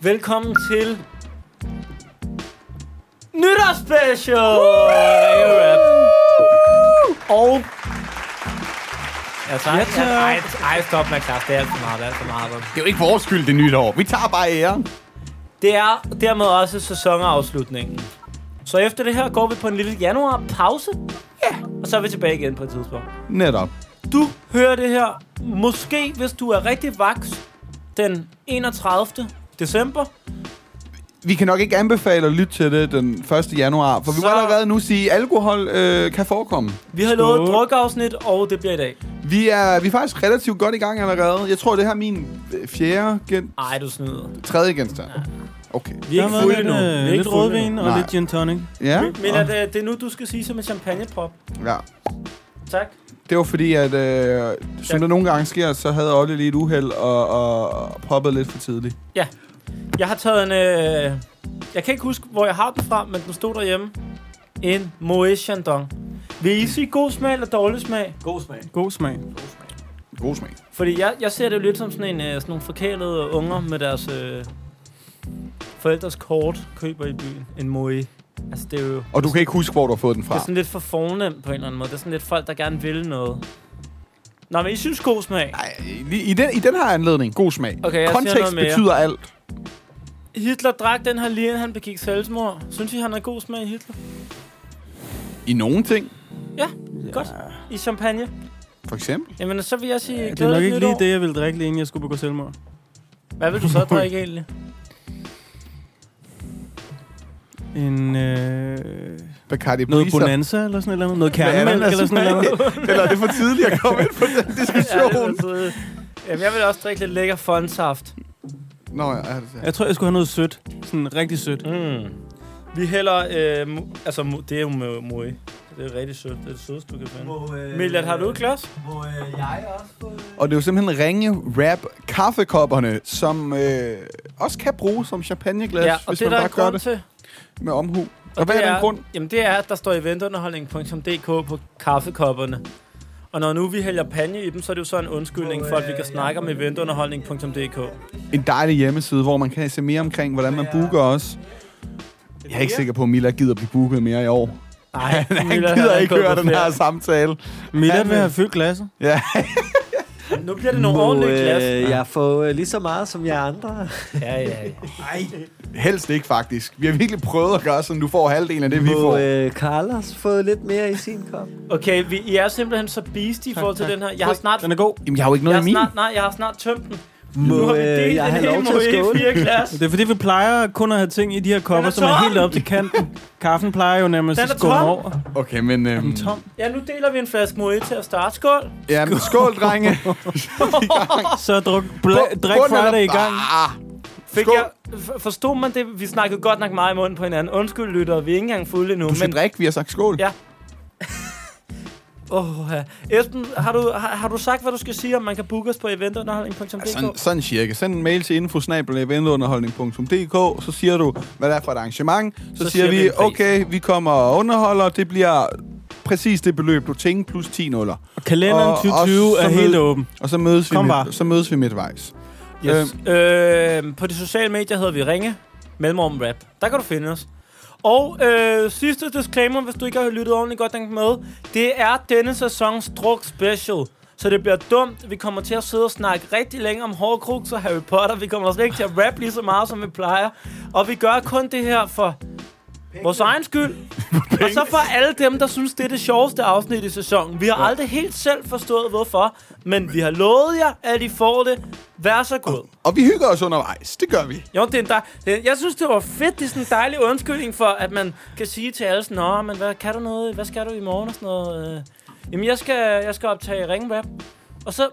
Velkommen til nytårsspecial! Woo! Og... Ja, tak. Ja, tak. Ej, ej, stop med klap. Det er alt for meget, det er alt for meget. arbejde. Det er jo ikke vores skyld, det nye år. Vi tager bare æren. Det er dermed også sæsonafslutningen. Så efter det her går vi på en lille januar-pause. Ja. Og så er vi tilbage igen på et tidspunkt. Netop. Du hører det her, måske hvis du er rigtig vaks, den 31. december. Vi kan nok ikke anbefale at lytte til det den 1. januar, for vi Så- må allerede nu sige, at alkohol øh, kan forekomme. Vi har lovet et drukafsnit, og det bliver i dag. Vi er, vi er faktisk relativt godt i gang allerede. Jeg tror, det her er min øh, fjerde, gen, Ej, du snyder. tredje genstand. Okay. Vi er ikke fulde nu. Vi er ikke lidt fulde nu. rødvin og Nej. lidt gin tonic. Ja, Men at, øh, det er nu, du skal sige som en champagneprop. ja. Tak. Det var fordi, at øh, som Ja. der nogle gange sker, så havde Olle lige et uheld og, og, og poppede lidt for tidligt. Ja. Jeg har taget en... Øh, jeg kan ikke huske, hvor jeg har den fra, men den stod derhjemme. En Moët Chandon. Vil I sige god smag eller dårlig smag? God smag. God smag. God smag. Fordi jeg, jeg ser det jo lidt som sådan, en, øh, sådan nogle forkælede unger med deres øh, forældres kort køber i byen. En Moët. Altså, det er jo... Og du kan ikke huske, hvor du har fået den Det er fra. sådan lidt for fornemt på en eller anden måde. Det er sådan lidt folk, der gerne vil noget. Nå, men I synes god smag. Ej, i, i, den, I den her anledning, god smag. Okay, jeg siger Kontekst noget mere. betyder alt. Hitler drak den her lige, inden han begik selvmord. Synes I, han har god smag, Hitler? I nogle ting, Ja, ja. godt. I champagne. for eksempel. Jamen, så vil jeg sige ja, Det er nok ikke lige nytår. det, jeg ville drikke, lige inden jeg skulle begå selvmord. Hvad vil du så drikke egentlig? En, øh, Bacardi noget Breezer. bonanza eller sådan et eller andet. Noget Hvad er kernemælk det, eller sådan et eller andet. Eller er det for tidligt at komme ind på den diskussion? altså- det Jamen, jeg vil også drikke lidt lækker fondsaft. Nå, ja, ja, det er Jeg tror, jeg skulle have noget sødt. Sådan rigtig sødt. Mm. Vi hælder... Øh, mu- altså, mu- det er jo mo- moe. Det er rigtig sødt. Det er det sødeste, du kan finde. Må, øh, Milad, har du et glas? Må øh, jeg også få... Og det er jo simpelthen ringe rap kaffekopperne, som øh, også kan bruges som champagneglas, Ja, og hvis det er man der bare en gør grund det til. med omhu. Og, hvad er den grund? Jamen det er, at der står eventunderholdning.dk på kaffekopperne. Og når nu vi hælder panje i dem, så er det jo så en undskyldning for, at vi kan snakke om eventunderholdning.dk. En dejlig hjemmeside, hvor man kan se mere omkring, hvordan man booker os. Jeg er ikke sikker på, at Mila gider blive booket mere i år. Nej, Han gider ikke høre den her samtale. Middag Han- vil have fyldt glasset. Ja, Nu bliver det nogle ordentlige glas. øh, jeg får øh, lige så meget som jer andre. Ja, ja, ja. helst ikke faktisk. Vi har virkelig prøvet at gøre sådan, du får halvdelen af det, vi Må får. øh, Carlos få lidt mere i sin kop? Okay, vi, I er simpelthen så beastie i forhold til den her. Jeg har snart... Den er god. Jamen, jeg har jo ikke noget Jeg i har min. snart, nej, jeg har snart tømt den. Nu har Må vi øh, delt jeg en have hel lov til at moe i skåle? fire glas. Det er fordi, vi plejer kun at have ting i de her Den er kopper, som er tom! helt op til kanten. Kaffen plejer jo nærmest Den at er skumme tom! over. Okay, men... Øhm, Tom. Ja, nu deler vi en flaske moe til at starte. Skål! Ja, men skål, drenge. Så druk, bla, drik Bunden Friday i eller- gang. Ah, Fik Skål. jeg, f- forstod man det? Vi snakkede godt nok meget i munden på hinanden. Undskyld, lytter. Vi er ikke engang fulde endnu. du skal men- drikke, vi har sagt skål. Ja. Åh, ja. Esben, har du, har, har du sagt, hvad du skal sige, om man kan booke os på eventunderholdning.dk? Ja, sådan, sådan cirka. Send en mail til infosnabel.eventunderholdning.dk, så siger du, hvad det er for et arrangement. Så, så siger vi, en pris. okay, vi kommer og underholder. Det bliver præcis det beløb, du tænker, plus 10 nuller. Kalenderen Og- og 2020 er så helt mød- åben. Og så mødes, vi Kom bare. midt, så mødes vi midtvejs. yes. øh, på de sociale medier hedder vi Ringe, Mellemrum Rap. Der kan du finde os. Og øh, sidste disclaimer, hvis du ikke har lyttet ordentligt godt den med, det er denne sæsons druk special. Så det bliver dumt. Vi kommer til at sidde og snakke rigtig længe om Horcrux og Harry Potter. Vi kommer slet ikke til at rap lige så meget, som vi plejer. Og vi gør kun det her for vores egen skyld. Og så for alle dem, der synes, det er det sjoveste afsnit i sæsonen. Vi har aldrig helt selv forstået, hvorfor. Men vi har lovet jer, at I får det. Vær så god. Og vi hygger os undervejs. Det gør vi. Jo, det er en dej... det er... Jeg synes, det var fedt. Det er sådan en dejlig undskyldning for, at man kan sige til alle sådan, Nå, men hvad, kan du noget? Hvad skal du i morgen? Og sådan noget. øh. Jamen, jeg skal, jeg skal optage ringrap. Og så,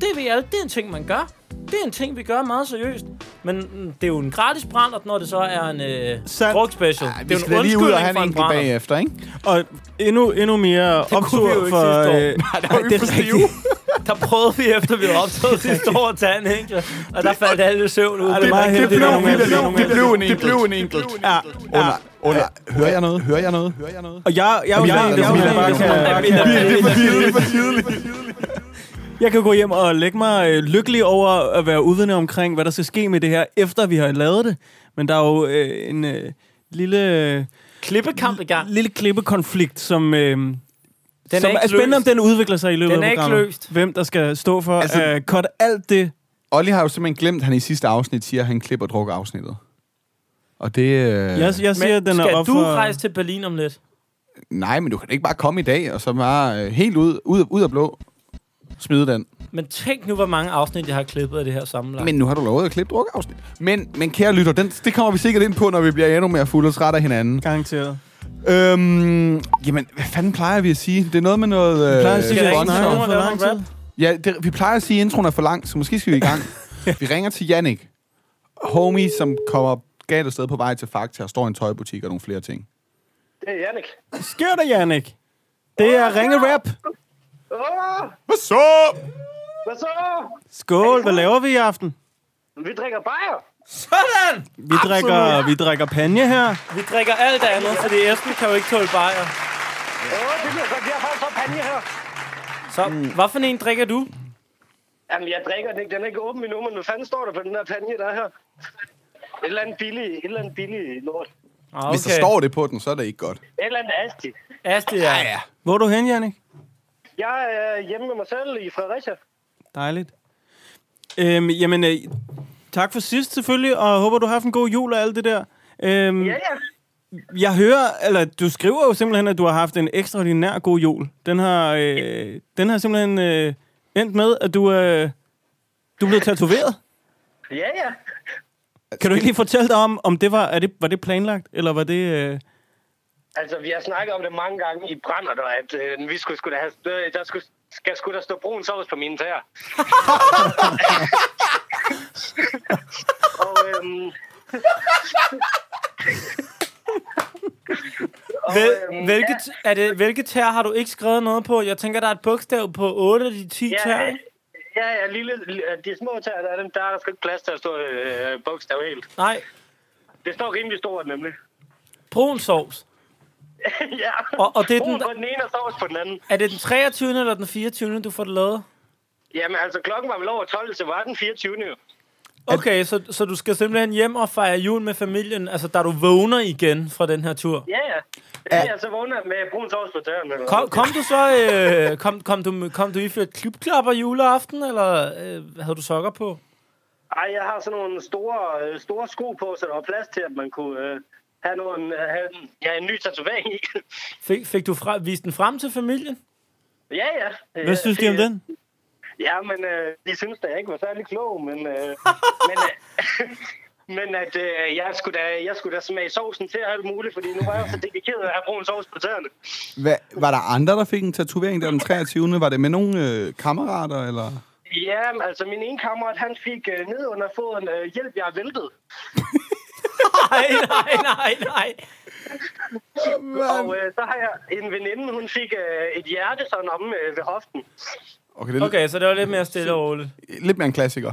det ved alle, det er en ting, man gør. Det er en ting, vi gør meget seriøst. Men mm, det er jo en gratis brændert, når det så er en øh, Sandt. drugspecial. Ej, det vi er skal da jo en lige ud og undskyldning have for en enkelt bagefter, en brændert. ikke? Og endnu, endnu mere kunne optur vi jo ikke for... sidste år. nej, var vi for stive. Der prøvede vi, efter vi var optaget sidste år, at tage en enkelt. Og der faldt alle i søvn ud. Ej, det er meget heldigt, Det blev, der er nogle det, enkelte, der er blev, nogle det blev en enkelte. enkelt. Det blev en enkelt. Ja, Under, under. Hører jeg noget? Hører jeg noget? Hører jeg noget? Og jeg, jeg, jeg, jeg, Mila, jeg, Mila, jeg, Mila, jeg, Mila, jeg, Mila, jeg, Mila, jeg, Mila. Det er for tidligt. Det er for tidligt. Jeg kan gå hjem og lægge mig øh, lykkelig over at være uvidende omkring, hvad der skal ske med det her, efter vi har lavet det. Men der er jo øh, en øh, lille, øh, Klippekamp i gang. lille klippekonflikt, som, øh, den Den som er, er, ikke spændende, om løst. den udvikler sig i løbet Den er af ikke programmet. løst. Hvem der skal stå for at Altså- altså, uh, cut alt det. Olli har jo simpelthen glemt, at han i sidste afsnit siger, at han klipper druk afsnittet. Og det... Øh, Jeg, jeg siger, at den er skal op du for... rejse til Berlin om lidt? Nej, men du kan da ikke bare komme i dag, og så bare øh, helt ud, ud, ud af blå smide den. Men tænk nu, hvor mange afsnit, jeg har klippet af det her sammenlagt. Men nu har du lovet at klippe drukafsnit. Men, men kære lytter, den, det kommer vi sikkert ind på, når vi bliver endnu mere fulde og trætte af hinanden. Garanteret. Øhm, jamen, hvad fanden plejer vi at sige? Det er noget med noget... Øh, plejer at sige, Skal det der er ikke sponsor. nogen, der For laver lang en rap? Ja, det, vi plejer at sige, at introen er for lang, så måske skal vi i gang. vi ringer til Jannik. Homie, som kommer galt afsted på vej til Fakta og står i en tøjbutik og nogle flere ting. Det er Jannik. Sker der, Jannik? Det er ringe rap. Åh, Hvad så? hvad så? Skål, hvad laver vi i aften? Vi drikker bajer. Sådan! Vi drikker, vi drikker panje her. Vi drikker alt andet, fordi Esben kan jo ikke tåle bajer. Åh, det bliver godt. Jeg får så panje her. Så, Mm. hvad for en drikker du? Jamen, jeg drikker den ikke. Den er ikke åben endnu, men hvad fanden står der på den der panje, der er her? Et eller andet billigt, et eller andet billigt lort. Ah, Hvis der står det på den, så er det ikke godt. Et eller andet asti. Asti, ja. ja. Hvor er du hen, Jannik? Jeg er hjemme med mig selv i Fredericia. Dejligt. Øhm, jamen, øh, tak for sidst selvfølgelig, og jeg håber, du har haft en god jul og alt det der. Øhm, Ja, ja. Jeg hører, eller du skriver jo simpelthen, at du har haft en ekstraordinær god jul. Den har, øh, den har simpelthen øh, endt med, at du, øh, du blev tatoveret. Ja, ja. Kan du ikke lige fortælle dig om, om det var, er det, var det planlagt, eller var det... Øh, Altså, vi har snakket om det mange gange i Brændert, og at øh, vi skulle, skulle have, øh, der skulle, skal, skulle der stå brun sovs på mine tæer. og, øhm, Hvil, hvilke, t- er det, hvilke tær har du ikke skrevet noget på? Jeg tænker, der er et bogstav på 8 af de 10 ja, tær. ja, ikke? ja, ja, lille, lille- de små tæer, der er dem, der er der sgu ikke plads til at stå øh, bogstav helt. Nej, Det står rimelig stort, nemlig. brun sovs. ja. Og- og det er Brun den- på den ene og sovs på den anden. Er det den 23. eller den 24. du får det lavet? Jamen, altså, klokken var vel over 12, så var den 24. jo. Okay, så, så du skal simpelthen hjem og fejre jul med familien, altså da du vågner igen fra den her tur. Ja, ja. Ja, ja, så vågner jeg med brun sovs på tæerne. eller Kom, kom du så, øh, kom, kom, du, kom du iført klubklapper juleaften, eller øh, havde du sokker på? Ej, jeg har sådan nogle store, øh, store sko på, så der var plads til, at man kunne øh, have, nogle, øh, have en, ja, en ny tatovering i. Fik, fik du fra, vist den frem til familien? ja, ja. hvad synes de om den? Ja, men øh, de synes da, jeg ikke var særlig klog, men... Øh, men øh, Men at øh, jeg, skulle da, jeg skulle da smage sovsen til alt muligt, fordi nu var jeg så dedikeret at have brun sovs på tæerne. Hva, var der andre, der fik en tatovering der den 23. Var det med nogle øh, kammerater, eller? Ja, men altså min ene kammerat, han fik øh, ned under foden, øh, hjælp, jeg er væltet. Nej, nej, nej, nej. Og øh, så har jeg en veninde, hun fik øh, et hjerte sådan om øh, ved hoften. Okay, det er okay. Okay, så det var lidt mere stille og roligt. lidt mere en klassiker.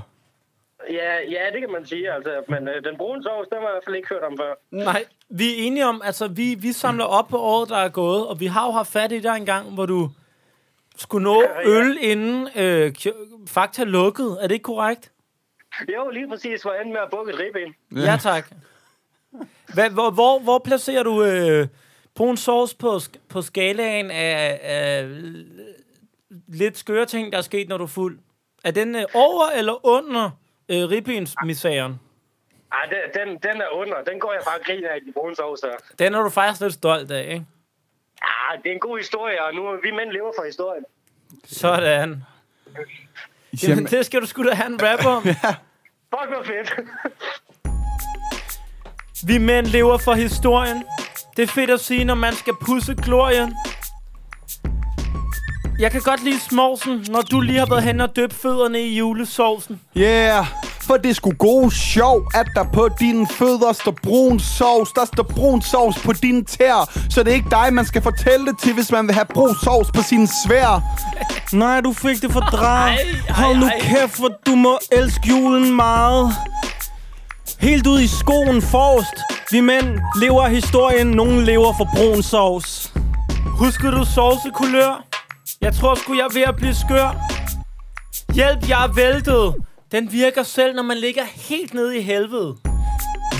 Ja, ja, det kan man sige. Altså, men øh, den brune sovs, den var jeg i hvert fald ikke hørt om før. Nej, vi er enige om, altså vi, vi samler op på året, der er gået, og vi har jo haft fat i dig en gang, hvor du skulle nå øl inden øh, kj- Fakta lukkede. Er det ikke korrekt? Jo, lige præcis, hvor jeg endte med at bukke et ribben. Ja, tak. Hva, hvor, hvor, hvor placerer du øh, brun sovs på, sk- på skalaen af, af l- lidt skøre ting, der er sket, når du er fuld? Er den øh, over eller under øh, ribbensmisæren? Ej, Ah, den, den, den er under. Den går jeg bare og griner af i den brune sovs her. Den er du faktisk lidt stolt af, ikke? Ja, Ah, det er en god historie, og nu vi mænd lever for historien. Sådan. Jamen, Jamen, det skal du sgu da have en rap om. Fuck, hvor fedt. Vi mænd lever for historien. Det er fedt at sige, når man skal pusse glorien. Jeg kan godt lide smovsen, når du lige har været hen og døbt fødderne i julesovsen. yeah! For det skulle god sjov, at der på dine fødder står brun sovs. Der står brun sovs på dine tæer. Så det er ikke dig, man skal fortælle det til, hvis man vil have brun sovs på sine svær. Nej, du fik det for Ej, drag. ej, Hold nu ej. kæft, for du må elske julen meget. Helt ud i skoen forrest. Vi mænd lever af historien, nogen lever for brun sovs. Husker du sovsekulør? Jeg tror sgu, jeg er ved at blive skør. Hjælp, jeg er væltet. Den virker selv, når man ligger helt nede i helvede.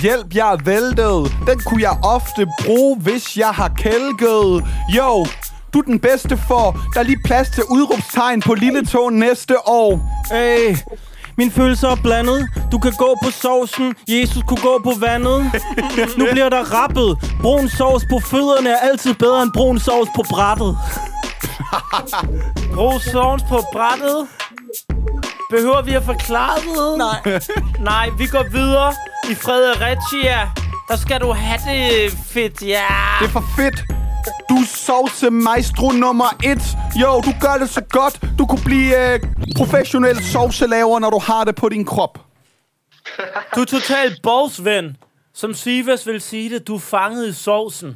Hjælp, jeg er væltet. Den kunne jeg ofte bruge, hvis jeg har kælket. Jo, du er den bedste for. Der er lige plads til udråbstegn på lille tog næste år. Hey, mine følelser er blandet. Du kan gå på sovsen. Jesus kunne gå på vandet. nu bliver der rappet. Brun sovs på fødderne er altid bedre end brun sovs på brættet. Brug sovens på brættet. Behøver vi at forklare det? Nej. Nej, vi går videre i Fredericia. Der skal du have det fedt, ja. Det er for fedt. Du er sovse maestro nummer et. Jo, du gør det så godt. Du kunne blive øh, professionel sovselaver, når du har det på din krop. Du er totalt bogsven. Som Sivas vil sige det, du er fanget i sovsen.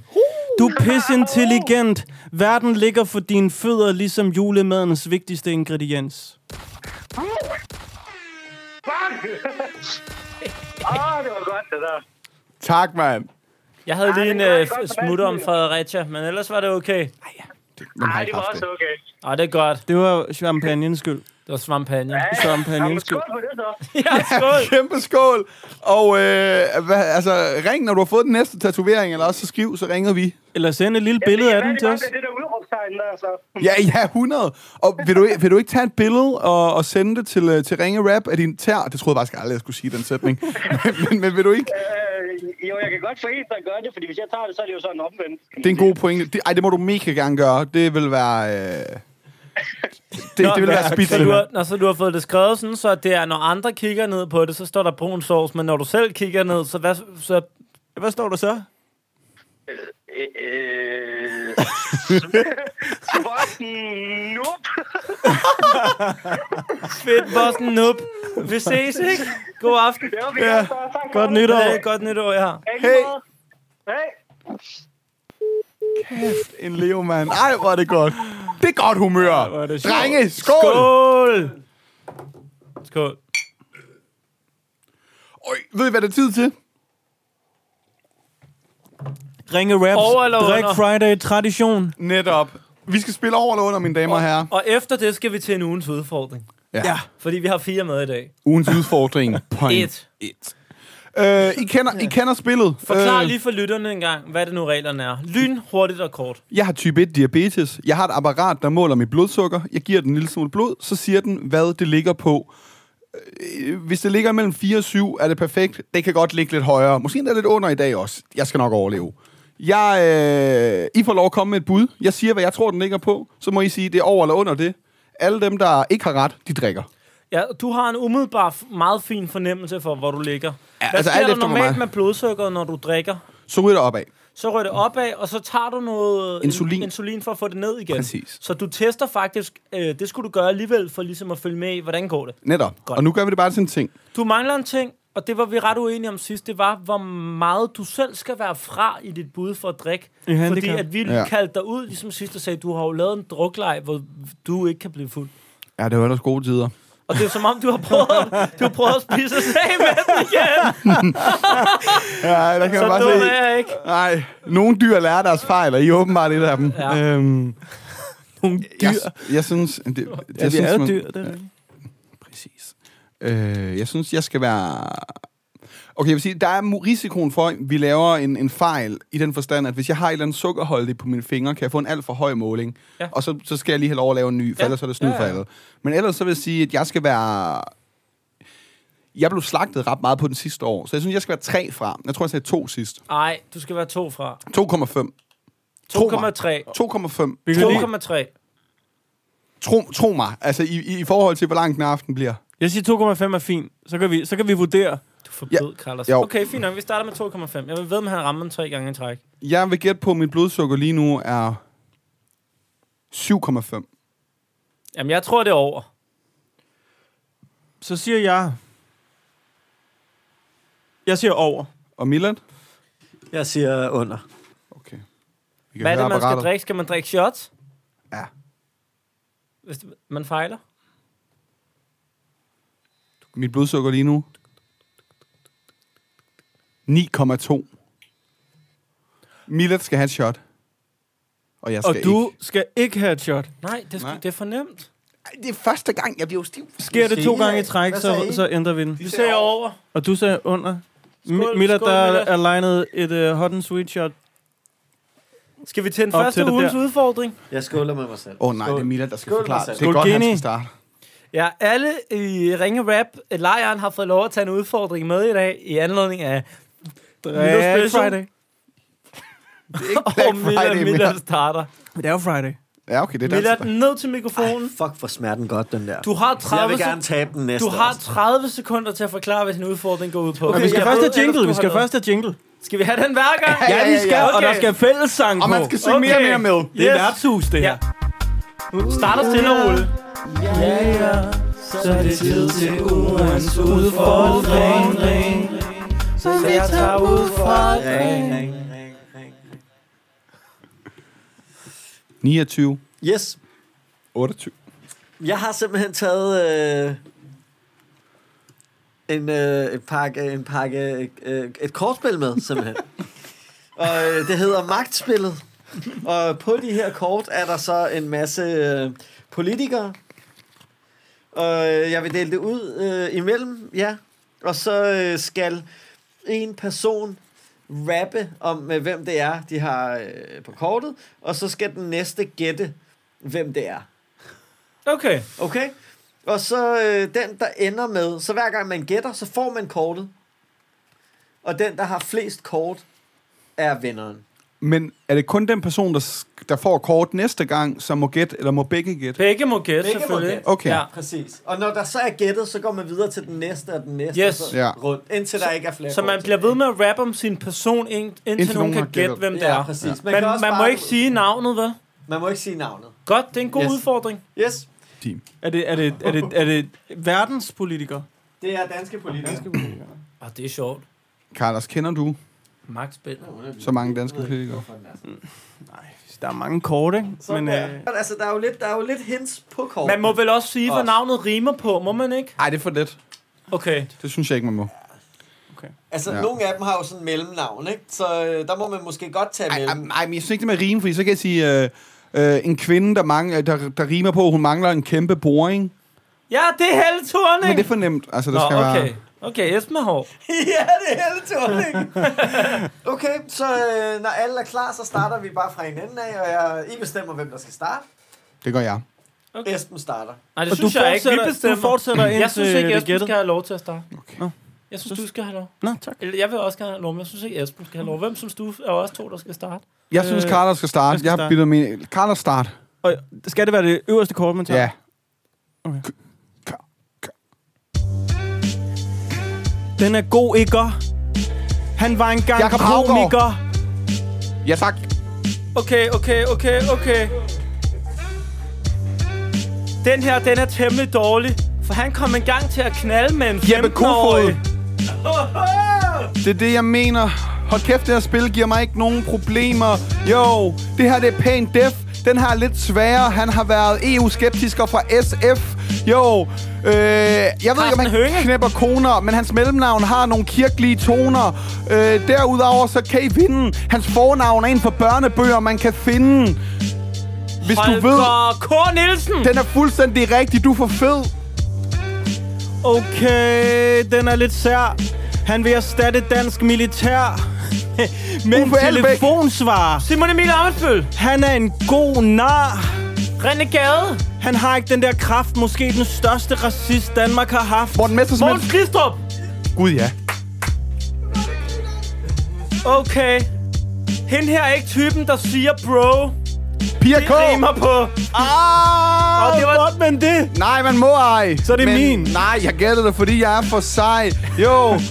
Du er pisintelligent. Verden ligger for dine fødder, ligesom julemadens vigtigste ingrediens. Åh, det var godt, det der. Tak, mand. Jeg havde lige en det var øh, godt for f- den smutter om tid. Fredericia, men ellers var det okay. Man har Nej, det ikke var haft også det. okay. Åh, det er godt. Det var champagnens skyld. Det var svampagne. Ja, Champagne, jamen, skål. skål på det så. Ja, skål. Kæmpe skål. Og øh, hvad, altså, ring, når du har fået den næste tatovering, eller også så skriv, så ringer vi. Eller send et lille billede af den til os. Det er det der udråbstegn der, så. Ja, ja, 100. Og vil du, vil du ikke tage et billede og, og sende det til, øh, til Ringe Rap af din tær? Det troede jeg faktisk aldrig, jeg skulle sige den sætning. men, men, men vil du ikke? Øh, jo, jeg kan godt få en, der gør det, fordi hvis jeg tager det, så er det jo sådan omvendt. Det er en god pointe. Det, ej, det må du mega gerne gøre. Det vil være... Øh, det, det vil være så du, spidsende. har, når så du har fået det skrevet sådan, så det er, når andre kigger ned på det, så står der brun sovs, men når du selv kigger ned, så, hvad, så Hvad står der så? Øh, øh, Svorten, nup. fedt, bossen, nup. Vi ses, ikke? God aften. Ja, vi ja. Godt nytår. Det er et godt nytår, jeg har. Hey. Hej. Hej. En Leo, mand. Ej, hvor er det godt. Det er godt humør. er det sjovt. Drenge, skål! skål. Skål! Skål. Øj, ved I, hvad det er tid til? Ringe raps. Over eller Drik under? Friday tradition. Netop. Vi skal spille over eller under, mine damer og herrer. Og efter det skal vi til en ugens udfordring. Ja. Fordi vi har fire med i dag. Ugens udfordring. Point. Et. Et. Øh, I, kender, I kender spillet. Forklar Øh, lige for lytterne en gang, hvad det nu reglerne er. Lyn, hurtigt og kort. Jeg har type 1 diabetes. Jeg har et apparat, der måler mit blodsukker. Jeg giver den en lille smule blod, så siger den, hvad det ligger på. Øh, Hvis det ligger mellem 4 og 7, er det perfekt. Det kan godt ligge lidt højere. Måske endda lidt under i dag også. Jeg skal nok overleve. Jeg, øh, I får lov at komme med et bud. Jeg siger, hvad jeg tror, den ligger på. Så må I sige, det er over eller under det. Alle dem, der ikke har ret, de drikker. Ja, du har en umiddelbar, f- meget fin fornemmelse for, hvor du ligger. Ja, hvad altså sker alt der efter, hvor normalt meget- med blodsukkeret, når du drikker? Så ryger det opad. Så rører det opad, og så tager du noget Insulin. insulin for at få det ned igen. Præcis. Så du tester faktisk, øh, det skulle du gøre alligevel, for ligesom at følge med i, hvordan går det. Netop. Godt. Godt. Og nu gør vi det bare til en ting. Du mangler en ting, og det var vi ret uenige om sidst, det var, hvor meget du selv skal være fra i dit bud for at drikke. I handicap. Fordi at vi ja. Ja. kaldte dig ud, ligesom sidst, og sagde, du har jo lavet en druklej, hvor du ikke kan blive fuld. Ja, det var ellers gode tider. Og det er som om, du har prøvet, at- du har prøvet at spise os af med den igen. Ja, der kan Så man bare dum se. er jeg ikke. Nej, nogle dyr lærer deres fejl, og I er åbenbart et af dem. Ja. Øhm, Nogle dyr. jeg, jeg synes... Det, det, Ja, jeg vi synes, er jo man- dyr, det er rigtigt. Præcis. Øh, jeg synes, jeg skal være... Okay, jeg vil sige, der er mu- risikoen for, at vi laver en, en fejl i den forstand, at hvis jeg har et eller andet sukkerholdigt på mine fingre, kan jeg få en alt for høj måling, Ja. ja. og så, så skal jeg lige have lov at lave en ny, for Ja. ja. ellers er det snyd Ja, ja, ja. for alle. Men ellers så vil jeg sige, at jeg skal være... Jeg blev slagtet ret meget på den sidste år, så jeg synes, jeg skal være tre fra. Jeg tror, jeg sagde to sidst. Nej, du skal være to fra. 2,5. 2,3. 2,5. 2,3. Vi kan lige- 2,3. Tro, tro mig, altså i, i, i forhold til, hvor lang den her aften bliver. Jeg siger 2,5 er fint. Så kan vi, så kan vi vurdere. Du forbød, Carlos. Jo. Okay, fint nok. Vi starter med 2,5. Jeg vil ved, at han rammer den tre gange i træk. Jeg vil gætte på, at mit blodsukker lige nu er 7,5. Jamen, jeg tror, det er over. Så siger jeg... Jeg siger over. Og Milan? Jeg siger under. Okay. Vi Hvad er det, høre man skal apparatet. drikke? Skal man drikke shots? Ja. Hvis det- man fejler? Mit blodsukker lige nu? 9,2. Milan skal have et shot. Og jeg Og skal du ikke. skal ikke have et shot. Nej, det, skal, Nej. det er for nemt. det er første gang, jeg bliver stiv. Sker det to siger- gange i træk, Hvad så, sagde I? så ændrer vi den. Vi ser over. Og du sagde under. Mi- Miller, skål, der Miller. er legnet et uh, hot and sweet shot. Skal vi til den Op første til det ugens der. udfordring? Jeg skåler med mig selv. Åh oh, nej, det er Mila, der skal Skål, forklare. Marcel. Det er Skål, godt, han Genie. skal starte. Ja, alle i Ringe Rap øh, lejren har fået lov at tage en udfordring med i dag i anledning af Black Friday. Det er ikke Og Black Friday, Miller, Miller. Miller starter. Det er jo Friday. Ja, okay, det er Miller, dansk. den ned til mikrofonen. Fuck, for smerten godt, den der. Du har jeg 30, vil gerne sek- tabe den næste du har også. 30 sekunder til at forklare, hvad din udfordring går ud på. Okay, vi skal Jeg først ved, have jingle, ellers vi du skal har noget. først have jingle. Skal vi have den hver gang? Ja, ja, ja, ja. og der skal fællessang på. Og man skal synge mere og mere med. Det er værtshus, det her. Ja. Starter stille og roligt. Så er det tid til ugens udfordring. Så vi tager ud fra Ring, ring, ring, ring. 29, Yes. 28. Jeg har simpelthen taget... Øh, en, øh, en pakke, en pakke øh, et kortspil med, simpelthen. og øh, det hedder Magtspillet. Og på de her kort er der så en masse øh, politikere. Og øh, jeg vil dele det ud øh, imellem, ja. Og så øh, skal en person rappe om, øh, hvem det er, de har øh, på kortet. Og så skal den næste gætte, hvem det er. Okay. Okay? Og så øh, den, der ender med, så hver gang man gætter, så får man kortet. Og den, der har flest kort, er vinderen. Men er det kun den person, der, sk- der får kort næste gang, som må gætte, eller må begge gætte? Begge må gætte, Begge må selvfølgelig. gætte. Okay. Ja. Præcis. Og når der så er gættet, så går man videre til den næste og den næste Yes. og så Ja. rundt, indtil der ikke er flere Så man bliver ved med at rappe om sin person, ind- indtil, indtil nogen nogen kan har gætte, gættet. hvem det Ja, er. præcis. Man Man, kan også man må bare- ikke sige navnet, vel? Man må ikke sige navnet. Godt, det er en god Yes. udfordring. Yes. Team. Er det, er det, er det, er det verdenspolitikere? Det er danske politikere. Danske Og Ah, det er sjovt. Carlos, kender du Max spiller. så mange danske politikere? Der er mange kort, ikke? Men, Men, øh, øh... Altså, der er, jo lidt, der er jo lidt hints på kort. Man må vel også sige, hvad Også. navnet rimer på, må man ikke? Nej, det er for let. Okay. Det synes jeg ikke, man må. Altså, Ja. nogle af dem har jo sådan mellemnavn, ikke? Så øh, der må man måske godt tage Ej, ej, mellem. nej, men jeg synes ikke, det med rime, fordi så kan jeg sige, øh, øh, en kvinde, der, mange, der, der rimer på, hun mangler en kæmpe boring. Ja, det er Helle Thorning! Men det er for nemt. Altså, der Nå, skal være... okay. Okay, Esben er hård. ja, det er hele Thorning. okay, så øh, når alle er klar, så starter vi bare fra en ende af, og jeg, I bestemmer, hvem der skal starte. Det gør jeg. Esben starter. Nej, det og du synes jeg ikke. Vi fortsætter, bestemmer. du fortsætter indtil jeg synes ikke, det Esben gætter. skal have lov til at starte. Okay. Nå. Jeg synes, du skal have lov. Nå, tak. Eller jeg vil også gerne have lov, men jeg synes ikke, Esben skal have lov. Hvem synes du er også to, der skal starte? Jeg synes, Øh, Carlos skal starte. jeg Jeg, skal jeg har starte. byttet min... Carlos, start. Og skal det være det øverste kort, man tager? Ja. Okay. K- k- k- Den er god, ikke? Han var engang Jakob Haugaard. komiker. Ja, tak. Okay, okay, okay, okay. Den her, den er temmelig dårlig. For han kom engang til at knalde med en Jeppe 15-årig. Kofod. Det er det, jeg mener. Hold kæft, det her spil giver mig ikke nogen problemer. Jo, det her det er pænt def. Den her er lidt sværere. Han har været EU-skeptiker fra SF. Jo, øh, jeg ved ikke, om Karsten han Hønge. knæpper koner, men hans mellemnavn har nogle kirkelige toner. Øh, derudover så kan I vinde. Hans fornavn er en for børnebøger, man kan finde. Hvis du ved, Holger K. Nielsen. den er fuldstændig rigtig. Du er for fed. Okay, den er lidt sær. Han vil erstatte dansk militær. Men Uffe Elbæk. telefonsvar. Simon Emil Amensbøl. Han er en god nar. René Gade. Han har ikke den der kraft, måske den største racist, Danmark har haft. Morten Messersmith. Mogens Glistrup. Gud, ja. Okay. Hende her er ikke typen, der siger bro. Pia Det K. rimer på. Ah! Og det var... Godt, men det. Nej, man må ej. Så er det men, min. Nej, jeg gætter det, fordi jeg er for sej. Jo,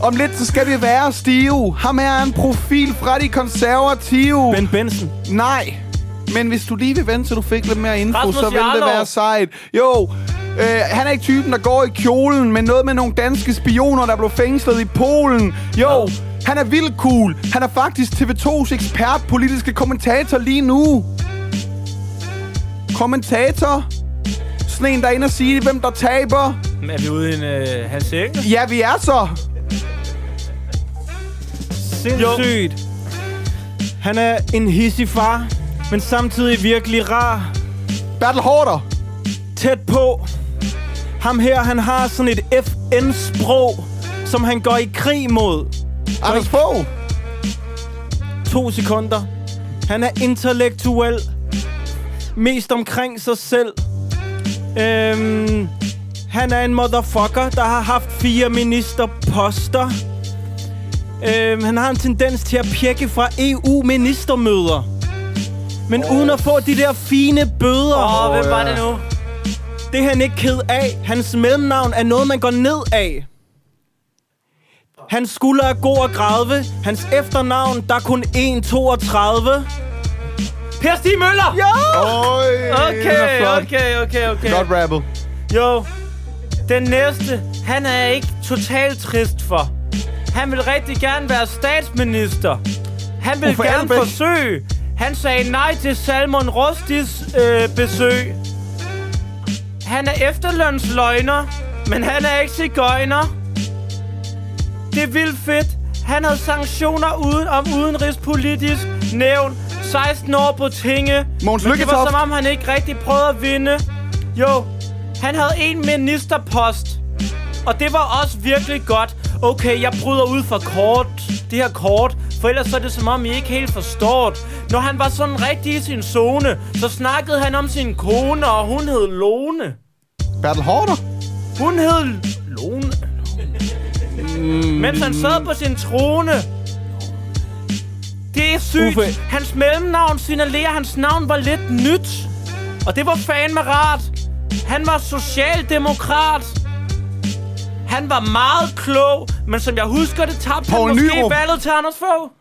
om lidt så skal det være Stive. Ham her er en profil fra de konservative. Ben Benson. Nej, men hvis du lige vil vente, så du fik lidt mere info, Rasmus så vil Jarlov. det være sejt. Jo, øh, han er ikke typen, der går i kjolen, men noget med nogle danske spioner, der blev fængslet i Polen. Jo, han er vildt cool. Han er faktisk TV2's ekspert politiske kommentator lige nu. Kommentator? Sådan en, der er inde og sige, hvem der taber. Er vi ude i en øh, Hans Engel? Ja, vi er så. Sindssygt. Han er en hissig far, men samtidig virkelig rar. Battle Hoarder. tæt på. Ham her, han har sådan et FN-sprog, som han går i krig mod. Anders Fogh! to sekunder. Han er intellektuel. Mest omkring sig selv. Øhm, han er en motherfucker, der har haft fire ministerposter. Øhm, han har en tendens til at pjekke fra EU-ministermøder. Men oh. uden at få de der fine bøder. Åh, oh, hvem var det nu? Det er han ikke ked af. Hans mellemnavn er noget, man går ned af. Hans skulder er god og grave. Hans efternavn, der er kun 1,32. Per Stig Møller! Ja! Øj, den er Okay, flot. okay, okay, okay. Godt rappet. Jo, den næste, han er jeg ikke totalt trist for. Han vil rigtig gerne være statsminister. Han vil Uffe gerne Elbæk. forsøge. Han sagde nej til Salmon Rustis øh, besøg. Han er efterlønsløgner, men han er ikke cigøjner. Det er vildt fedt. Han havde sanktioner uden om udenrigspolitisk nævn. 16 år på tinge. Mogens Men det var Lykketoft. som om, han ikke rigtig prøvede at vinde. Jo, han havde en ministerpost. Og det var også virkelig godt. Okay, jeg bryder ud for kort. Det her kort. For ellers så er det som om, I ikke helt forstår det. Når han var sådan rigtig i sin zone, så snakkede han om sin kone, og hun hed Lone. Bertel Hårder. Hun hed Lone. Mm. Mens han sad på sin trone. Det er sygt. Uffe. Hans mellemnavn signalerer, at hans navn var lidt nyt. Og det var fandme rart. Han var socialdemokrat. Han var meget klog, men som jeg husker det, tabte han Poul måske Nyrup. valget til Anders Fogh.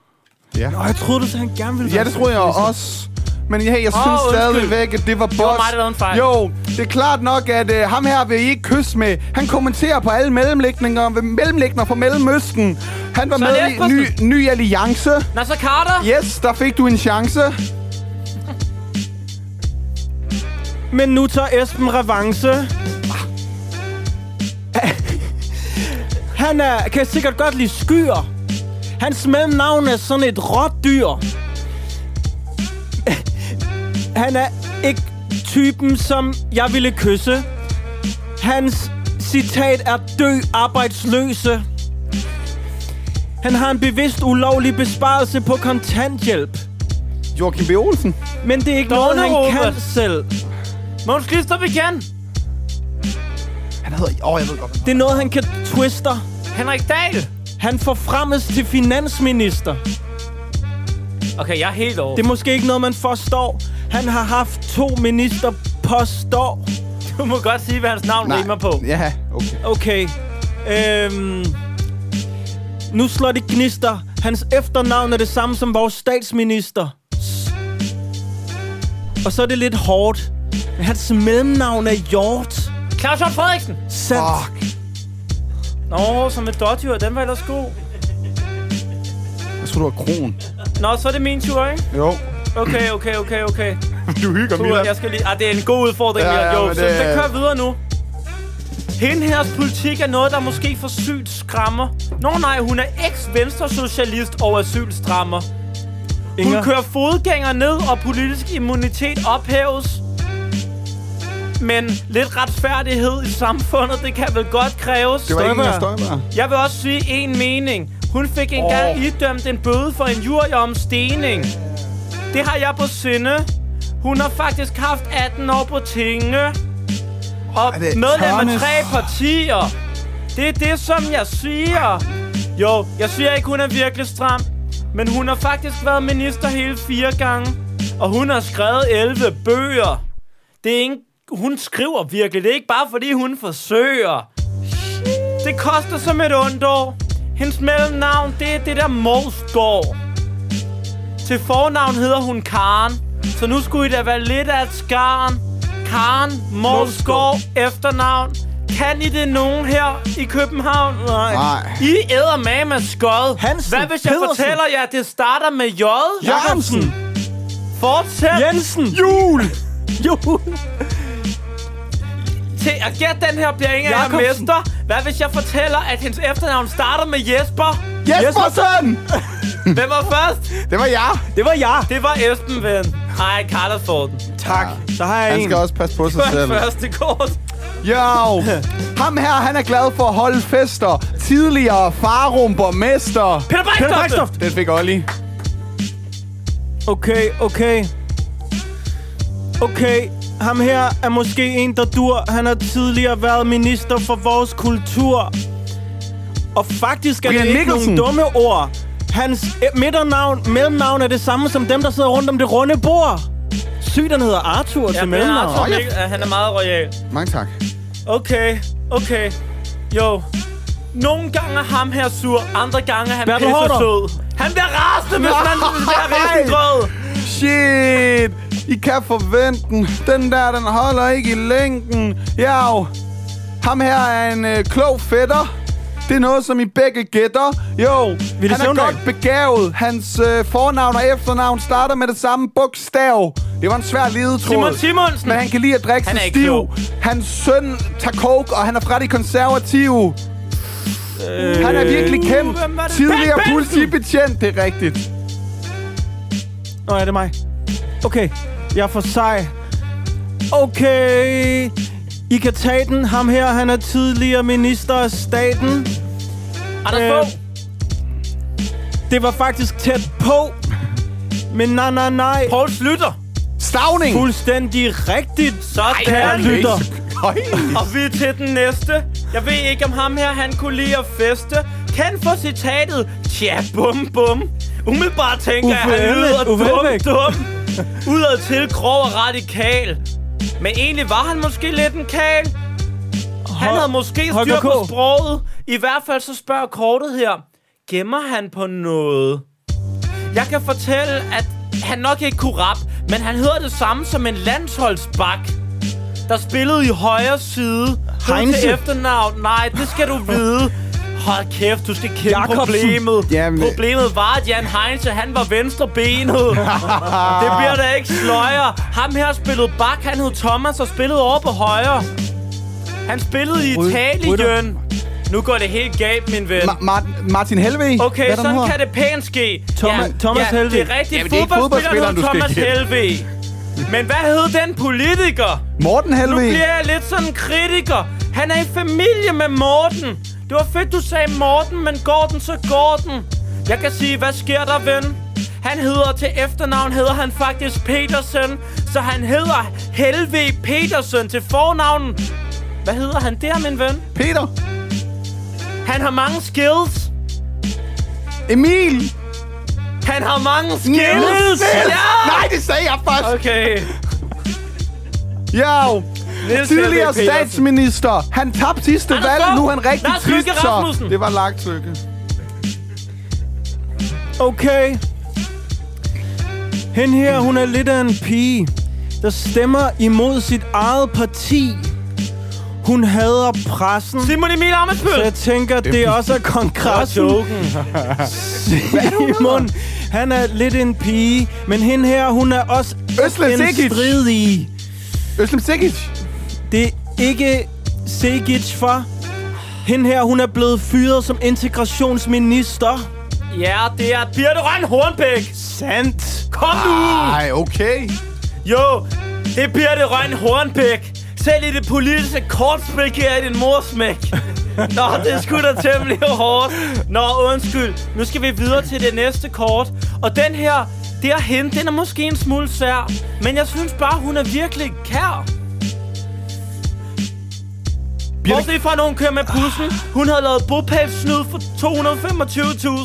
Ja. Og jeg troede, du sagde, han gerne ville ja, det tror jeg også. Men hey, jeg Åh, synes undskyld. stadigvæk, at det var boss. Det var mig, der lavede en fejl. Jo, det er klart nok, at øh, ham her vil I ikke kysse med. Han kommenterer på alle mellemlægninger, mellemlægninger fra Mellemøsten. Han var Søren med i ny, Espersen. ny Alliance. Nasser Carter? Yes, der fik du en chance. Men nu tager Esben revanche. Han er, kan sikkert godt lide skyer. Hans mellemnavn er sådan et rådyr. Han er ikke typen, som jeg ville kysse. Hans citat er dø arbejdsløse. Han har en bevidst ulovlig besparelse på kontanthjælp. Joachim B. Olsen. Men det er ikke Dårlig noget, han Robert. kan selv. Måns Glistrup igen. Han hedder... Åh, oh, jeg ved godt. Det er noget, han kan twister. Henrik Dahl? Han forfremmes til finansminister. Okay, jeg er helt over. Det er måske ikke noget, man forstår. Han har haft to ministerposter. Du må godt sige, hvad hans navn Nej. rimer på. Ja, okay. Okay. Øhm. Nu slår det gnister. Hans efternavn er det samme som vores statsminister. Og så er det lidt hårdt. Men hans mellemnavn er Hjort. Claus Hjort Frederiksen? Sandt. Fuck. Nå, som et dodger, den var ellers god. Jeg tror, du var kron. Nå, så er det min tur, ikke? Jo. Okay, okay, okay, okay. Du hygger, Tua, Milan. jeg skal lige... Ah, det er en god udfordring, Ja, ja, ja, ja, jo. men Så det- det... kører videre nu. Hende her politik er noget, der måske for sygt skræmmer. Nå nej, hun er eks-venstresocialist og asylstrammer. Hun Inger. kører fodgænger ned, og politisk immunitet ophæves. Men lidt retfærdighed i samfundet, det kan vel godt kræves. Det var ikke Støjberg. en støjbær. Jeg vil også sige en mening. Hun fik engang oh. idømt en bøde for en jury om stening. Det har jeg på sinde. Hun har faktisk haft 18 år på tinge. Og det medlem af Tørnes? tre partier. Det er det, som jeg siger. Jo, jeg siger ikke, hun er virkelig stram. Men hun har faktisk været minister hele fire gange. Og hun har skrevet 11 bøger. Det er ikke... Hun skriver virkelig. Det er ikke bare, fordi hun forsøger. Det koster som et ondt år. Hendes mellemnavn, det er det der Morsgaard. Til fornavn hedder hun Karen. Så nu skulle I da være lidt af et skarn. Karen Morsgaard, efternavn. Kan I det nogen her i København? Nej. Nej. I æder med med skod. Hansen, Hvad hvis jeg Pedersen. fortæller jer, at det starter med J? Jacobsen. Fortsæt Jensen. Jul. Jo. til at gætte den her bliver ingen af jer Jacobsen. mester. Hvad hvis jeg fortæller, at hendes efternavn starter med Jesper? Jespersen. Hvem var først? Det var jeg. Det var jeg. Det var Esben, ven. Ej, Carlos får den. Tak. Så har jeg Han en. skal også passe på sig selv. Første kort. Jo! Ham her, han er glad for at holde fester. Tidligere farumborgmester. Peter Peter Bejstof! Brækstoft. Den fik Olli. Okay, okay. Okay, ham her er måske en, der dur. Han har tidligere været minister for vores kultur. Og faktisk er Brian det ikke Mikkelsen. nogle dumme ord. Hans eh, midternavn, mellemnavn er det samme som dem, der sidder rundt om det runde bord. Sygt, han hedder Arthur ja, Ja, til men mellemnavn. Arthur Åh, ja. Mikkel, ja, han er meget royal. Mange tak. Okay, okay. Jo. Nogle gange er ham her sur, andre gange er han Bertel pisse Haarder. sød. Han bliver rasende, hvis man Nej. bliver risengrød. Shit! I kan forvente den. Den der, den holder ikke i længden. Jo! Ham her er en øh, klog fætter. Det er noget, som I begge gætter. Jo, Ville han er Søvndal. godt begavet. Hans øh, fornavn og efternavn starter med det samme bogstav. Det var en svær ledetråd. Simon Simonsen. Men han kan lide at drikke Han sig er ikke stiv. klog. Hans søn tager coke, og han er fra de konservative. Øh, han er virkelig kendt. hvem var det? Tidligere Ben Benson! politibetjent, det er rigtigt. Nå, ja, det er mig. Okay, jeg er for sej. Okay, I kan tage den. Ham her, han er tidligere minister af staten. Anders Øh, Fogh. Det var faktisk tæt på. Men nej, nej, nej. Prøv Poul Slytter. Stavning! fuldstændig rigtigt. Sådan. Kære lytter. Og vi er til den næste. Jeg ved ikke, om ham her, han kunne lide at feste. Kan få citatet, tja, bum, bum. Umiddelbart tænker jeg, Uffe at han lyder Elbæk. Uffe Elbæk. dum, dum. Udad til grov og radikal. Men egentlig var han måske lidt en kal. Han Hol- havde måske styr Holger på K. sproget. I hvert fald så spørger kortet her. Gemmer han på noget? Jeg kan fortælle, at han nok ikke kunne rap, men han hedder det samme som en landsholdsbak, der spillede i højre side. Heinze. Heinze? Til efternavn. Nej, det skal du vide. Hold kæft, du skal kende Jacobsen. problemet. Jamen, øh. Problemet var, at Jan Heinze, han var venstrebenet. det bliver da ikke sløjer. Ham her spillede bak, han hed Thomas og spillede over på højre. Han spillede i Italien. Nu går det helt galt, min ven. Ma- Martin, Martin Helvig? Okay, Hvad er der nu sådan her? kan det pænt ske. Thomas- Thomas ja, Helvig. Det er rigtigt. Jamen, Jamen, det er ikke fodboldspilleren hed fodboldspilleren, Thomas du skal Helvig. Men hvad hed den politiker? Morten Nu Helvig? bliver jeg lidt sådan en kritiker. Han er i familie med Morten. Det var fedt, du sagde Morten, men går den, så går den. Jeg kan sige, hvad sker der, ven? Han hedder til efternavn, hedder han faktisk Petersen. Så han hedder Helve Petersen til fornavnen. Hvad hedder han der, min ven? Peter? Han har mange skills. Emil? Han har mange Niels? skills. Ja! Nej, det sagde jeg først! Okay. Ja, jo. Niels Tidligere Helveg Petersen. statsminister. Han tabte sidste Anders valg, Fogh. nu er han rigtig Lars Løkke trist, så. Rasmussen. Det var lagt lykke. Okay. Hende her, hun er lidt af en pige, der stemmer imod sit eget parti. Hun hader pressen. Simon Emil Så Amersbøl. jeg tænker, det også er kongressen. Simon, han er lidt en pige, men hende her, hun er også Özlem en Sikic. stridig. Özlem Sikic? Det er ikke Sikic for. Hende her, hun er blevet fyret som integrationsminister. Ja, det er Birte Røn Hornbæk. Sandt. Kom nu! Ej, okay. Jo, det er Birte Røn Hornbæk. Selv i det politiske kortspil giver jeg din mor smæk. Nå, det er sgu da temmelig hårdt. Nå, undskyld. Nu skal vi videre til det næste kort. Og den her, det er hende. Den er måske en smule sær. Men jeg synes bare, hun er virkelig kær. Birte- Bortset fra, når hun kører med bussen. Hun havde lavet bopælssnyd for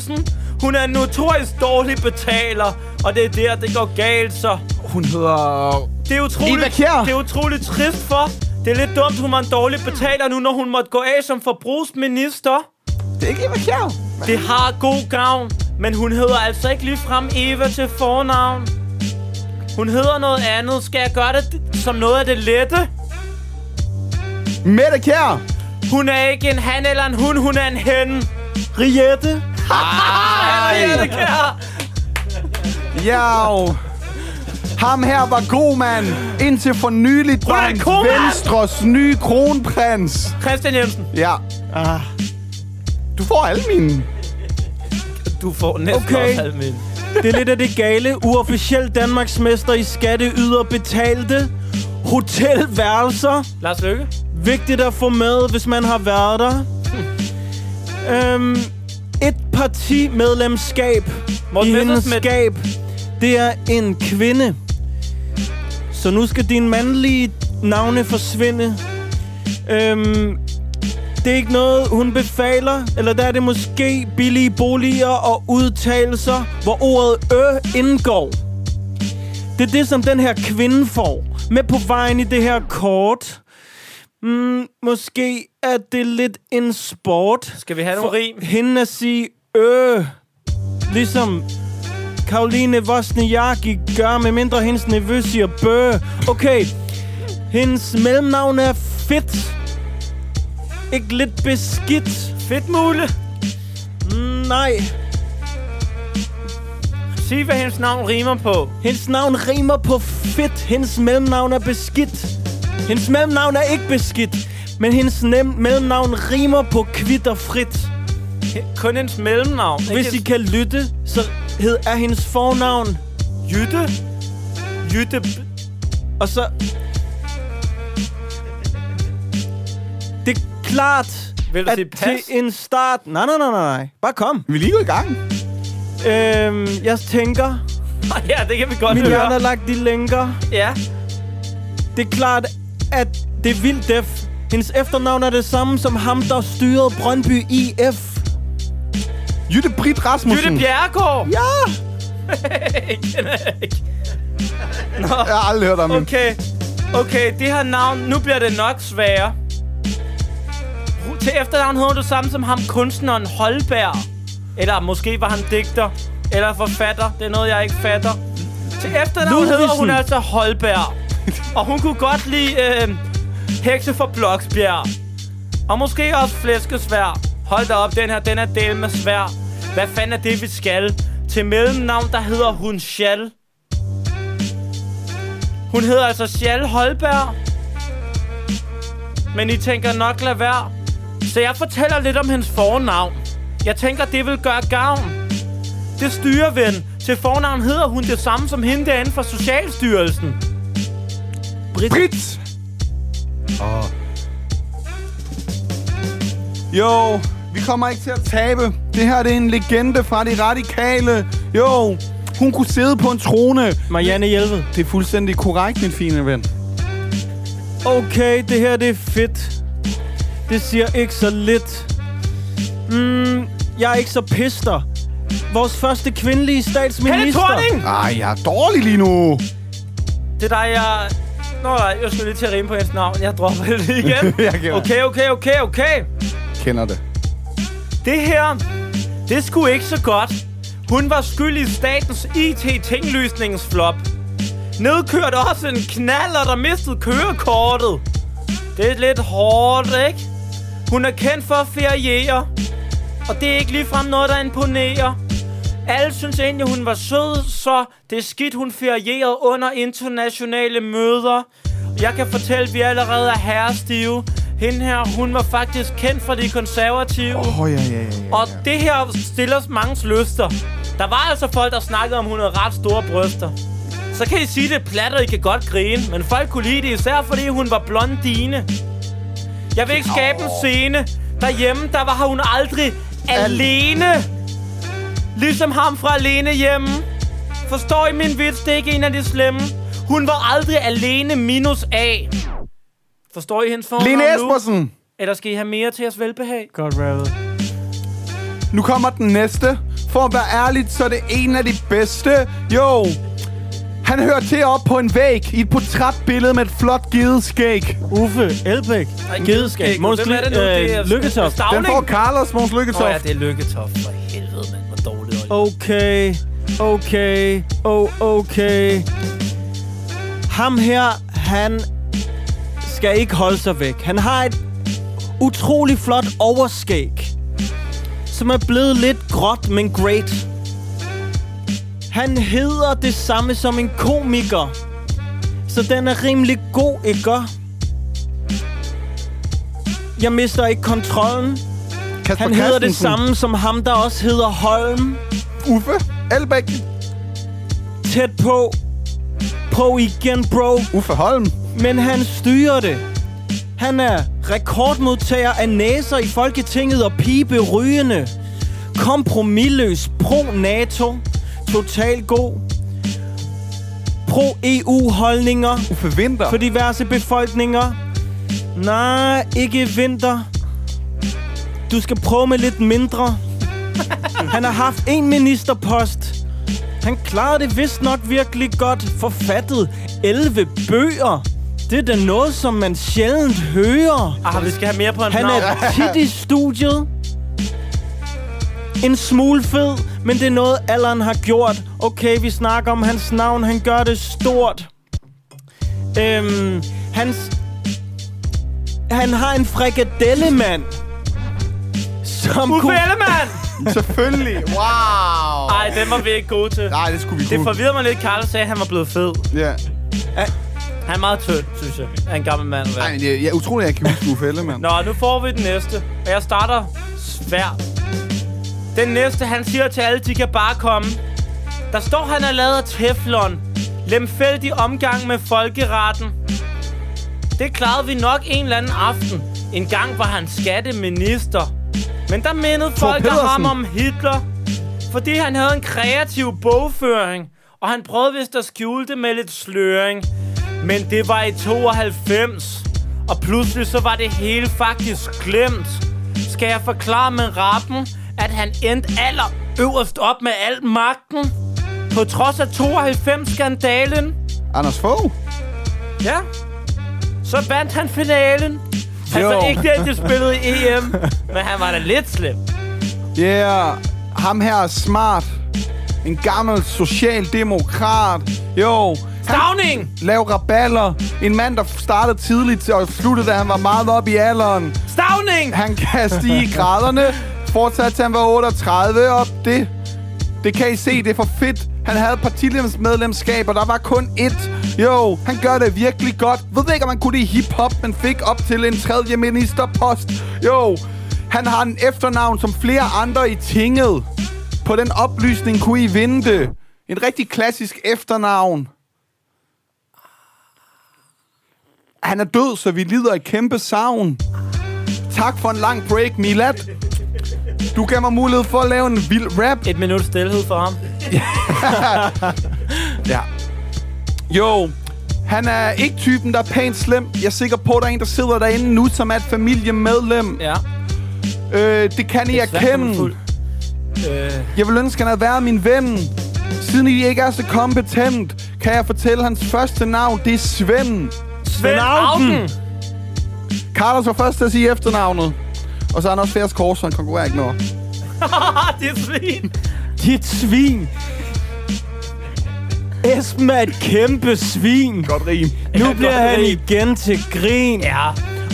225.000. Hun er en notorisk dårlig betaler. Og det er der, det går galt, så... Hun hedder... Det er Eva utroligt, Kjær. det er utroligt trist for. Det er lidt dumt, hun var en dårlig betaler nu, når hun måtte gå af som forbrugsminister. Det er ikke Eva Kjær. Det har god gavn, men hun hedder altså ikke ligefrem Eva til fornavn. Hun hedder noget andet. Skal jeg gøre det som noget af det lette? Mette Kjær. Hun er ikke en han eller en hun, hun er en hen. Riette. Henriette Kjær. Ja, jo. Ham her var god, mand. Indtil for nyligt var Ronald han Koeman. Venstres nye kronprins. Christian Jensen. Ja. Ah. Du får alle mine. Du får næsten Okay. også halv min. Det er lidt af det gale. Uofficielt Danmarksmester i skatteyderbetalte hotelværelser. Lars Løkke. Vigtigt at få med, hvis man har været der. Øhm, et partimedlemskab Morten i hendes Messerschmidt. skab, det er en kvinde. Så nu skal dine mandlige navne forsvinde. Øhm, det er ikke noget, hun befaler, eller der er det måske billige boliger og udtalelser, hvor ordet ø indgår. Det er det, som den her kvinde får med på vejen i det her kort. Mm, måske er det lidt en sport. Skal vi have nogle For rim? hende at sige øh, ligesom Karoline Wozniacki gør, med mindre hendes nevø siger bø. Okay, hendes mellemnavn er fedt. Ikke lidt beskidt. Fedt mule. Mm, nej, Sig, hvad hendes navn rimer på. hendes navn rimer på fedt. Hendes mellemnavn er beskidt. Hendes mellemnavn er ikke beskidt. Men hendes nem- mellemnavn rimer på kvitt og frit. He- Kun hendes mellemnavn. Hvis I kan lytte, så hed er hendes fornavn Jytte. Jytte. B- Og så... Det er klart, Vil du at sige pas? til en start... Nej, nej, nej, nej, nej. Bare kom. Vi er lige gået i gang. Øhm, jeg tænker... ja, det kan vi godt Min hjerne har høre. lagt de lænker. Ja. Det er klart, at det er vildt def. Hendes efternavn er det samme som ham, der styrede Brøndby IF. Jytte Britt Jytte Rasmussen. Bjerregaard. Ja! Jeg har aldrig hørt om hende. Okay. Okay, det her navn, nu bliver det nok sværere. Ru- Til efternavn hedder du samme som ham kunstneren Holberg. Eller måske var han digter. Eller forfatter. Det er noget, jeg ikke fatter. Til efternavn hedder hun Ludvigsen. altså Holberg. Og hun kunne godt lide øh, hekse fra Bloksbjerg. Og måske også flæskesvær. Hold da op, den her, den er del med svær. Hvad fanden er det, vi skal? Til mellemnavn, der hedder hun Shal. Hun hedder altså Shal Holberg. Men I tænker nok lad være. Så jeg fortæller lidt om hendes fornavn. Jeg tænker, det vil gøre gavn. Det styrer ven. Til fornavn hedder hun det samme som hende derinde fra Socialstyrelsen. Britt. Åh. Jo, vi kommer ikke til at tabe. Det her det er en legende fra de radikale. Jo, hun kunne sidde på en trone. Marianne Hjelved. Det er fuldstændig korrekt, min fine ven. Okay, det her det er fedt. Det siger ikke så lidt. Mm, jeg er ikke så pister. Vores første kvindelige statsminister. Helle Thorning! Ej, jeg er dårlig lige nu. Det er dig, jeg... Nå, nej, jeg skulle lige til at rime på hendes navn. Jeg dropper det lige igen. Jeg kan- okay, okay, okay, okay. Kender det. Det her, det skulle ikke så godt. Hun var skyld i statens IT-tinglysningsflop. Nedkørte også en knaller, der mistede kørekortet. Det er lidt hårdt, ikke? Hun er kendt for at feriere. Og det er ikke ligefrem noget, der imponerer. Alle synes egentlig, hun var sød, så det er skidt, hun ferierede under internationale møder. Jeg kan fortælle, at vi allerede er herrestive. Hende her, hun var faktisk kendt for de konservative. Åh, oh, ja, ja, ja, ja. Og det her stiller os mange lyster. Der var altså folk, der snakkede om, at hun havde ret store bryster. Så kan I sige det er plat, og I kan godt grine, men folk kunne lide det, især fordi hun var blondine. Jeg vil ikke skabe en scene. Derhjemme, der var hun aldrig alene. Ligesom ham fra alene hjemme. Forstår I min vits? Det er ikke en af de slemme. Hun var aldrig alene minus A. Forstår I hendes form Lene nu? Espersen. Eller skal I have mere til jeres velbehag? Godt rappet. Nu kommer den næste. For at være ærligt, så er det en af de bedste. Jo. Han hører til op på en væg i et portrætbillede med et flot givet skæg. Uffe, Elbæk, Gedeskab, Måns Hvem er det nu? Det er øh, Lykketoft. Den Stavning? får Carlos Måns Lykketoft. Nå ja, det er Lykketoft. For helvede, mand. Hvor dårligt. Oh. Okay, okay, oh, okay. Ham her, han skal ikke holde sig væk. Han har et utrolig flot overskæg, som er blevet lidt gråt, men great. Han hedder det samme som en komiker, så den er rimelig god, ikke? Jeg mister ikke kontrollen. Kasper Han hedder det Christensen. samme som ham, der også hedder Holm. Uffe Elbæk. tæt på. På igen, bro. Uffe Holm. Men han styrer det. Han er rekordmodtager af næser i Folketinget og pibe rygende. Kompromilløs pro-NATO. Total god. Pro-EU-holdninger Uffe Vinter. for diverse befolkninger. Nej, ikke vinter. Du skal prøve med lidt mindre. Han har haft en ministerpost. Han klarede det vist nok virkelig godt. Forfattet 11 bøger. Det er da noget, som man sjældent hører. Ah, vi skal have mere på en Han navn. er tit i studiet. En smule fed, men det er noget, alderen har gjort. Okay, vi snakker om hans navn. Han gør det stort. Øhm, hans... Han har en frikadellemand. Som Uffe kunne... Ellemann! Selvfølgelig. Wow. Ej, den var vi ikke gode til. Nej, det skulle vi Det kunne. forvirrer mig lidt, Karl sagde, at han var blevet fed. Ja. Han er meget tynd, synes jeg. Han er en gammel mand. at være. Ej, men jeg, jeg er utrolig, at jeg kan huske Uffe Ellemann. Nå, nu får vi den næste. Og jeg starter svært. Den næste, han siger til alle, de kan bare komme. Der står, han er lavet af teflon. Lemfældig omgang med folkeretten. Det klarede vi nok en eller anden aften. En gang var han skatteminister. Men der mindede folk af ham Pedersen. om Hitler. Fordi han havde en kreativ bogføring. Og han prøvede vist at skjule det med lidt sløring. Men det var i 92. Og pludselig så var det hele faktisk glemt. Skal jeg forklare med rappen, at han endte aller øverst op med al magten? På trods af 92-skandalen? Anders Fogh. Ja. Så vandt han finalen. Jo. Altså ikke det, at de spillede i EM, men han var da lidt slem. Yeah. Ham her er smart. En gammel socialdemokrat. Jo. Han Stavning! lav raballer. En mand, der startede tidligt og sluttede, da han var meget oppe i alderen. Stavning! Han kan stige i graderne. Fortsat til han var 38 op. Det, det kan I se, det er for fedt. Han havde partilemsmedlemskab, og der var kun ét. Jo, han gør det virkelig godt. Ved ikke, om han kunne det i hiphop, men fik op til en tredje ministerpost. Jo, han har en efternavn som flere andre i tinget. På den oplysning kunne I vinde det. En rigtig klassisk efternavn. Han er død, så vi lider et kæmpe savn. Tak for en lang break, Milad. Du gav mig mulighed for at lave en vild rap. Et minut stillhed for ham. Ja. Jo, han er ikke typen, der er pænt slem. Jeg er sikker på, at der er en, der sidder derinde nu, som er et familiemedlem. Ja. Øh, det kan I erkende. Øh, Jeg vil ønske, han havde været min ven. Siden I ikke er så kompetent, kan jeg fortælle hans første navn. Det er Svend. Svend Auken! Carlos var først til at sige efternavnet. Og så er han også Færs Kors, så han konkurrerer ikke noget. Haha, det er svin! Dit svin. Esben er et kæmpe svin. Godt rim. Nu godt bliver han rim. igen til grin. Ja.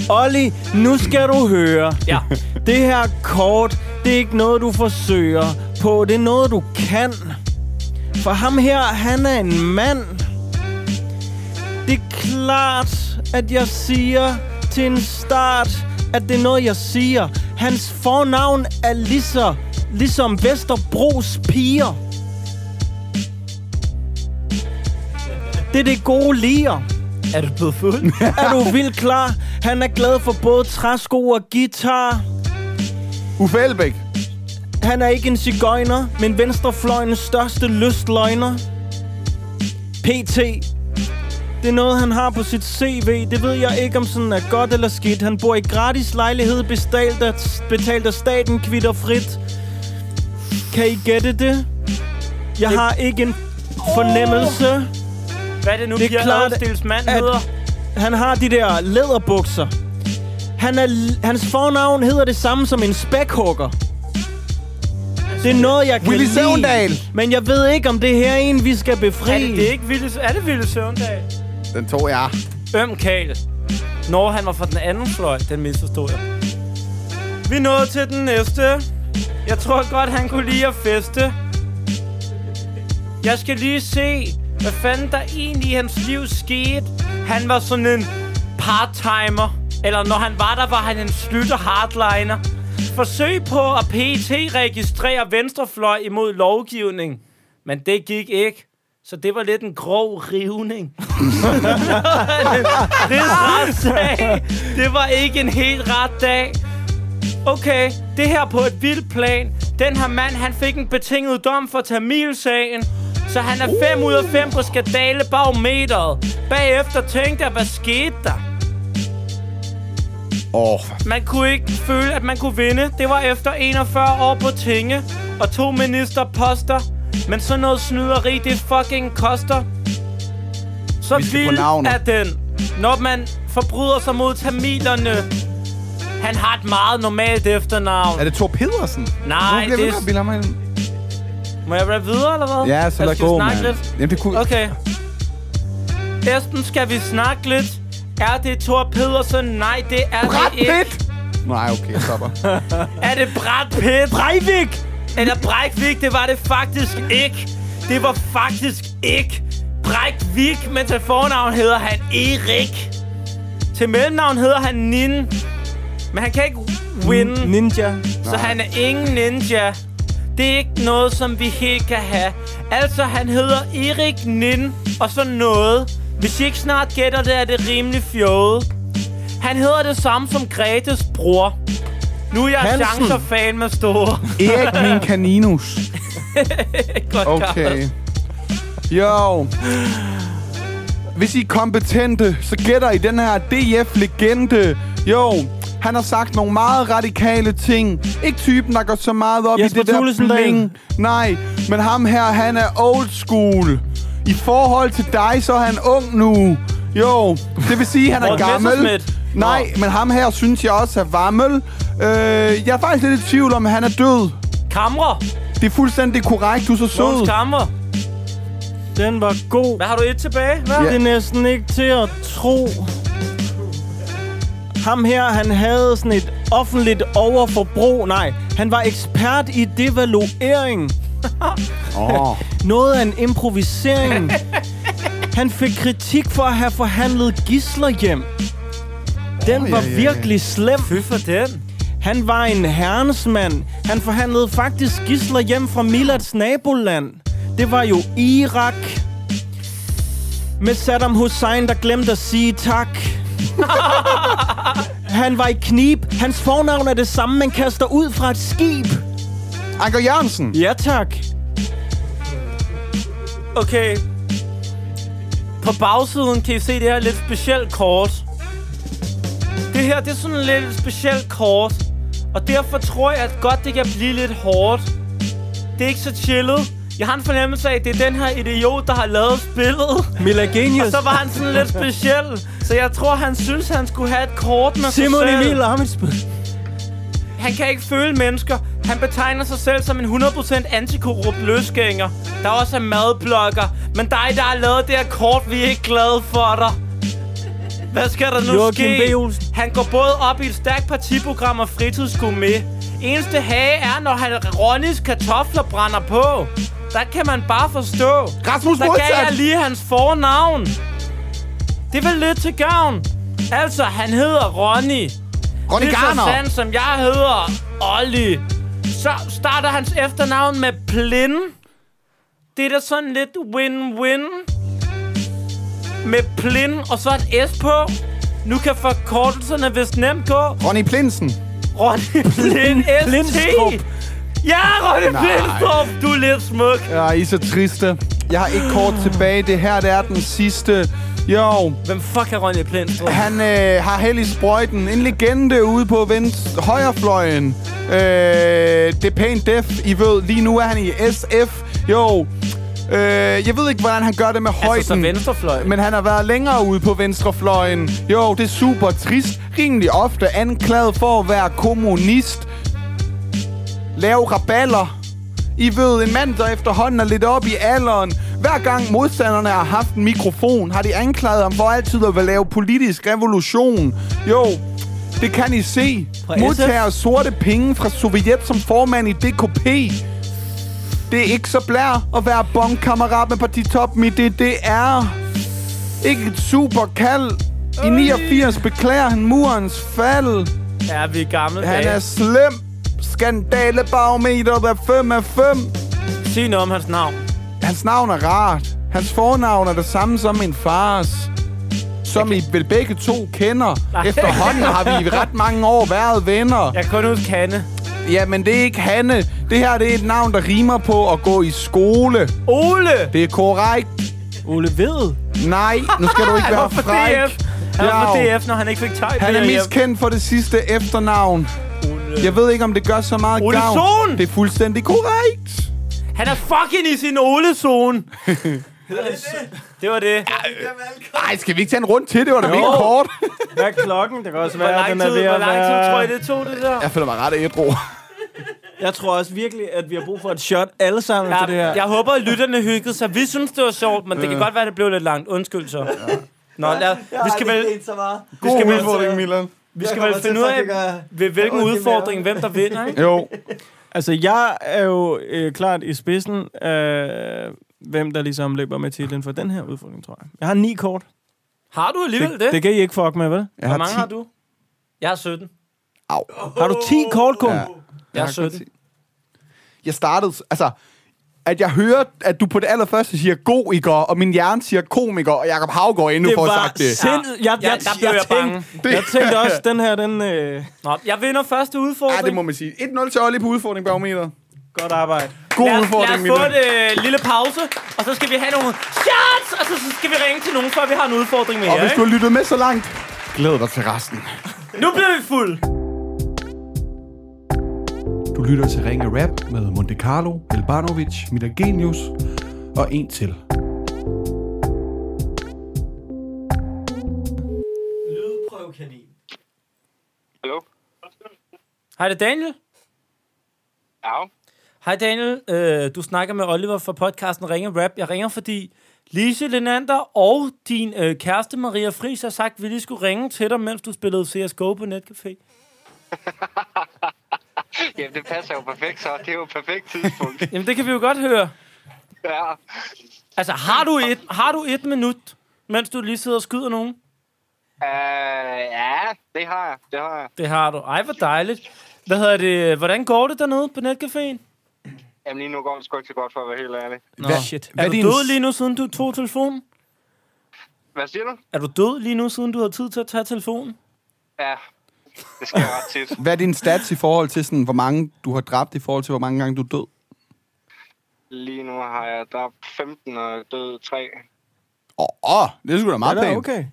Olli, nu skal du høre. Ja. Det her kort, det er ikke noget, du forsøger på. Det er noget, du kan. For ham her, han er en mand. Det er klart, at jeg siger til en start, at det er noget, jeg siger. Hans fornavn er lige så, ligesom Vesterbros piger. Det er det gode liger. Er du blevet fuld? Er du vildt klar? Han er glad for både træsko og guitar. Uffe Elbæk. Han er ikke en cigøjner, men venstrefløjens største lystløgner. PT. Det er noget, han har på sit CV. Det ved jeg ikke, om sådan er godt eller skidt. Han bor i gratis lejlighed, bestalt af, betalt af staten kvitter frit. Kan I gætte det? Jeg har ikke en fornemmelse. Hvad er det nu, Det er det Pia klart, Adelstills mand at- hedder? Han har de der læderbukser. Han er, l- hans fornavn hedder det samme som en spækhugger. Det er noget, jeg kan Willy lide. Søvndal. Men jeg ved ikke, om det her er en, vi skal befri. Er det, det er ikke Ville, er det Ville Søvndal? Den tog jeg. Øm Karl. Når han var fra den anden fløj, den misforstod jeg. Vi nåede til den næste. Jeg tror godt, han kunne lide at feste. Jeg skal lige se, hvad fanden der egentlig i hans liv skete. Han var sådan en part-timer. Eller når han var der, var han en slutter hardliner. Forsøg på at PT registrere venstrefløj imod lovgivning. Men det gik ikke. Så det var lidt en grov rivning. det retssag. Det var ikke en helt ret dag. Okay, det her på et vildt plan. Den her mand, han fik en betinget dom for Tamil-sagen. Så han er 5 ud af 5 på skandalebarometeret. Bagefter tænkte jeg, hvad skete der? Åh, Man kunne ikke føle, at man kunne vinde. Det var efter 41 år på tinge og to ministerposter. Men sådan noget snyderi, det fucking koster. Så Vi skal på vild navn. er den, når man forbryder sig mod tamilerne. Han har et meget normalt efternavn. er det Thor Pedersen? Nej, det det er- er... Mig ind. Må jeg rappe videre, eller hvad? Ja, så Eller lad skal vi gå, snakke mand. lidt? Jamen, det kunne... Okay. Esben, skal vi snakke lidt? Er det Thor Pedersen? Nej, det er Brad det ikke. Pitt! Nej, okay, jeg stopper. Er det Brad Pitt? Breivik! Eller Breivik, det var det faktisk ikke. Det var faktisk ikke Breivik, men til fornavn hedder han Erik. Til mellemnavn hedder han Nin. Men han kan ikke win, Ninja. så han er ingen ninja. Det er ikke noget, som vi helt kan have. Altså, han hedder Erik Nin og så noget. Hvis I ikke snart gætter det, er det rimelig fjollet. Han hedder det samme som Gretes bror. Nu er jeg Hansen. chancer-fan med store. Erik min kaninus. Godt, Okay. Jo. Hvis I er kompetente, så gætter I den her DF-legende. Jo, han har sagt nogle meget radikale ting. Ikke typen, der går så meget op Jesper i det Thulesen der Dahl. bling. Nej, men ham her, han er old school. I forhold til dig, så er han ung nu. Jo, det vil sige, han er Morten gammel. Messerschmidt. Nej, men ham her synes jeg også er vammel. Øh, jeg er faktisk lidt i tvivl om, at han er død. Kamre. Det er fuldstændig korrekt, du er så sød. Mogens Kamre. Den var god. Hvad har du et tilbage? Hvad? Det er næsten ikke til at tro. Ham her, han havde sådan et offentligt overforbrug. Nej, han var ekspert i devaluering. Åh. Noget af en improvisering. Han fik kritik for at have forhandlet gisler hjem. Den Åh, var ja, ja, ja. virkelig slem. Fy for den. Han var en herrensmand. Han forhandlede faktisk gisler hjem fra Milads naboland. Det var jo Irak. Med Saddam Hussein, der glemte at sige tak. han var i knib. Hans fornavn er det samme, man kaster ud fra et skib. Anker Jørgensen. Ja tak. Okay. På bagsiden kan I se det her lidt specielt kort. Det her, det er sådan lidt et specielt kort. Og derfor tror jeg, at godt det kan blive lidt hårdt. Det er ikke så chillet. Jeg har en fornemmelse af, at det er den her idiot, der har lavet spillet. Mila Og Genius. så var han sådan lidt speciel. Så jeg tror, han synes, han skulle have et kort med Simon sig selv. Emil Amitsbøl. Han kan ikke føle mennesker. Han betegner sig selv som en 100% antikorrupt løsgænger, der også er madblokker. Men dig, der har lavet det her kort, vi er ikke glade for dig. Hvad skal der nu Joachim ske? B. Olsen. Han går både op i et stærkt partiprogram og fritidsgourmet. Eneste hage er, når han Ronnys kartofler brænder på. Der kan man bare forstå. Rasmus Der gav jeg Modsat. lige hans fornavn. Det var lidt til gavn. Altså, han hedder Ronny. Ronny Det er så Garner. sandt, som jeg hedder Olli. Så starter hans efternavn med Plin. Det er da sådan lidt win-win. Med Plin og så et S på. Nu kan forkortelserne vist nemt gå. Ronny Plinsen. Ronny Plin ST. Blindstrup. Ja, Ah, Ronny Blindstrup. Du er lidt smuk. Ja, I er så triste. Jeg har ikke kort tilbage. Det her, det er den sidste. Jo, Hvem fuck er Ronny Blindstrup? han øh, har held i sprøjten. En legende ude på venstre højrefløjen. Øh, det er pænt def, I ved. Lige nu er han i SF. Jo, øh, jeg ved ikke, hvordan han gør det med højden. Altså, så venstrefløj. Men han har været længere ude på venstrefløjen. Jo, det er super trist. Rimelig ofte anklaget for at være kommunist. Lave raballer. I ved, en mand, der efterhånden er lidt op i alderen. Hver gang modstanderne har haft en mikrofon, har de anklaget ham for altid at ville lave politisk revolution. Jo, det kan I se. Modtager sorte penge fra Sovjet som formand i DKP. Det er ikke så blær at være bongkammerat med partitoppen i det. Det er ikke et super kald. I 89 beklager han murens fald. Ja, vi er gamle Han dage. er slem. Skandalebarometer er 5 af 5. Sig noget om hans navn. Hans navn er rart. Hans fornavn er det samme som min fars som I vel begge to kender. Nej. Efterhånden har vi i ret mange år været venner. Jeg kan kun huske Hanne. Ja, men det er ikke Hanne. Det her det er et navn, der rimer på at gå i skole. Ole! Det er korrekt. Ole ved. Nej, nu skal du ikke Han var være for fræk. DF. Han var for Bjerg. DF, når han ikke fik tøj. Han er med hjem. mest kendt for det sidste efternavn. Jeg ved ikke, om det gør så meget Ole gavn. Sohn! Det er fuldstændig korrekt. Han er fucking i sin Ole-zone. det var det. Nej, skal vi ikke tage en rundt til? Det var da virkelig kort. Hvad er klokken? Det kan også Hvor være, at den lang er tid, ved hvor at lang tid være... tror I, det tog det der? Jeg føler mig ret ædru. Jeg tror også virkelig, at vi har brug for et shot alle sammen efter det her. Jeg, jeg håber, at lytterne hyggede sig. Vi synes, det var sjovt, men det Øh. kan godt være, det blev lidt langt. Undskyld så. Nå, lad, vi skal vel, så meget. vi skal vel, Milan. vi skal vel finde ud af, ved hvilken ondt i udfordring, hvem der vinder, ikke? Jo. Altså, jeg er jo øh, klart i spidsen af, hvem der ligesom løber med titlen for den her udfordring, tror jeg. Jeg har ni kort. Har du alligevel det? Det kan I ikke fuck med, vel? Jeg Hvor har mange 10. har du? Jeg har 17. Au. Har du 10 kort kun? Ja. Ja. Jeg er har kun 17. ti. Jeg startede... Altså, at jeg hører, at du på det allerførste siger goiker, og min hjerne siger komiker, og Jacob Havgård endnu Det får var sagt det. sindssygt. Jeg, jeg, Ja, jeg, der blev jeg bange. tænkte, jeg tænkte også, den her, den... Øh, Nå, jeg vinder første udfordring. Ja, det må man sige. 1-0 til Olli på udfordringbarometeret. godt arbejde. God lad, os- udfordring, Lad os få Milan. en øh, lille pause, og så skal vi have nogle shots, og så så skal vi ringe til nogen, før vi har en udfordring med Og jer, hvis du ikke? har lyttet med så langt, glæd dig til resten. Nu bliver vi fuld. Du lytter til Ringe Rap med Monte Carlo, Elbanovic, Mila Genius og en til. Lydprøv kanin. Hallo? Hej, det er Daniel. Ja. Hej Daniel, øh, du snakker med Oliver fra podcasten Ringe Rap. Jeg ringer, fordi Lise Lenander og din øh, kæreste Maria Friis har sagt, at vi lige skulle ringe til dig, mens du spillede CSGO på Netcafé. Jamen, det passer jo perfekt, så det er jo et perfekt tidspunkt. Jamen, det kan vi jo godt høre. ja. Altså, har du et, har du et minut, mens du lige sidder og skyder nogen? Uh, ja, det har jeg. Det har jeg. Det har du. Ej, hvor dejligt. Hvad hedder det? Hvordan går det dernede på Netcaféen? Jamen, lige nu går det sgu ikke så godt, for at være helt ærlig. Nå, Hvad- shit. hvad er er du din- død lige nu, siden du tog telefonen? Hvad siger du? Er du død lige nu, siden du har tid til at tage telefonen? Ja, det sker ret tit. Hvad er din stats i forhold til, sådan, hvor mange du har dræbt, i forhold til, hvor mange gange du er død? Lige nu har jeg dræbt 15 og død 3. Åh, oh, oh, det er sgu da meget Er det pænt. okay?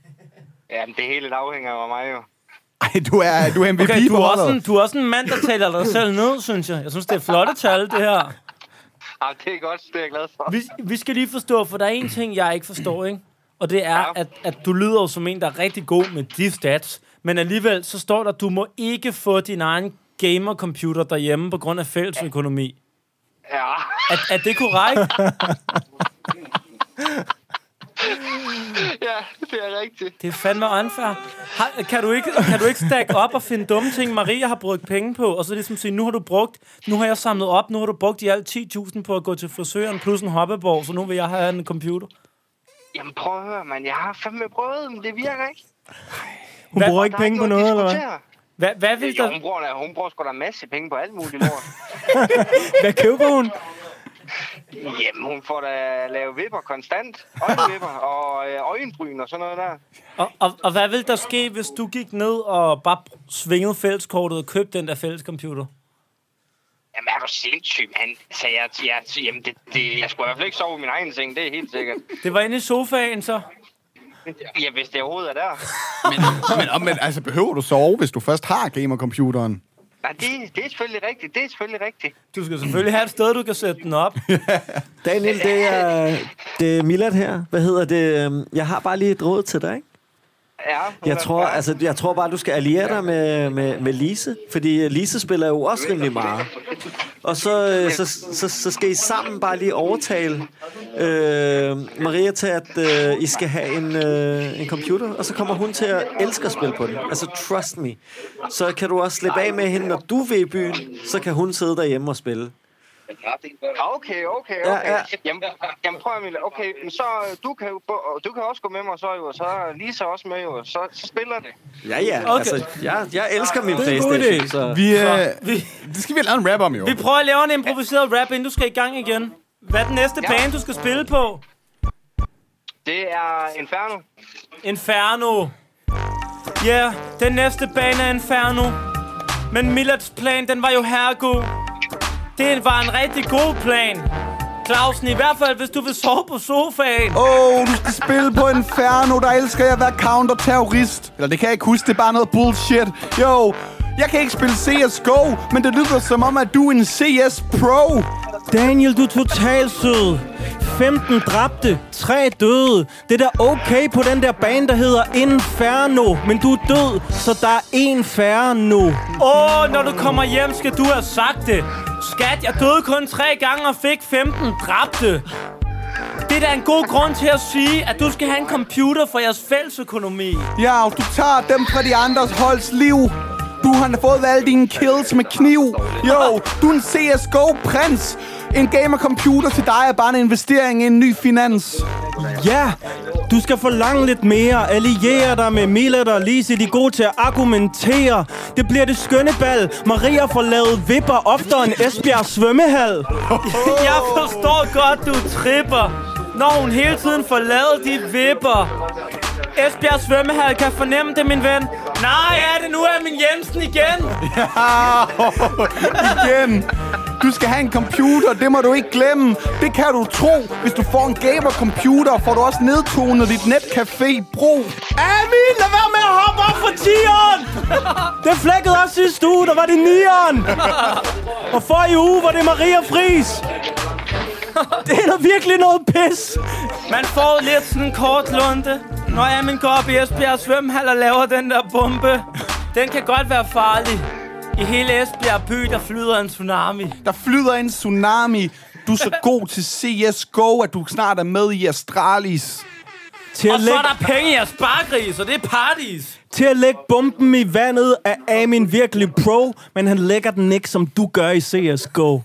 Jamen, det hele afhænger jo af mig jo. Ej, du er, du er MVP Okay, du på er, også holdet. en, du er også en mand, der taler dig selv ned, synes jeg. Jeg synes, det er flotte tal, det her. Jamen, Ah, det er godt, det er jeg glad for. Vi, vi skal lige forstå, for der er en ting, jeg ikke forstår, ikke? Og det er, Ja. at, at du lyder jo som en, der er rigtig god med de stats. Men alligevel, så står der, at du må ikke få din egen gamer-computer derhjemme på grund af fælles økonomi. Ja, Er, er det korrekt? ja det er rigtigt. Det er fandme unfair. Har, kan, du ikke, kan du ikke stack op og finde dumme ting, Maria har brugt penge på, og så ligesom sige, nu har du brugt, nu har jeg samlet op, nu har du brugt i alt 10.000 på at gå til frisøren plus en hoppeborg, så nu vil jeg have en computer. Jamen, prøv at høre, mand. Jeg har fandme prøvet, men det virker ikke. Hun Hvad- bruger Der ikke er penge på noget at noget, eller hvad? diskutere. Hvad, hvad vil Jo, der... hun bruger, da- hun bruger sgu da en masse penge på alt muligt lort. Hvad køber hun? Jamen, hun får da lavet vipper konstant. Øjenvipper og øh, øjenbryn og sådan noget der. Og, og, og hvad vil der ske, hvis du gik ned og bare svingede fælleskortet og købte den der fællescomputer? Jamen, er du sindssyg, mand? Så jeg, jeg, jamen, det, det, jeg skulle i hvert fald ikke sove i min egen seng, det er helt sikkert. Det var inde i sofaen, så. Ja, hvis det overhovedet er der. Men, og- men altså, behøver du sove, hvis du først har gamercomputeren? Nej, det, det er selvfølgelig rigtigt. Det er selvfølgelig rigtigt. Du skal selvfølgelig have et sted, du kan sætte den op. Daniel, det er, det er Milad her. Hvad hedder det? Øhm, Jeg har bare lige et råd til dig, ikke? Ja, Jeg tror, altså, jeg tror bare, du skal alliere dig med, med, med Lise, fordi Lise spiller jo også rimelig meget. Og så, øh, så, så, så skal I sammen bare lige overtale øh, Maria til, at øh, I skal have en, øh, en computer, og så kommer hun til at elske at spille på den. Altså, trust me. Så kan du også slippe af med hende, når du vil i byen, så kan hun sidde derhjemme og spille. Okay, okay, Ja, okay. ja. Jamen, jamen prøv at Mille. Okay, men så øh, du kan, jo, bo- du kan også gå med mig så, jo, og så er Lisa også med, jo. Så, så spiller det. Ja, ja. Okay. Okay. Altså, jeg, jeg elsker min er en god Playstation, idé. så... Vi, øh, vi, det skal vi lave en rap om, jo. vi prøver at lave en improviseret rap, inden du skal i gang igen. Hvad er den næste bane, du skal spille på? Det er Inferno. Inferno. Ja, yeah, den næste bane er Inferno. Men Millards plan, den var jo herregod. Det var en rigtig god plan. Clausen, i hvert fald, hvis du vil sove på sofaen. Åh, oh, du skal spille på Inferno, der elsker jeg at være counterterrorist. Eller det kan jeg ikke huske, det er bare noget bullshit. Jo, jeg kan ikke spille CSGO, men det lyder som om, at du er en CS Pro. Daniel, du er totalt sød. 15 dræbte, 3 døde. Det er da okay på den der bane, der hedder Inferno. Men du er død, så der er en færre nu. Åh, oh, når du kommer hjem, skal du have sagt det. Skat, jeg døde kun tre gange og fik 15 dræbte. Det er da en god grund til at sige, at du skal have en computer for jeres fælles økonomi. Ja, og du tager dem fra de andres holds liv. Du har fået alle dine kills med kniv. Jo, du er en CSGO-prins. En gamer-computer til dig er bare en investering i en ny finans. Ja, du skal forlange lidt mere. Alliere dig med Milad og Lise, de er gode til at argumentere. Det bliver det skønne bal. Maria får lavet vipper oftere end Esbjerg svømmehal. Jeg forstår godt, du tripper. Når hun hele tiden får lavet de vipper. Esbjerg svømmehal kan fornemme det, min ven. Nej, er det nu er min Jensen igen? Igen. Du skal have en computer, det må du ikke glemme. Det kan du tro. Hvis du får en gamer-computer, får du også nedtonet dit netcafé-bro. Ami, lad være med at hoppe op for tieren! Det flækkede også sidste uge, der var det nieren. Og for i uge var det Maria Fris. Det er da virkelig noget pis. Man får lidt sådan en kort lunte, når jeg min går op i Esbjerg svømmehal og laver den der bombe. Den kan godt være farlig. I hele Esbjerg by, der flyder en tsunami. Der flyder en tsunami. Du er så god til CSGO, at du snart er med i Astralis. Til Og at, så lægge, er der penge i jeres spargris, og det er parties. til at lægge bomben i vandet er Amin virkelig pro, men han lægger den ikke, som du gør i CSGO.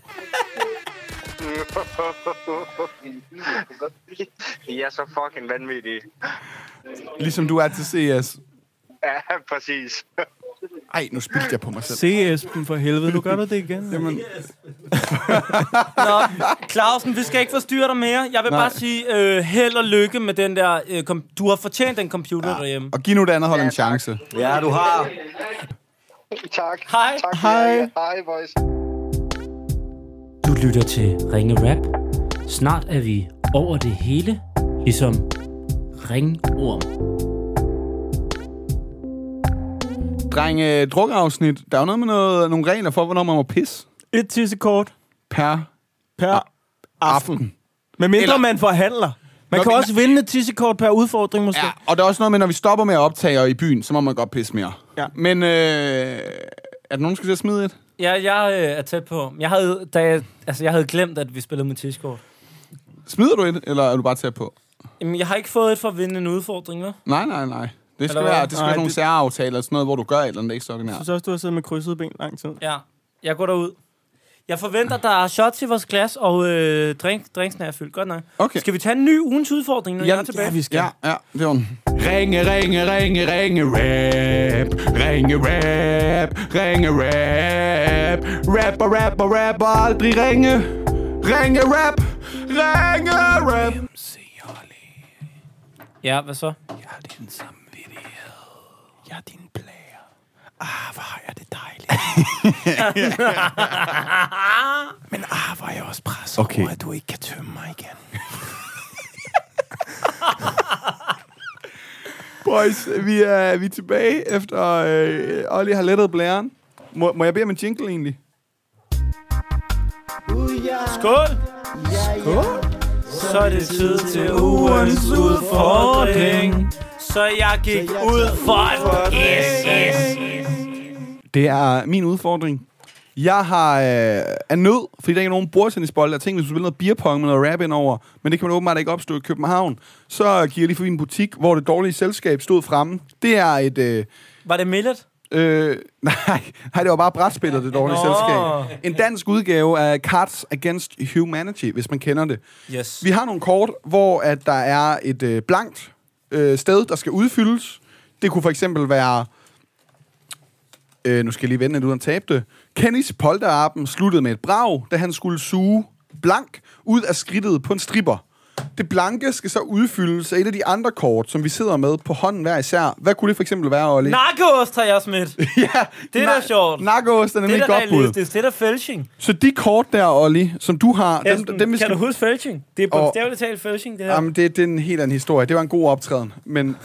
I er så fucking vanvittige. Ligesom du er til CS. Ja, præcis. Ej, nu spildte jeg på mig selv. Se Esben for helvede, nu gør du det igen. Jamen. Nå, Clausen, vi skal ikke forstyrre dig mere. Jeg vil Nej. bare sige øh, held og lykke med den der... Øh, kom- du har fortjent den computer ja. derhjemme. Og giv nu det andet hold en chance. Ja, du har. Tak. Hej. Tak for Hej. jer. Hej, boys. Du lytter til Ringe Rap. Snart er vi over det hele, ligesom Ringorm. Drenge, drukafsnit. Der er jo noget med noget, nogle regler for, hvornår man må pisse Et tissekort per per... aften. Med mindre Eller- Eller... man forhandler. Man Nå, kan men- også vinde et tissekort per udfordring, måske. Ja, og der er også noget med, når vi stopper med at optage og i byen, så må man godt pisse mere. Ja. Men øh, er der nogen, der skal til at smide et? Ja, jeg øh, er tæt på. Jeg havde, da jeg, altså, jeg havde glemt, at vi spillede med tidskort. Smider du et, eller er du bare til at på? Jamen, jeg har ikke fået et for at vinde en udfordring, hva'? Nej, nej, nej. Det skal Eller hvad? være, det skal Nej, være nogle det- særaftaler eller sådan noget, hvor du gør et eller andet ekstraordinært. synes også, du har siddet med krydsede ben lang tid. Ja, jeg går derud. Jeg forventer, der er shots i vores glas, og øh, drink, drinksen er fyldt. Godt nok. Okay. Skal vi tage en ny ugens udfordring, når jeg er tilbage? Ja, vi skal. Ja, ja, det var den. Ringe, ringe, ringe, ringe, rap. Ringe, rap. Ringe, rap. Rapper, rapper, rapper, aldrig ringe. Ringe, rap. Ringe, rap. Ja, hvad så? Jeg har din samvittighed. Jeg er din plager. Ah, hvor har jeg det dejligt. Men ah, hvor er jeg også presset okay. over, at du ikke kan tømme mig igen. Boys, vi er, vi er tilbage efter øh, Olli har lettet blæren. Må, må jeg bede om en jingle egentlig? Skål! Skål! Så er det tid til ugens udfordring. Så jeg gik ud for et yes, yes. Det er min udfordring. Jeg har, øh, er nød, fordi der ikke er nogen bordtennisbold. Jeg tænkte, hvis du spiller noget beerpong med noget rap indover, men det kan man åbenbart ikke opstå i København. Så gik jeg lige forbi en butik, hvor det dårlige selskab stod fremme. Det er et... Øh, Var det millet? Øh, nej, nej, det var bare brætspillet, det dårlige Nå. selskab. En dansk udgave af Cards Against Humanity, hvis man kender det. Yes. Vi har nogle kort, hvor at der er et øh, blankt øh, sted, der skal udfyldes. Det kunne for eksempel være... Øh, nu skal jeg lige vende lidt uden at tabe det. Kennys polterappen sluttede med et brag, da han skulle suge blank ud af skridtet på en stripper. Det blanke skal så udfyldes af et af de andre kort, som vi sidder med på hånden hver især. Hvad kunne det for eksempel være, Olli? Narkoost har jeg smidt. Det ja, Det er da sjovt. Narkos er nemlig er et da godt bud. realistisk. Det er da felching. Så de kort der, Olli, som du har... Dem, Dem, dem, vi kan skal... du huske felching? Det er Og- bogstaveligt talt felching, det her. Jamen, det, det er en helt anden historie. Det var en god optræden, men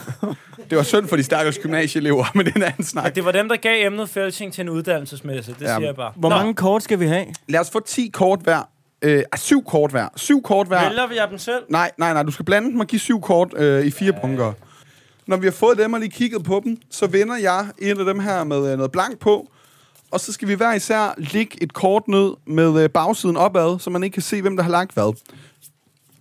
det var synd for de stakkels gymnasieelever, men det er en anden snak. Det var dem, der gav emnet felching til en uddannelsesmesse. Det Jamen, siger jeg bare. Hvor mange kort skal vi have? Lad os få 10 kort hver. Øh, ah, syv kort hver. Syv kort hver. Vælger vi jeg dem selv? Nej, nej, nej. Du skal blande dem og give syv kort øh, i fire bunker. Når vi har fået dem og lige kigget på dem, så vender jeg en af dem her med øh, noget blank på. Og så skal vi hver især lægge et kort ned med øh, bagsiden opad, så man ikke kan se, hvem der har lagt hvad.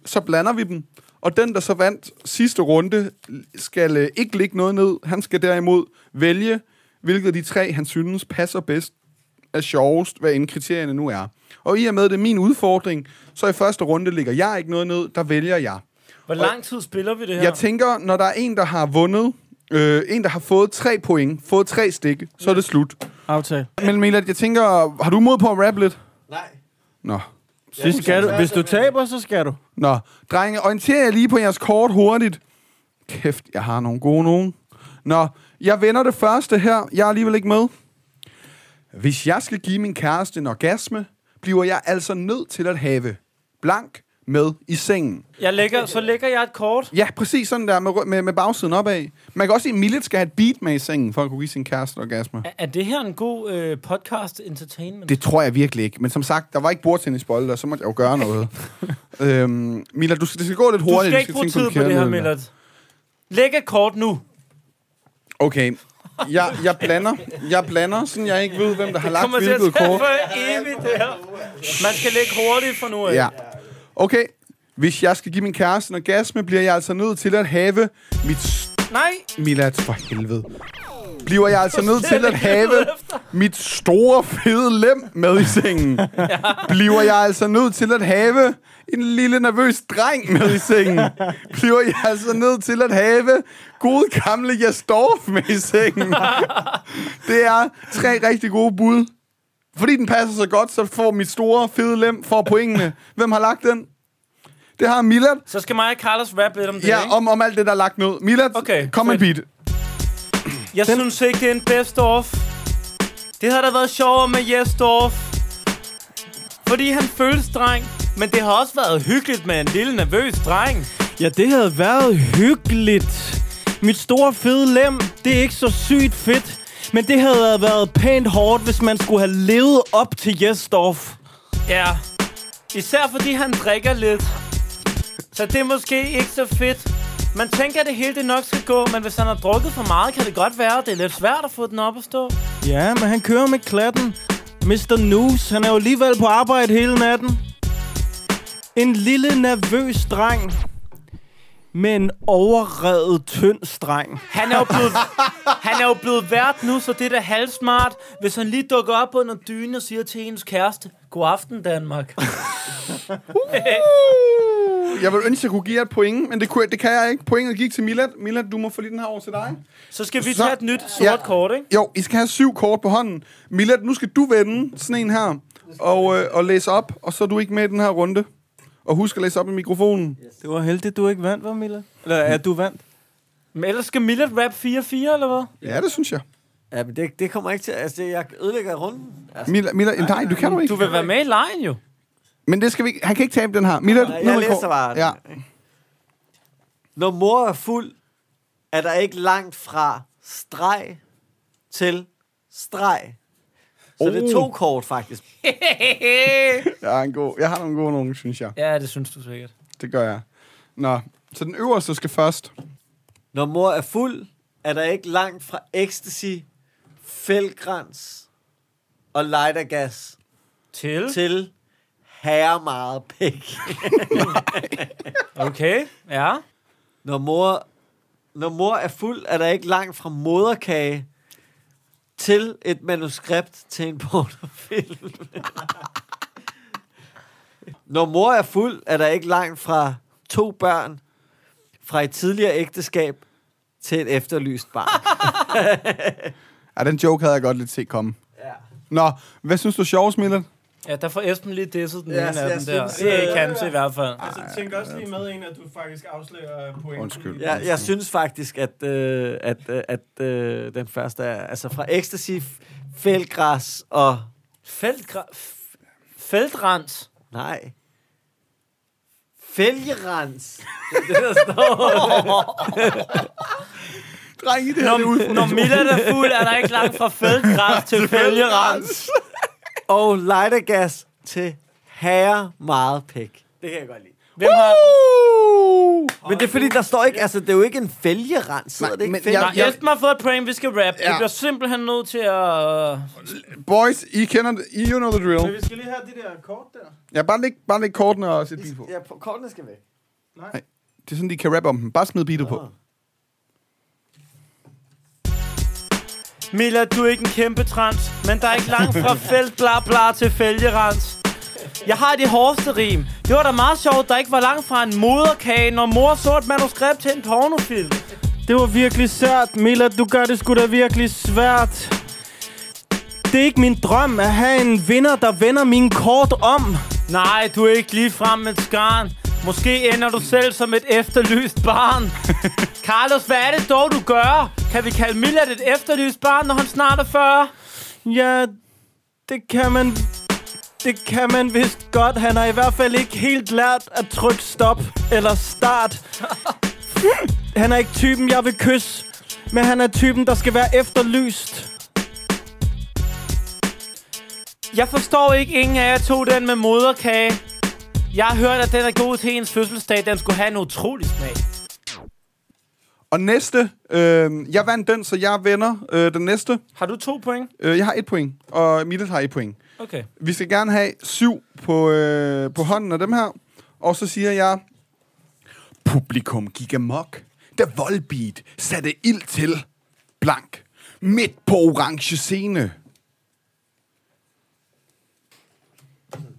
Så blander vi dem. Og den, der så vandt sidste runde, skal øh, ikke lægge noget ned. Han skal derimod vælge, hvilket af de tre, han synes passer bedst er sjovest, hvad end kriterierne nu er. Og i og med, det er min udfordring, så i første runde ligger jeg ikke noget ned, der vælger jeg. Hvor lang tid spiller vi det her? Jeg tænker, når der er en, der har vundet, øh, en, der har fået tre point, fået tre stikke, så er det slut. Aftale. Men Milad, jeg tænker, har du mod på at rappe lidt? Nej. Nå. Det skal du. Hvis du taber, så skal du. Nå, drenge, orienterer jeg lige på jeres kort hurtigt. Kæft, jeg har nogle gode nogen. Nå, jeg vender det første her. Jeg er alligevel ikke med. Hvis jeg skal give min kæreste en orgasme, bliver jeg altså nødt til at have blank med i sengen. Jeg lægger, så lægger jeg et kort. Ja, præcis sådan der med, rø- med, med bagsiden opad. Man kan også sige, at Millet skal have et beat med i sengen, for at kunne give sin kæreste en orgasme. Er, er det her en god øh, podcast entertainment? Det tror jeg virkelig ikke. Men som sagt, der var ikke bordtennisbolde, og så måtte jeg jo gøre noget. øhm, Mila, du skal, det skal gå lidt du hurtigt. skal ikke bruge tænke tid på din det her, kærlighed. Millard. Læg et kort nu. Okay. Jeg, jeg blander, jeg blander, sådan jeg ikke ved, hvem der har lagt Kommer til at hvilket tage kort. for evigt det her. Man skal lægge hurtigt for nu af. Ja. Okay. Hvis jeg skal give min kæreste en orgasme, bliver jeg altså nødt til at have mit... s- Nej, Milad, for helvede. Bliver jeg altså nødt til at have mit store, fede lem med i sengen? Bliver jeg altså nødt til at have en lille, nervøs dreng med i sengen? Bliver jeg altså nødt til at have gode, gamle Jastorf med i sengen? Det er tre rigtig gode bud. Fordi den passer så godt, så får mit store, fede lem for pointene. Hvem har lagt den? Det har Milad. så skal mig og Carlos rap lidt om det, ikke? Ja, om, om alt det, der er lagt ned. Milad, Okay, kom med et beat. Jeg den... synes ikke, det er en best off. Det havde da været sjovere med Jesdorf. Fordi han føles dreng. Men det har også været hyggeligt med en lille nervøs dreng. Ja, det havde været hyggeligt. Mit store fede lem, det er ikke så sygt fedt. Men det havde været pænt hårdt, hvis man skulle have levet op til Jesdorf. Ja. Især fordi han drikker lidt. Så det er måske ikke så fedt. Man tænker, at det hele det nok skal gå, men hvis han har drukket for meget, kan det godt være, at det er lidt svært at få den op at stå. Ja, men han kører med klatten. Mr. News, han er jo alligevel på arbejde hele natten. En lille nervøs dreng. Med en overredet tynd streng. Han er jo blevet, han er jo blevet vært nu, så det er da halvsmart, hvis han lige dukker op under dynen og siger til hendes kæreste, God aften, Danmark. Jeg vil ønske, at jeg kunne give jer et point, men det, kunne, jeg- det kan jeg ikke. Pointet gik til Milad. Milad, du må få lige den her over til dig. Så skal vi Så- tage et nyt sort Ja. kort, ikke? Jo, I skal have syv kort på hånden. Milad, nu skal du vende sådan en her og, øh, og læse op, og så er du ikke med i den her runde. Og husk at læse op i mikrofonen. Det var heldigt, du ikke vandt, var Mila? Eller er du vandt? Men ellers skal Millet rap 4-4, eller hvad? Ja, det synes jeg. Ja, men det, det kommer ikke til... Altså, det, jeg ødelægger runden. Altså, Milad, Milad nej, du kan du ikke. Du vil være med i lejen, jo. Men det skal vi ikke. Han kan ikke tabe den her. Milad, jeg nu er det læser kort. bare. Ja. når mor er fuld, er der ikke langt fra streg til streg. Så oh. det er to kort, faktisk. Jeg, er en god, jeg har nogle gode nogen, synes jeg. ja, det synes du sikkert. Det gør jeg. Nå, så den øverste skal først. Når mor er fuld, er der ikke langt fra ecstasy, fældgrans og lightergas Til. til herre meget pæk. Okay, ja. Når mor, når mor er fuld, er der ikke langt fra moderkage til et manuskript til en pornofilm. når mor er fuld, er der ikke langt fra to børn fra et tidligere ægteskab til et efterlyst barn. Ja, den joke havde jeg godt lidt set komme. Ja. Nå, hvad synes du er sjovest, Milad? Ja, der får Esben lige disset den Ja, ene jeg af dem der. synes, Det er øh, ikke hans i hvert fald. Altså, tænk også lige med en, at du faktisk afslører pointen. Undskyld. Jeg, jeg synes faktisk, at, øh, at, øh, at øh, den første er... Altså fra Ecstasy, Fældgræs og... Feltgra- f- Feltrens. Nej. Fælgerens. Det er det, der står. Dreng, det her Når, det er ud. når Milla er fuld, er der ikke langt fra feltgræs til fælgerens. og lightergas til herre meget pæk. Det kan jeg godt lide. Hvem har... Men det er fordi, der står ikke... Altså, det er jo ikke en fælgerens. Nej, Nej, det ikke men fælger? jeg- Nej, Esben har fået et prank, vi skal rap. Ja. Vi Ja. bliver simpelthen nødt til at... Boys, I kender det. I you know the drill. Men vi skal lige have det der kort der. Ja, bare læg, bare læg kortene og sæt beat på. Ja, på- kortene skal væk. Det er sådan, de kan rappe om dem. Bare smid beatet på. Milla, du er ikke en kæmpe trans, men der er ikke langt fra felt bla bla til fælgerens. Jeg har det hårdeste rim. Det var da meget sjovt, der ikke var langt fra en moderkage, når mor så et manuskript til en pornofilm. Det var virkelig sært, Mila. Du gør det sgu da virkelig svært. Det er ikke min drøm at have en vinder, der vender min kort om. Nej, du er ikke ligefrem et skarn. Måske ender du selv som et efterlyst barn. Carlos, hvad er det dog, du gør? Kan vi kalde Millard et efterlyst barn, når han snart er 40? Ja, det kan man... Det kan man vist godt. Han har i hvert fald ikke helt lært at trykke stop eller start. Han er ikke typen, jeg vil kysse. Men han er typen, der skal være efterlyst. Jeg forstår ikke, ingen af jer tog den med moderkage. Jeg har hørt, at den er god til ens fødselsdag. Den skulle have en utrolig smag. Og næste. Øh, jeg vandt den, så jeg vender øh, den næste. Har du to point? Øh, jeg har et point, og Milet har et point. Okay. Vi skal gerne have syv på, øh, på hånden af dem her. Og så siger jeg... Publikum gik amok, da Volbeat satte ild til. Blank. Midt på orange scene.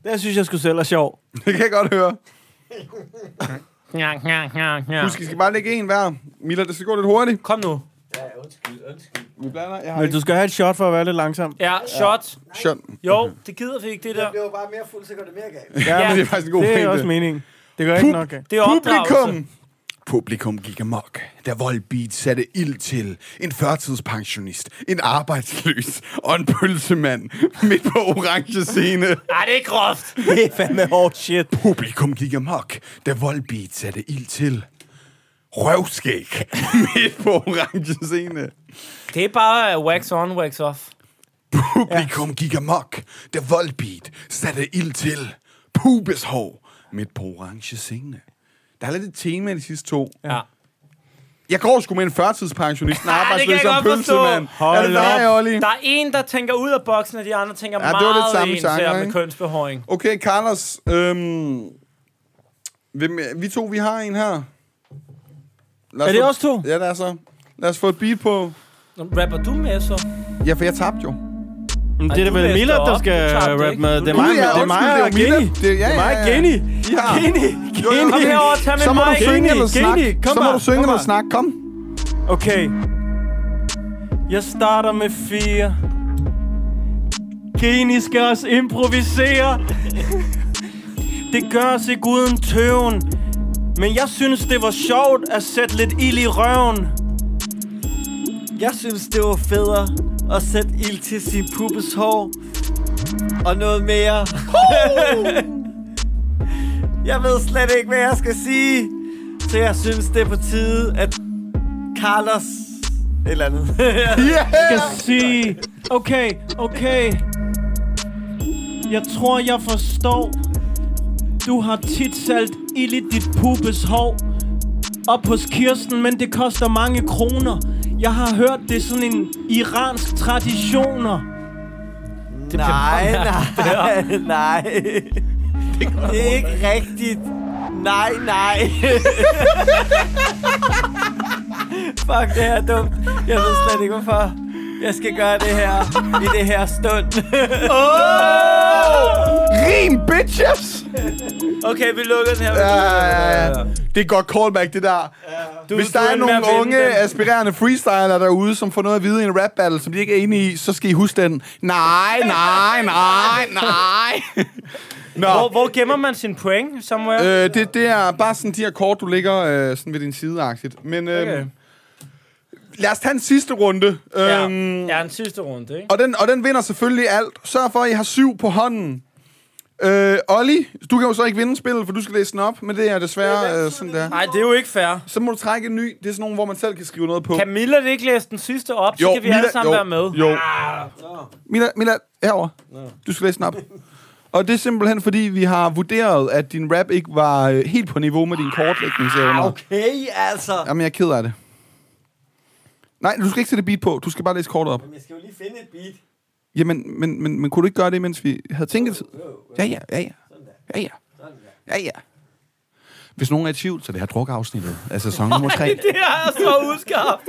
Det synes jeg skulle selv er sjov. Det kan jeg godt høre. Ja, ja, ja, ja. Husk, I skal bare lægge en hver. Mila, det skal gå lidt hurtigt. Kom nu. Vi blander. Jeg har Men du skal have et shot for at være lidt langsom. Ja, shot. Shot. Jo, det gider vi ikke, det der. Det var bare mere fuld, så går det mere galt. Ja, Ja, men det er faktisk en god Det er pointe. også meningen. Det gør ikke nok. af. Det er opdragelse. Publikum! Publikum gik amok, da Volbeat satte ild til en førtidspensionist, en arbejdsløs og en pølsemand midt på orange scene. Ej, det er groft. Det er fandme hårdt shit. Publikum gik amok, da Volbeat satte ild til røvskæg midt på orange scene. Det er bare wax on, wax off. Publikum gik amok, da Volbeat satte ild til pubeshår midt på orange scene. Der er lidt et tema i de sidste to. Ja. Jeg går sgu med en førtidspensionist, en Ah, det kan arbejdsløs jeg og en godt forstå. pølsemand. Er det Hold dig, op. Olli? Der er en, der tænker ud af boksen, og de andre tænker Ja, det var lidt meget samme ens genre, her med ikke? kønsbehåring. Okay, Carlos. Øhm, hvem, vi to, vi har en her. Lad os Er det få- os to? Ja, det er så. Lad os få et beat på. Nå, Rapper du med, så? Ja, for jeg tabte jo. Men det er da du vel læste Mila, op. der Du skal tabte rappe ikke. med. Du- Det er mig, Gud, ja, det er undskyld, det mig er jo Mila. og Geni. Det er- ja, Det er mig ja, og ja. Geni. Ja. Geni, Jo, jo, Kom Geni. herover, tag med Så må mig. du synge Geni, eller Geni, snakke. kom Så må bare, du synge kom eller bare. snakke. Kom. Okay. Jeg starter med fire. Geni skal også improvisere. Det gør sig uden tøven. Men jeg synes, det var sjovt at sætte lidt ild i røven. Jeg synes, det var federe at sætte ild til sin puppes hår. Og noget mere. jeg ved slet ikke, hvad jeg skal sige. Så jeg synes, det er på tide, at Carlos... Et eller andet. skal sige. Okay, okay. Jeg tror, jeg forstår. Du har tit salt ild i dit pubes hår. Op hos Kirsten, men det koster mange kroner. Jeg har hørt, det er sådan en iransk traditioner. nej, nej, nej. Det er ikke rigtigt. Nej, nej. Fuck, det her er dumt. Jeg ved slet ikke, hvorfor jeg skal gøre det her i det her stund. Rim, bitches! Okay, vi lukker den her. Ja, ja, ja. Det er et godt callback, det der. Du, Hvis der du er endte med at nogle unge, vinde den. aspirerende freestyler derude, som får noget at vide i en rap battle, som de ikke er enige i, så skal I huske den. Nej, nej, nej, nej. Nå, Hvor, hvor gemmer man sin point, Samuel? Øh, øh, det, det er bare sådan de her kort, du ligger øh, sådan ved din sideagtigt. Men øh, Okay. lad os tage en sidste runde. ja. Øhm, ja, en sidste runde, ikke? og den, og den vinder selvfølgelig alt. Sørg for, at I har syv på hånden. Øh, Olli, du kan jo så ikke vinde spillet, for du skal læse den op, men det er desværre øh, sådan der. Nej, det er jo ikke fair. Så må du trække en ny. Det er sådan nogen, hvor man selv kan skrive noget på. Kan Miller ikke læse den sidste op, så kan vi alle sammen jo, være med. Ah, Jo. Mila, Mila, herover. Du skal læse den op. Og det er simpelthen fordi, vi har vurderet, at din rap ikke var øh, helt på niveau med din kortlægningsevner. Okay. Okay, altså. Jamen, jeg er ked af det. Nej, du skal ikke sætte beat på. Du skal bare læse kortet op. Jamen, jeg skal jo lige finde et beat. Jamen, men, men, men kunne du ikke gøre det, mens vi havde tænket? Ja, ja, ja, ja. Ja, ja. Ja, ja. Hvis nogen er i tvivl, så det her drukafsnittet af sæson nummer 3. Det er så uskarpt.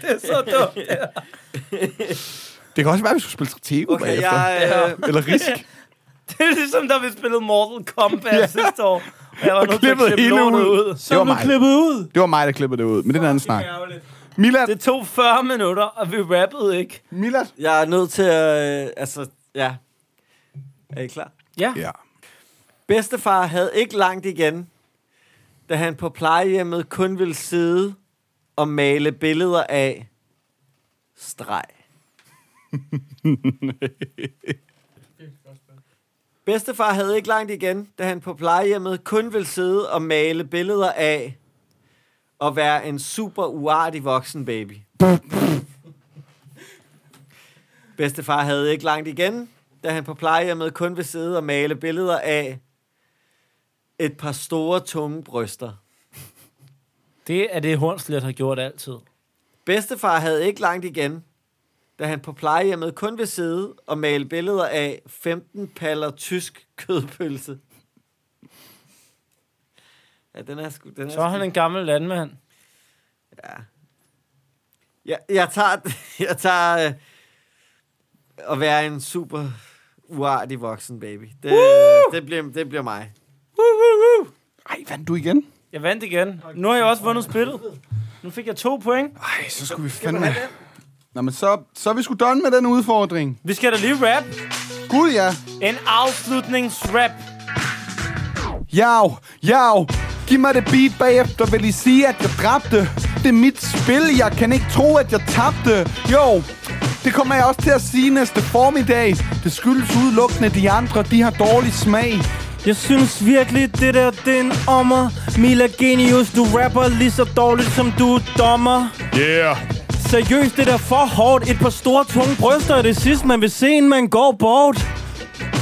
Det er så dumt. Det kan også være, at vi skulle spille Stratego okay, Okay, bagefter. jeg, øh, Eller Risk. Det er ligesom, da vi spillede Mortal Kombat yeah. sidste år. Og jeg var nødt til at klippede klippe hele lortet ud. ud. Det var mig. ud. Det var mig, der klippede det ud, men det er en anden snak. Milad, Det tog 40 minutter, og vi rappede ikke. Milad. jeg er nødt til at... Øh, altså, ja. Er I klar? Ja. Bedstefar havde ikke langt igen, da han på plejehjemmet kun ville sidde og male billeder af streg. Bedstefar havde ikke langt igen, da han på plejehjemmet kun ville sidde og male billeder af at være en super uartig voksen baby. Bedstefar havde ikke langt igen, da han på plejehjemmet kun ville sidde og male billeder af et par store, tunge bryster. Det er det, Hornslet har gjort altid. Bedstefar havde ikke langt igen, da han på plejehjemmet kun ville sidde og male billeder af 15 paller tysk kødpølse. Ja, den er sgu... Den er Så er han en gammel landmand. Ja. Jeg, jeg tager, jeg tager øh, at være en super uartig voksen baby. Det, Øh, det, bliver, det bliver mig. Ej, vandt du igen? Jeg vandt igen. Nu har jeg også vundet spillet. Nu fik jeg to point. Ej, så skulle vi fandme... Nå, men så, så er vi sgu done med den udfordring. Vi skal da lige rap. Gud, ja. En afslutningsrap. Jau, jau. Giv mig det beat bagefter, vil I sige, at jeg dræbte. Det er mit spil, jeg kan ikke tro, at jeg tabte. Jo, det kommer jeg også til at sige næste formiddag. Det skyldes udelukkende de andre, de har dårlig smag. Jeg synes virkelig, det der, det er en ommer. Mila Genius, du rapper lige så dårligt, som du er dommer. Yeah. Seriøst, det der for hårdt. Et par store, tunge bryster er det sidste, man vil se, inden man går bort.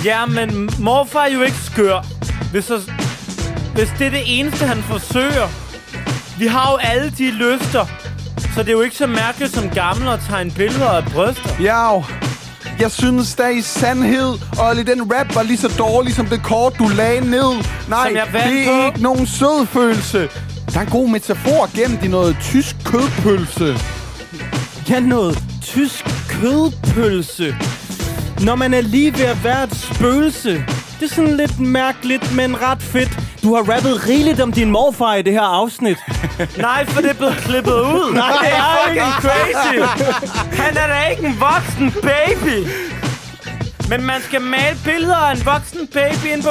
Ja, men morfar er jo ikke skør. Hvis, så, hvis det er det eneste, han forsøger. Vi har jo alle de lyster. Så det er jo ikke så mærkeligt som gamle at tegne billeder af bryster. Jau. Jeg synes da i sandhed, Olli, den rap var lige så dårlig som det kort, du lagde ned. Nej, Som jeg vandt det er på. ikke nogen sød følelse. Der er en god metafor gennem i noget tysk kødpølse. Ja, noget tysk kødpølse. Når man er lige ved at være et spøgelse. Det er sådan lidt mærkeligt, men ret fedt. Du har rappet rigeligt om din morfar i det her afsnit. Nej, for det er blevet klippet ud. Nej, det er fucking crazy. Han er da ikke en voksen baby. Men man skal male billeder af en voksen baby ind på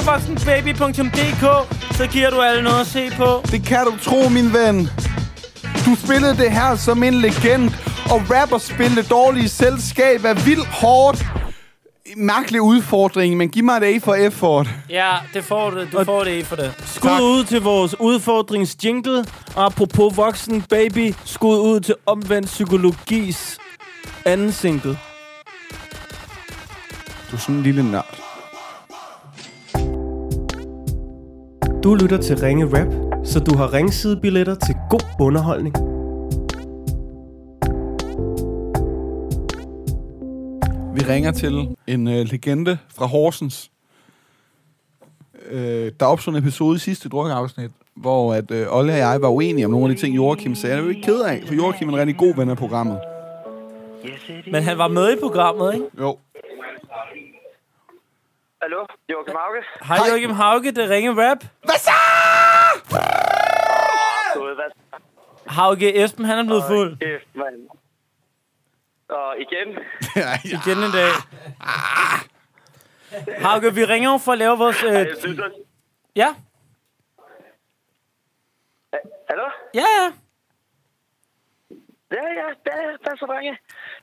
voksenbaby.dk, så giver du alle noget at se på. Det kan du tro, min ven. Du spillede det her som en legend, og rapper spille det dårlige selskab er vildt hårdt. Mærkelig udfordring, men giv mig et A for effort. Ja, det får du. Du får det i for det. Skud ud til vores udfordringsjingle. Og Apropos voksen baby, skud ud til omvendt psykologis anden single. Du er sådan en lille nørd. Du lytter til Ringe Rap, så du har ringsidebilletter til god underholdning. Vi ringer til en øh, legende fra Horsens. Øh, der opstod en episode i sidste drukafsnit, hvor at, øh, Olle og jeg var uenige om nogle af de ting, Joachim sagde. Det er vi ikke ked af, for Joachim er en rigtig god ven af programmet. Men han var med i programmet, ikke? Jo. Hallo, Joachim Hauge? Hej, Joachim Hauge, det ringer rap. Hvad så? Hauke Esben, han er blevet fuld. Kæft, mand. Og igen, Igen en dag. Hauke, Ah. vi ringer jo for at lave vores... Øh, jeg synes, at... ja, Hallo? ja, ja. Ja, ja, ja, ja, så drenge.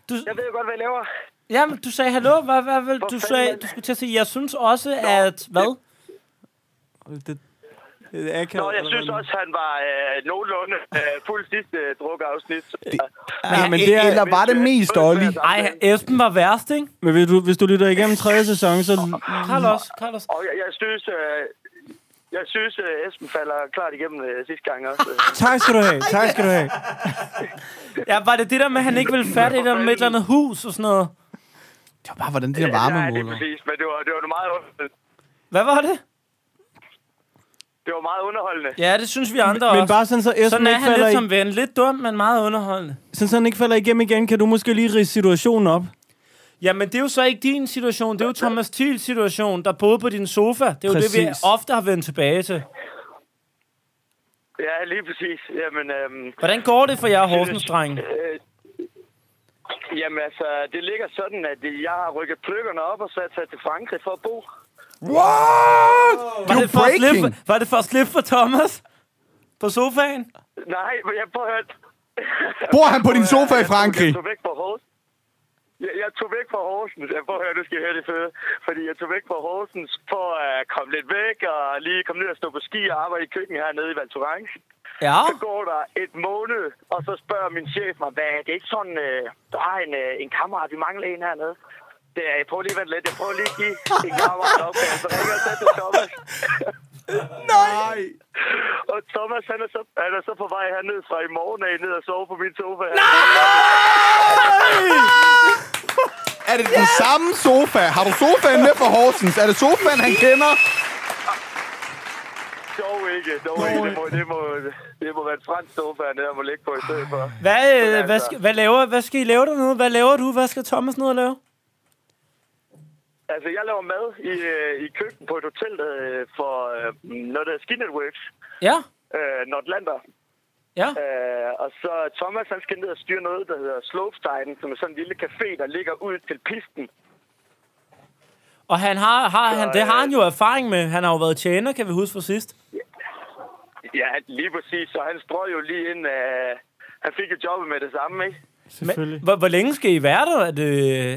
Du, Jeg ved jo godt, hvad jeg laver. jamen, du sagde hallo. Hvad, hvad, hvad, du, fanden, sagde, mand. du skulle til at sige, jeg synes også, at... Hvad? Det er akavet, Nå, jeg eller synes hvad? også, han var øh, nogenlunde øh, fuld sidste øh, drukafsnit. Så, Ja, e- men det er, eller var det mest, Olli? Ej, Esben var værst, ikke? Men hvis du, hvis du lytter igennem tredje sæson, så... Carlos, Carlos. Og jeg, jeg synes, øh, jeg synes øh, Esben falder klart igennem øh, sidste gang også. Tak skal du have, tak skal du have. Ja, var det det der med, at han ikke ville fatte et eller andet med et eller andet hus og sådan noget? Det var bare, hvordan de der ja, varme det er måler. præcis, men det var, det var meget underholdende. Hvad var det? Det var meget underholdende. Ja, det synes vi andre Men også. bare sådan, så Esben Sådan er ikke han falder, lidt i, som ven. Lidt dum, men meget underholdende. sådan, så han ikke falder igennem igen, kan du måske lige rige situationen op? Jamen, det er jo så ikke din situation. Det er jo Thomas Thiels situation, der boede på din sofa. Det er jo det, vi Præcis. ofte har vendt tilbage til. Ja, lige præcis. Jamen, øhm, Hvordan går det for jer, Horsens dreng? Øh, jamen altså, det ligger sådan, at jeg har rykket pløkkerne op og så er jeg taget til Frankrig for at bo. What? Det er Var jo det, for at breaking. slippe, var det for at slippe for Thomas? På sofaen? Nej, men jeg prøver at høre- Bor han på din sofa i Jeg tog- Frankrig? Jeg tog væk fra Horsens. Jeg, jeg tog væk fra Horsens. Jeg prøver at høre, nu skal jeg høre det fede. Fordi jeg tog væk fra Horsens for at komme lidt væk og lige komme ned og stå på ski og arbejde i køkkenet hernede i Valtorange. Ja. Så går der et måned, og så spørger min chef mig, hvad er det ikke sådan, øh, der er en, øh, en kammerat, vi mangler en hernede. Det er, jeg prøver lige at vente lidt, jeg prøver lige at give en kammerat op, så ringer jeg så til Thomas. Nej. Og Thomas, han er så, han er så på vej herned fra i morgen af, ned og sove på min sofa. Nej! Er det den samme sofa? Har du sofaen med fra Horsens? Er det sofaen, han kender? Dog ikke, dog ikke. Det må, det må, det må være en fransk sofa, han der må ligge på i stedet for. Hvad, øh, altså- hvad, skal, hvad, laver, hvad skal I lave dernede? Hvad laver du? Hvad skal Thomas ned og lave? Altså, jeg laver mad i, øh, i køkkenet på et hotel øh, for øh, noget, der hedder Skinnerworks, Ja, øh, Nordlander. ja. Øh, og så Thomas, han skal ned og styre noget, der hedder Slopestegen, som er sådan en lille café, der ligger ud til pisten. Og han har, har, han, det har han jo erfaring med. Han har jo været tjener, kan vi huske fra sidst. Ja, lige præcis. Så han strøg jo lige ind. Øh, han fik jo jobbet med det samme, ikke? Selvfølgelig. Hvor, hvor længe skal I være der? Er det,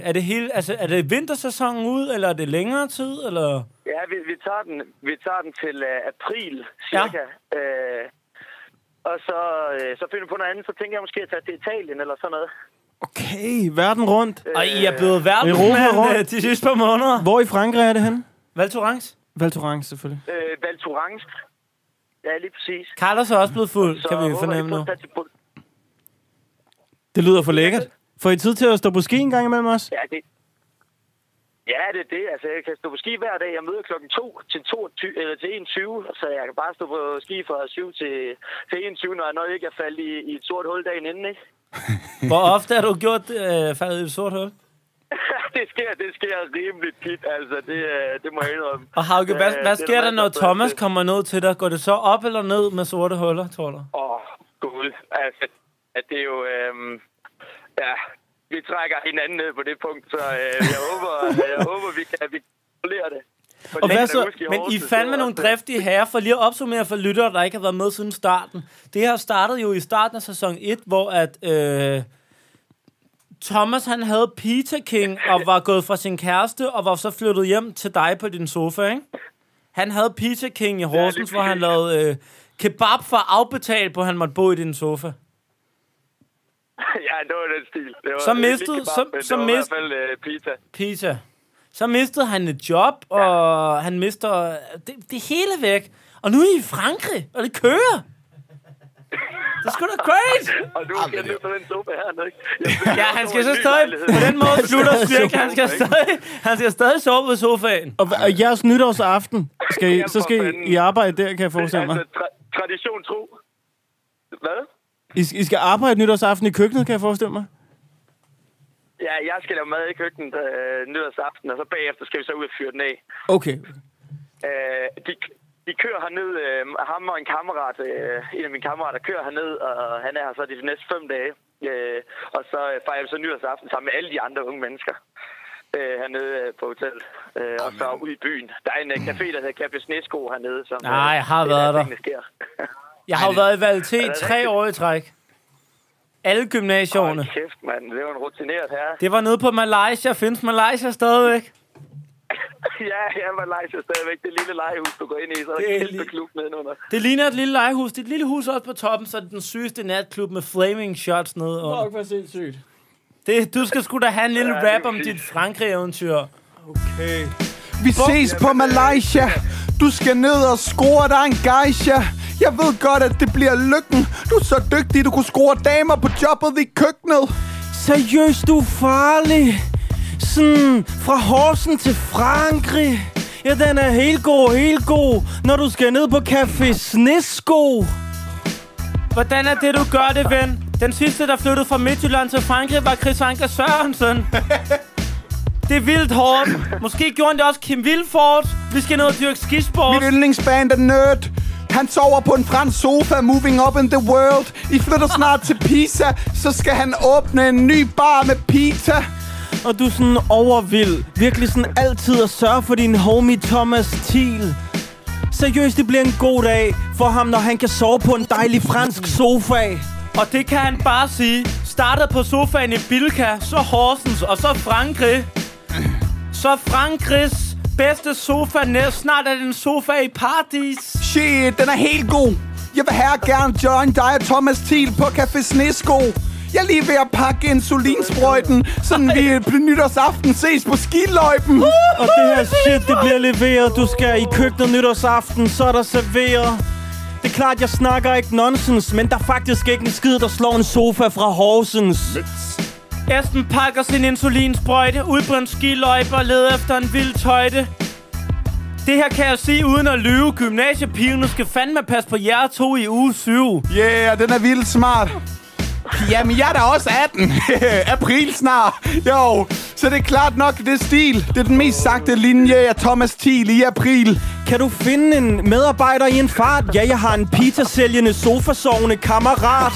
er det, hele, altså, er det vintersæsonen ud, eller er det længere tid? Eller? Ja, vi, vi, tager, den, vi tager den til øh, april, cirka. Ja. Øh, og så, øh, så finder vi på noget andet. Så tænker jeg måske at tage til Italien eller sådan noget. Okay, verden rundt. Og Øh, I er blevet Europa verdensmand rundt. øh, de sidste par måneder. Hvor i Frankrig er det henne? Valtorans. Val Thorens, selvfølgelig. Øh, Val Thorens. Ja, lige præcis. Carlos er også blevet fuld, Så kan vi håber fornemme jeg, nu. at tage til Bul- Det lyder for lækkert. Får I tid til at stå på ski en gang imellem os? Ja, det Ja, det er det. Altså, jeg kan stå på ski hver dag. Jeg møder klokken 2 til, 22, eller til 21, så jeg kan bare stå på ski fra 7 til, til 21, når jeg nok ikke er faldet i, i et sort hul dagen inden, ikke? Hvor ofte har du gjort øh, faldet i et sort hul? det sker, det sker rimelig tit, altså. Det, øh, det må jeg indrømme. Og Hauke, hvad, Øh, hvad det er sker der, masser når af- Thomas kommer ned til dig? Går det så op eller ned med sorte huller, tror du? Åh, oh, gud. Altså, at det er jo... Øhm, ja, vi trækker hinanden ned på det punkt, så øh, jeg, håber, jeg håber, vi kan vi kan kontrollere det. Og hvad så- Men I er fandme nogle driftige herrer, for lige at opsummere for lyttere, der ikke har været med siden starten. Det her startede jo i starten af sæson 1, hvor at, øh, Thomas han havde Peter King og var gået fra sin kæreste og var så flyttet hjem til dig på din sofa, ikke? Han havde Peter King i Horsens, hvor han lavede øh, kebab for afbetalt på, at han måtte bo i din sofa. ja, det var den stil. Det var Så ikke mistede- kebab, så- men så det var i hvert mist- fald øh, pizza. Peter. Så mistede han et job, og han mister det, det hele væk. Og nu er I i Frankrig, og det kører. Det er sgu da great! Og nu skal jeg ned på den sofa hernede. ikke? Jeg Ja, han skal så stadig... På den måde slutter cirka. Han skal stadig, han skal stadig sove på sofaen. Og, hva- og jeres nytårsaften, skal I, så skal I, I arbejde der, kan jeg forestille mig. Altså, tra- tradition tro. Hvad? I, altså- I skal arbejde nytårsaften i køkkenet, kan jeg forestille mig. Ja, jeg skal lave mad i køkkenet øh, nytårsaften, og så bagefter skal vi så ud og fyre den af. Okay. Øh, de, de kører herned, øh, ham og en kammerat, øh, en af mine kammerater kører herned, og han er her så de næste fem dage. Øh, og så øh, fejrer vi så nyårsaften sammen med alle de andre unge mennesker øh, hernede øh, på hotellet. Øh, og så ud i byen. Der er en øh, café, der hedder Café Snesko hernede. Som, øh, Nej, jeg har det er været der. tingene Sker. Jeg har jo været i Valté i tre rigtigt? år i træk. Alle gymnasierne. Hold kæft, mand. Det var en rutineret herre. Det var nede på Malaysia. Findes Malaysia stadigvæk? ja, ja, man leger stadigvæk. Det lille legehus, du går ind i, så er der Det er en kæmpe lige- klub nedenunder. Det ligner et lille legehus. Det er et lille hus oppe på toppen, så er det den sygeste natklub med flaming shots nede under. hvor sindssygt. Det, du skal sgu da have en lille Ja, det er rap om præcis. dit Frankrig-eventyr. Okay. Vi ses på Malaysia. Du skal ned og score dig en geisha. Jeg ved godt, at det bliver lykken. Du er så dygtig, du kunne score damer på jobbet i køkkenet. Seriøst, du er farlig. Sådan fra Horsen til Frankrig. Ja, den er helt god, helt god, når du skal ned på Café Snesko. Hvordan er det, du gør det, ven? Den sidste, der flyttede fra Midtjylland til Frankrig, var Chris Anker Sørensen. Det er vildt hårdt. Måske gjorde han det også Kim Vilfort. Vi skal ned og dyrke skisport. Mit yndlingsband er Nerd. Han sover på en fransk sofa, moving up in the world. I flytter snart til Pisa, så skal han åbne en ny bar Ah, med pizza. Og du er sådan overvild. Virkelig sådan altid at sørge for din homie Thomas Thiel. Seriøst, det bliver en god dag for ham, når han kan sove på en dejlig fransk sofa. Og det kan han bare sige. Startede på sofaen i Bilka, så Horsens og så Frankrig. Så Frankrigs bedste sofa næst. Snart er det en sofa i paradis. Shit, den er helt god. Jeg vil her gerne join dig og Thomas Thiel på Café Snesko. Jeg er lige ved at pakke insulinsprøjten, sådan vi på nytårsaften ses på skiløjpen. Og det her shit, det bliver leveret. Du skal i køkkenet nytårsaften, så er der serveret. Det er klart, jeg snakker ikke nonsens, men der er faktisk ikke en skid, der slår en sofa fra Horsens. Esben pakker sin insulinsprøjte ud på en skiløjpe og leder efter en vild tøjte. Det her kan jeg sige uden at lyve. Gymnasiepigerne skal fandme passe på jer to i uge 7. Yeah, den er vildt smart. Jamen, jeg er da også 18. April snart. Jo, så det er klart nok, det er stil. Det er den mest sagte linje af Thomas Thiel i april. Kan du finde en medarbejder i en fart? Ja, jeg har en pizza-sælgende sofasovende kammerat.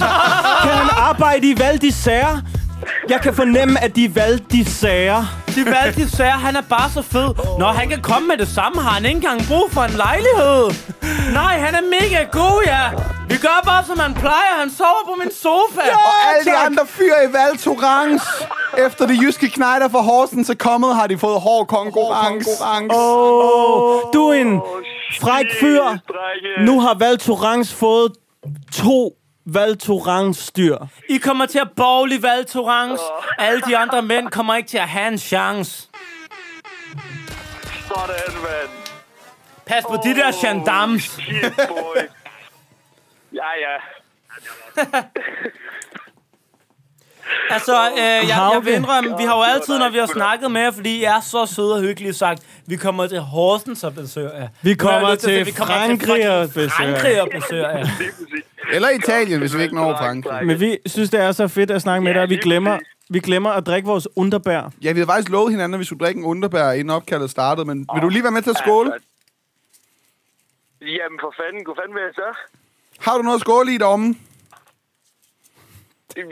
Kan han arbejde i Valdisær? Jeg kan fornemme, at de er Valdisær. De valgte de sager, han er bare så fed. Når han kan komme med det samme, har han ikke engang brug for en lejlighed. Nej, han er mega god, ja. Vi gør bare, som han plejer. Han sover på min sofa. Og alle de andre fyre i Vals Orange. Efter det jyske knejder fra Horsens er kommet, har de fået hård konkurrence. Åh, du er en fræk fyr. Drenge. Nu har Valtorans fået to Valtorans-styr. I kommer til at bowl i Valtorans. Alle de andre mænd kommer ikke til at have en chance. Sådan, mand. Pas på de der gendarmes. Shit, boy. ja, ja. Altså, øh, jeg, jeg vil Hauke. indrømme, vi har jo altid, når vi har snakket med jer, fordi I er så søde og hyggelige, sagt, vi kommer til Horsens og besøger jer. Vi Nu har jeg kommer lyst at sige, til Frankrig fucking og besøger. Frankrig og besøger jer. Lige præcis. Eller Italien, hvis vi ikke når Drenge, Frankrig. drenge. Men vi synes, det er så fedt at snakke med Ja, dig, og vi lige glemmer, præcis. vi glemmer at drikke vores underbær. Ja, vi havde faktisk lovet hinanden, at vi skulle drikke en underbær, inden opkaldet startede, men vil du lige være med til at skåle? Altså. Jamen for fanden, kunne fanden være så? Har du noget at skåle i deromme? Jeg, øh,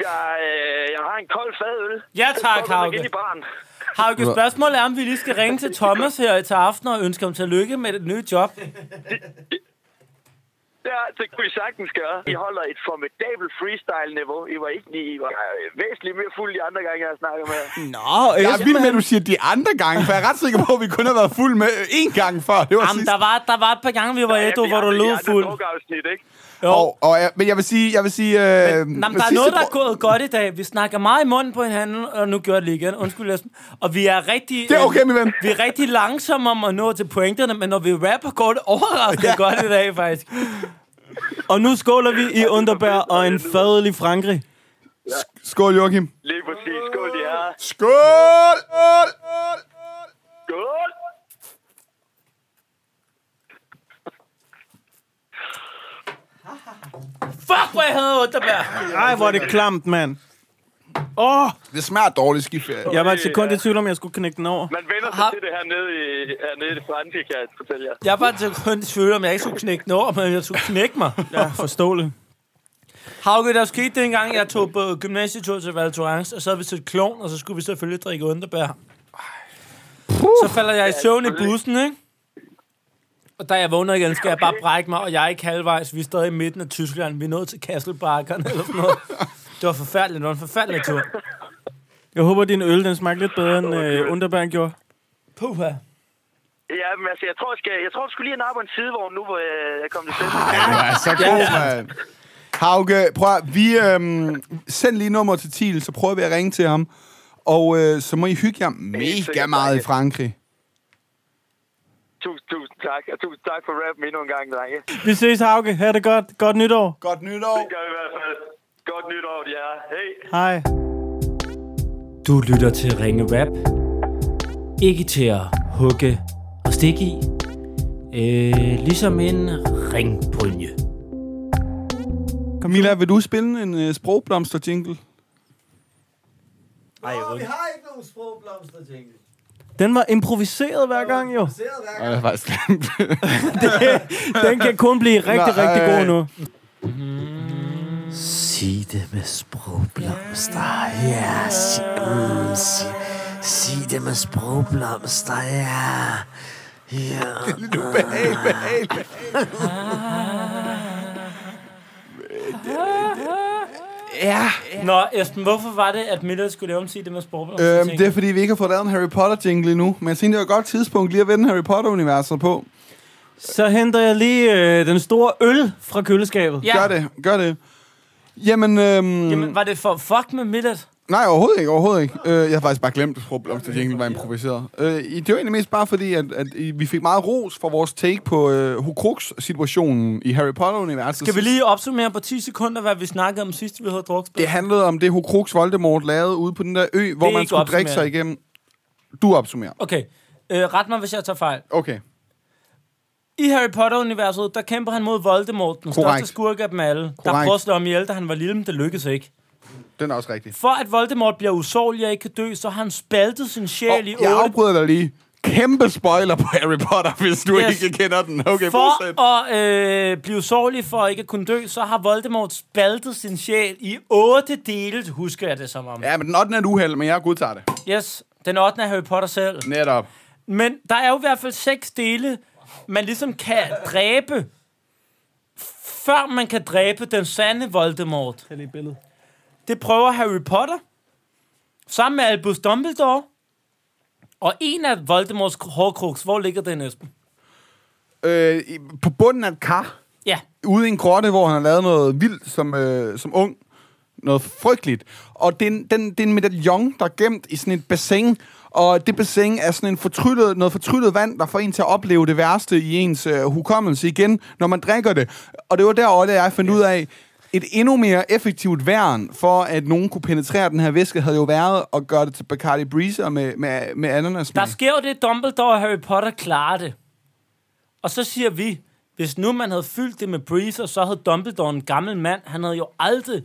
jeg har en kold fadøl. Ja tak, Ind Hauke. i baren. Hauke, spørgsmålet er, om vi lige skal ringe til Thomas her til aften og ønske ham tillykke med det nye job. Ja, det kunne I sagtens gøre. I holder et formidabelt freestyle-niveau. I var ikke lige, I var øh, væsentligt mere fulde de andre gange, jeg har snakket med jer. Nå, øh. Jeg er vild med, at du siger de andre gange, for jeg er ret sikker på, at vi kun har været fuld med øh, én gang før. Det var Jamen, sidst. der var, der var et par gange, vi var Ja, ædru, vi hvor du andre- lød vi andre fuld. drukafsnit, ikke? Jo. Og, og, ja, men jeg vil sige... Jeg vil sige øh, Nå, men der er sidste noget, der er pro- gået godt i dag. Vi snakker meget i munden på hinanden, og nu gjorde jeg det igen. Undskyld, Esben. Og vi er rigtig... Det er øh, okay, min ven. Vi er rigtig langsomme om at nå til pointerne, men når vi rapper, går det overraskende ja. godt i dag, faktisk. Og nu skåler vi i underbær og en fadøl i Frankrig. Skål, Joachim. Lige præcis. Skål, de her. Skål! Skål! Fuck, hvor jeg havde ondt, der Ej, hvor er det klamt, mand. Åh, oh, Det smager dårligt skiferie. jeg var altså, et sekund i tvivl om, jeg skulle knække den over. Man vender sig Har- til det her nede i, hernede i Frankrig, kan jeg fortælle jer. Jeg var et sekund i tvivl om, jeg ikke skulle knække den over, men jeg skulle knække mig. Ja, forståeligt. Hauke, der skete dengang, jeg tog på gymnasietur til Val Thorens, og så havde vi til et klon, og så skulle vi selvfølgelig drikke underbær. Så falder jeg i søvn i bussen, ikke? Og da jeg vågner igen, skal jeg bare brække mig, og jeg er ikke halvvejs. Vi er stadig i midten af Tyskland. Vi er nået til Kasselbakkerne eller sådan noget. Det var forfærdeligt. Det var en forfærdelig tur. Jeg håber, din øl den smagte lidt bedre, end øh, Underberg gjorde. Puha. Ja, men altså, jeg tror, jeg, skal, jeg tror, du skulle lige have nappet en sidevogn nu, hvor øh, jeg kom til selv. Ja, så god, mand. Hauke, prøv at, vi øhm, send lige nummer til Thiel, så prøver vi at ringe til ham. Og øh, så må I hygge jer mega sikkert, meget i drenge. Frankrig. Tusind, tusind tak, og tusind tak for rappen endnu en gang, drenge. Vi ses, Hauke. Ha' det godt. Godt nytår. Godt nytår. Det gør vi i hvert fald. Godt nytår, ja. Hej. Hej. Du lytter til Ringe Rap. Ikke til at hugge og stikke i. Øh, ligesom en ringbrynje. Camilla, vil du spille en øh, sprogblomster-jingle? Ej, vi har ikke nogen sprogblomster, tænker jeg. Den var improviseret hver gang, jo. Nej, jeg har faktisk glemt det. Den kan kun blive rigtig, Nej. rigtig god nu. Sig det med sprogblomster. Ja, sig, mm, sig, sig det med sprogblomster. Ja. Ja. Ah. Nå, Esben, hvorfor var det, at Miller skulle lave om sig det med sporblom? øhm, det er, fordi vi ikke har fået lavet en Harry Potter-jingle endnu. Men jeg tænkte, det var et godt tidspunkt lige at vende Harry Potter-universet på. Så henter jeg lige øh, den store øl fra køleskabet. Ja. Gør det, gør det. Jamen, øhm, Jamen, var det for fuck med Millet? Nej, overhovedet ikke, overhovedet ikke. Øh, jeg har faktisk bare glemt, at sprogblomster egentlig var improviseret. Øh, i- det var egentlig mest bare fordi, at, at i- vi fik meget ros for vores take på øh, Hukrux-situationen i Harry Potter-universet. Skal vi lige opsummere på 10 sekunder, hvad vi snakkede om sidst, vi havde drukket? Det handlede om det, Hukrux Voldemort lavede ude på den der ø, hvor er man ikke skulle drikke sig opsummeret. igennem. Du opsummerer. Okay, øh, ret mig, hvis jeg tager fejl. Okay. I Harry Potter-universet, der kæmper han mod Voldemort, den Korrekt. største skurk af dem alle. Correct. Der Korrekt. prøver at slå ham ihjel, da han var lille, men det lykkedes ikke. Den er også rigtig. For at Voldemort bliver usårlig og ikke kan dø, så har han spaltet sin sjæl oh, i jeg otte. afbryder dig lige. Kæmpe spoiler på Harry Potter, hvis du Yes. yes. ikke kender den. Okay, fortsæt. For at øh, blive usårlig for at ikke at kunne dø, så har Voldemort spaltet sin sjæl i otte dele, husker jeg det som om. Ja, men den 8. er et uheld, men jeg godtager det. Yes, den 8. er Harry Potter selv. Netop. Men der er jo i hvert fald seks dele, man ligesom kan dræbe, før man kan dræbe den sande Voldemort. Tag lige et billede. Det prøver Harry Potter, sammen med Albus Dumbledore, og en af Voldemorts hårdkruks. Hvor ligger den, Esben? Øh, i- på bunden af et kar. Ja, ude i en grotte, hvor han har lavet noget vildt som, øh, som ung. Noget frygteligt. Og det er, en, den, det er en medaljon, der er gemt i sådan et bassin. Og det bassin er sådan en fortryllet, noget fortryllet vand, der får en til at opleve det værste i ens øh, hukommelse igen, når man drikker det. Og det var derovre, da jeg fandt ud af, et endnu mere effektivt værn for, at nogen kunne penetrere den her væske, havde jo været at gøre det til Bacardi Breezer med, med, med ananas. der sker jo det, Dumbledore og Harry Potter klarer det. Og så siger vi, hvis nu man havde fyldt det med Breezer, så havde Dumbledore en gammel mand. Han havde jo aldrig...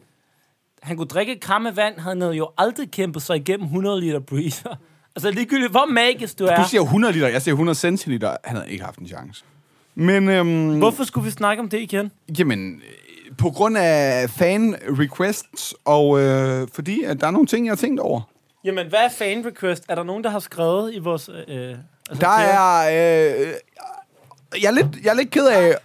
Han kunne drikke et kram af vand, han havde jo aldrig kæmpet sig igennem 100 liter Breezer. Altså ligegyldigt, hvor magisk du Du er. siger 100 liter, jeg siger 100 centiliter. Han havde ikke haft en chance. Men, øhm, Hvorfor skulle vi snakke om det igen? Jamen, øh, på grund af fan-requests, og øh, fordi at der er nogle ting, jeg har tænkt over. Jamen, hvad er fan request? Er der nogen, der har skrevet i vores... Øh, altså, Der er... Øh, øh, jeg, er lidt, jeg er lidt ked af...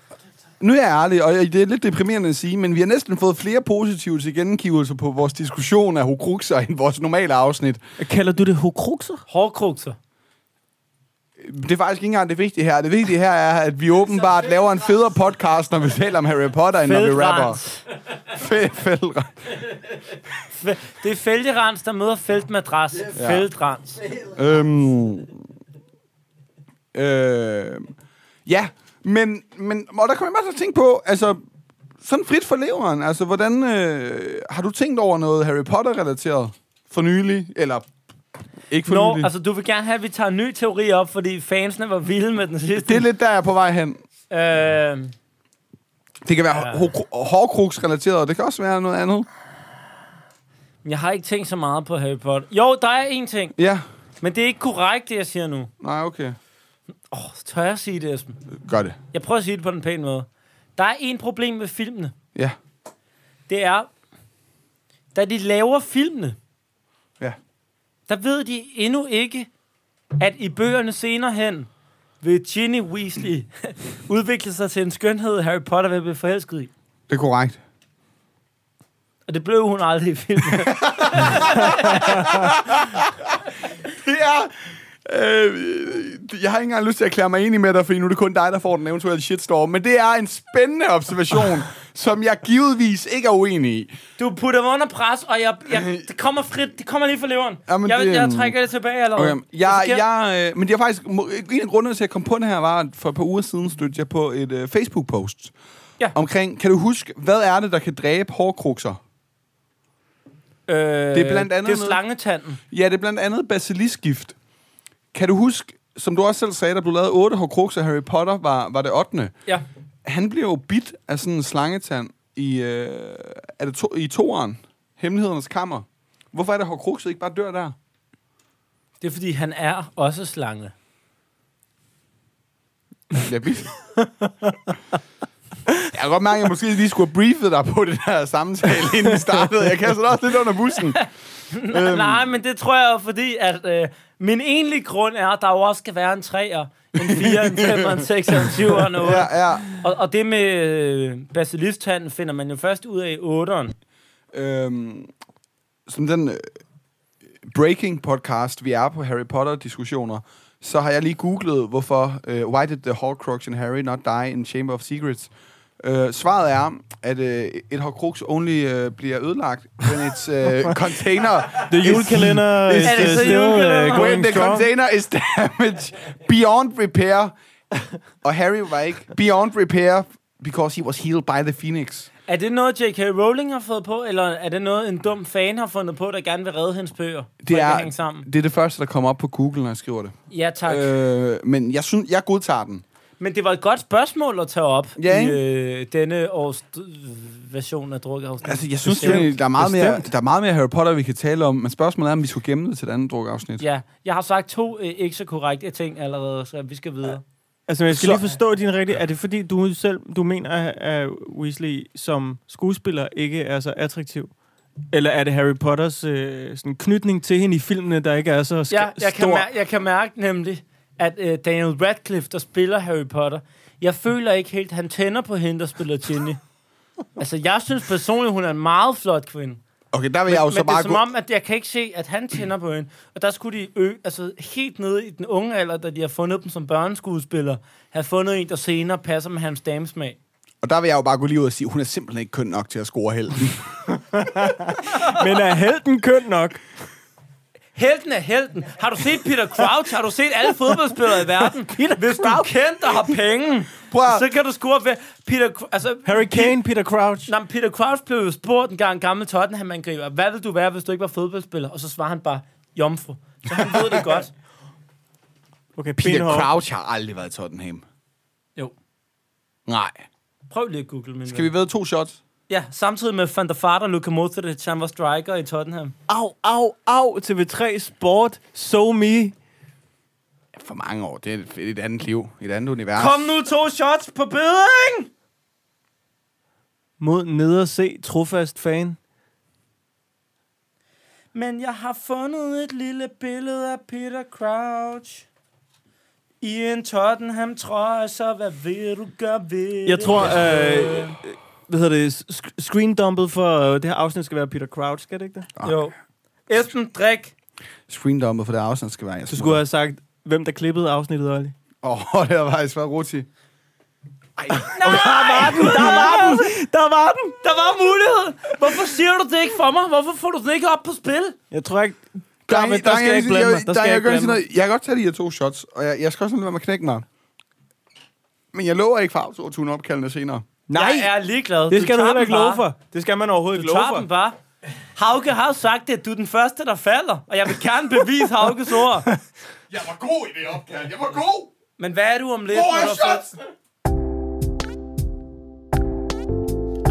Nu er jeg ærlig, og jeg- det er lidt deprimerende at sige, men vi har næsten fået flere positive tilkendegivelser på vores diskussion af hukrukser end vores normale afsnit. Kalder du det hokrukser? Hårdkrukser. Det er faktisk ikke engang det vigtige her. Det vigtige her er, at vi åbenbart laver en federe podcast, når vi taler om Harry Potter, end når vi rapper. Feltrens. Fed, fed, Fe- Det er feltrens, der møder feltmadras. Ja. Feltrens. Øhm, øh, ja, men, men og der kommer jeg bare til at tænke på, altså, sådan frit for leveren, altså, hvordan øh, har du tænkt over noget Harry Potter-relateret for nylig, eller ikke for Nå, Nå, nylig? Altså, altså du vil gerne have, at vi tager en ny teori op, fordi fansene var vilde med den sidste. det er lidt der, jeg er på vej hen. Øh, Det kan være ja. hårdkruks-relateret, og det kan også være noget andet. Jeg har ikke tænkt så meget på Harry Potter. Jo, der er én ting, Ja. men det er ikke korrekt, det jeg siger nu. Nej, okay. Åh, tør jeg sige det, Esben? Gør det. Jeg prøver at sige det på den pæne måde. Der er én problem med filmene. Ja. Det er, da de laver filmene, Ja. der ved de endnu ikke, at i bøgerne senere hen vil Ginny Weasley udvikle sig til en skønhed, Harry Potter vil blive forelsket i. Det er korrekt. Og det blev hun aldrig i filmen. Det er... Øh, jeg har ikke engang lyst til at erklære mig enig med dig, fordi nu er det kun dig, der får den eventuelle shitstorm. Men det er en spændende observation, som jeg givetvis ikke er uenig i. Du putter mig under pres, og jeg, jeg, det, kommer frit, det kommer lige fra leveren. Jamen, jeg, det- jeg trækker det tilbage allerede. Okay, jeg, skal- jeg, øh, men det er faktisk... må- En af grundene til, at jeg kom på det her, var, at for et par uger siden stødte jeg på et øh, Facebook-post. Ja. Omkring, kan du huske, hvad er det, der kan dræbe hårkrukser? Øh, det er blandt andet Det er noget- slangetanden. Ja, det er blandt andet basiliskgift. Kan du huske, som du også selv sagde, der blev lavet 8 hårkrukser, Harry Potter var, var det 8. Ja. Han bliver jo bidt af sådan en slangetand i, øh, er det to, i toeren, Hemmelighedernes Kammer. Hvorfor er det, at Horcruxet ikke bare dør der? Det er, fordi han er også slange. Jeg, bidt. jeg kan godt mærke, at jeg måske lige skulle have briefet dig på det der samtale, inden vi startede. Jeg kaster dig også lidt under bussen. Øhm. Nej, men det tror jeg jo, fordi, at øh, min egentlige grund er, at der jo også skal være en 3'er, en 4'er, en 5'er, en 6'er, en 7'er og en 8'er. Ja. Ja, ja. Og, og det med øh, basilifttanden finder man jo først ud af i 8'eren. øhm, som den øh, breaking podcast, vi er på Harry Potter-diskussioner, så har jeg lige googlet, hvorfor øh, Why did the Horcrux and Harry not die in Chamber of Secrets? Øh, svaret er, at øh, et Horcrux only øh, bliver ødelagt, when its øh, container... The is- julekalender is- is Er det uh, så still julekalender? uh, When going the strong. container is damaged beyond repair. Og Harry var ikke beyond repair, because he was healed by the phoenix. Er det noget, J.K. Rowling har fået på, eller er det noget, en dum fan har fundet på, der gerne vil redde hendes bøger? Det For at er, hænge sammen. det er det første, der kommer op på Google, når jeg skriver det. Ja, tak. Øh. Øh, men jeg synes, jeg godtager den. Men det var et godt spørgsmål at tage op Ja, i øh, denne års øh, version af drukafsnit. Altså, jeg synes, Bestemt. Bestemt. der er, meget mere, Bestemt. der er meget mere Harry Potter, vi kan tale om, men spørgsmålet er, om vi skulle gemme det til et andet drukafsnit. Ja, jeg har sagt to øh, ikke så korrekte ting allerede, så vi skal videre. Altså, jeg skal Så- så... lige forstå din rigtige... Er det fordi, du selv du mener, at- at Weasley som skuespiller ikke er så attraktiv? Eller er det Harry Potters øh, sådan knytning til hende i filmene, der ikke er så sk- Ja, jeg kan, stor? mær- jeg kan mærke nemlig, at øh, Daniel Radcliffe, der spiller Harry Potter, jeg føler ikke helt, han tænder på hende, der spiller Ginny. altså, jeg synes personligt, hun er en meget flot kvinde. Okay, der vil Men, jeg jo men så det bare er gå... som om, at jeg kan ikke se, at han tænder på hende. Og der skulle de ø, altså helt nede i den unge alder, da de har fundet dem som børneskuespillere, have fundet en, der senere passer med hans damesmag. Og der vil jeg jo bare gå lige ud og sige, hun er simpelthen ikke køn nok til at score helten. Men er helten køn nok? Helten er helten. Har du set Peter Crouch? Har du set alle fodboldspillere i verden? Hvis du er kendt og har penge, Prøv at- så kan du score ved... Peter, Cr- altså, Harry Kane, Peter Crouch. Nå, men Peter Crouch blev jo spurgt en gang, en gammel Tottenham-angriber, hvad vil du være, hvis du ikke var fodboldspiller? Og så svarer han bare, jomfru. Så han ved det godt. Okay, Peter benhård. Crouch har aldrig været i Tottenham. Jo. Nej. Prøv lige at google, min Skal vi ved to shots? Ja, samtidig med Van der Vaart og Luka Modric, han var striker i Tottenham. Au, au, au, TV3 Sport, so me. For mange år. Det er et, et andet liv. Et andet univers. Kom nu to shots på bedring! Mod neder se, trofast fan. Men jeg har fundet et lille billede af Peter Crouch. I en Tottenham trøje, så hvad vil du gøre ved Jeg det? tror, øh, hvad hedder det, sk- screendumpet for øh, det her afsnit skal være Peter Crouch, skal det ikke det? Jo. Esben, drik. Screendommet for det afsnit skal være. Jeg Du skulle have sagt, hvem der klippede afsnittet, Olli. Åh, oh, det har faktisk været ruti. Der var den! Der var mulighed. Hvorfor siger du det ikke for mig? Hvorfor får du det ikke op på spil? Jeg tror ikke... Der, Kom, men der skal jeg ikke blande mig. Der der, skal jeg jeg, ikke gør blande sådan mig. noget. jeg kan godt tage de her to shots, og jeg, jeg skal også lade være med at knække mig. Men jeg lover ikke for autotune opkaldene senere. Nej, Jeg er ligeglad. det skal du tager heller den ikke love bare. for. Det skal man overhovedet Du ikke love tager den for. bare. Hauke har jo sagt det, at du er den første, der falder. Og jeg vil gerne bevise Haukes ord. Jeg var god i det opkald. Jeg var god. Men hvad er du om lidt? Hvor når er du har fået- shots?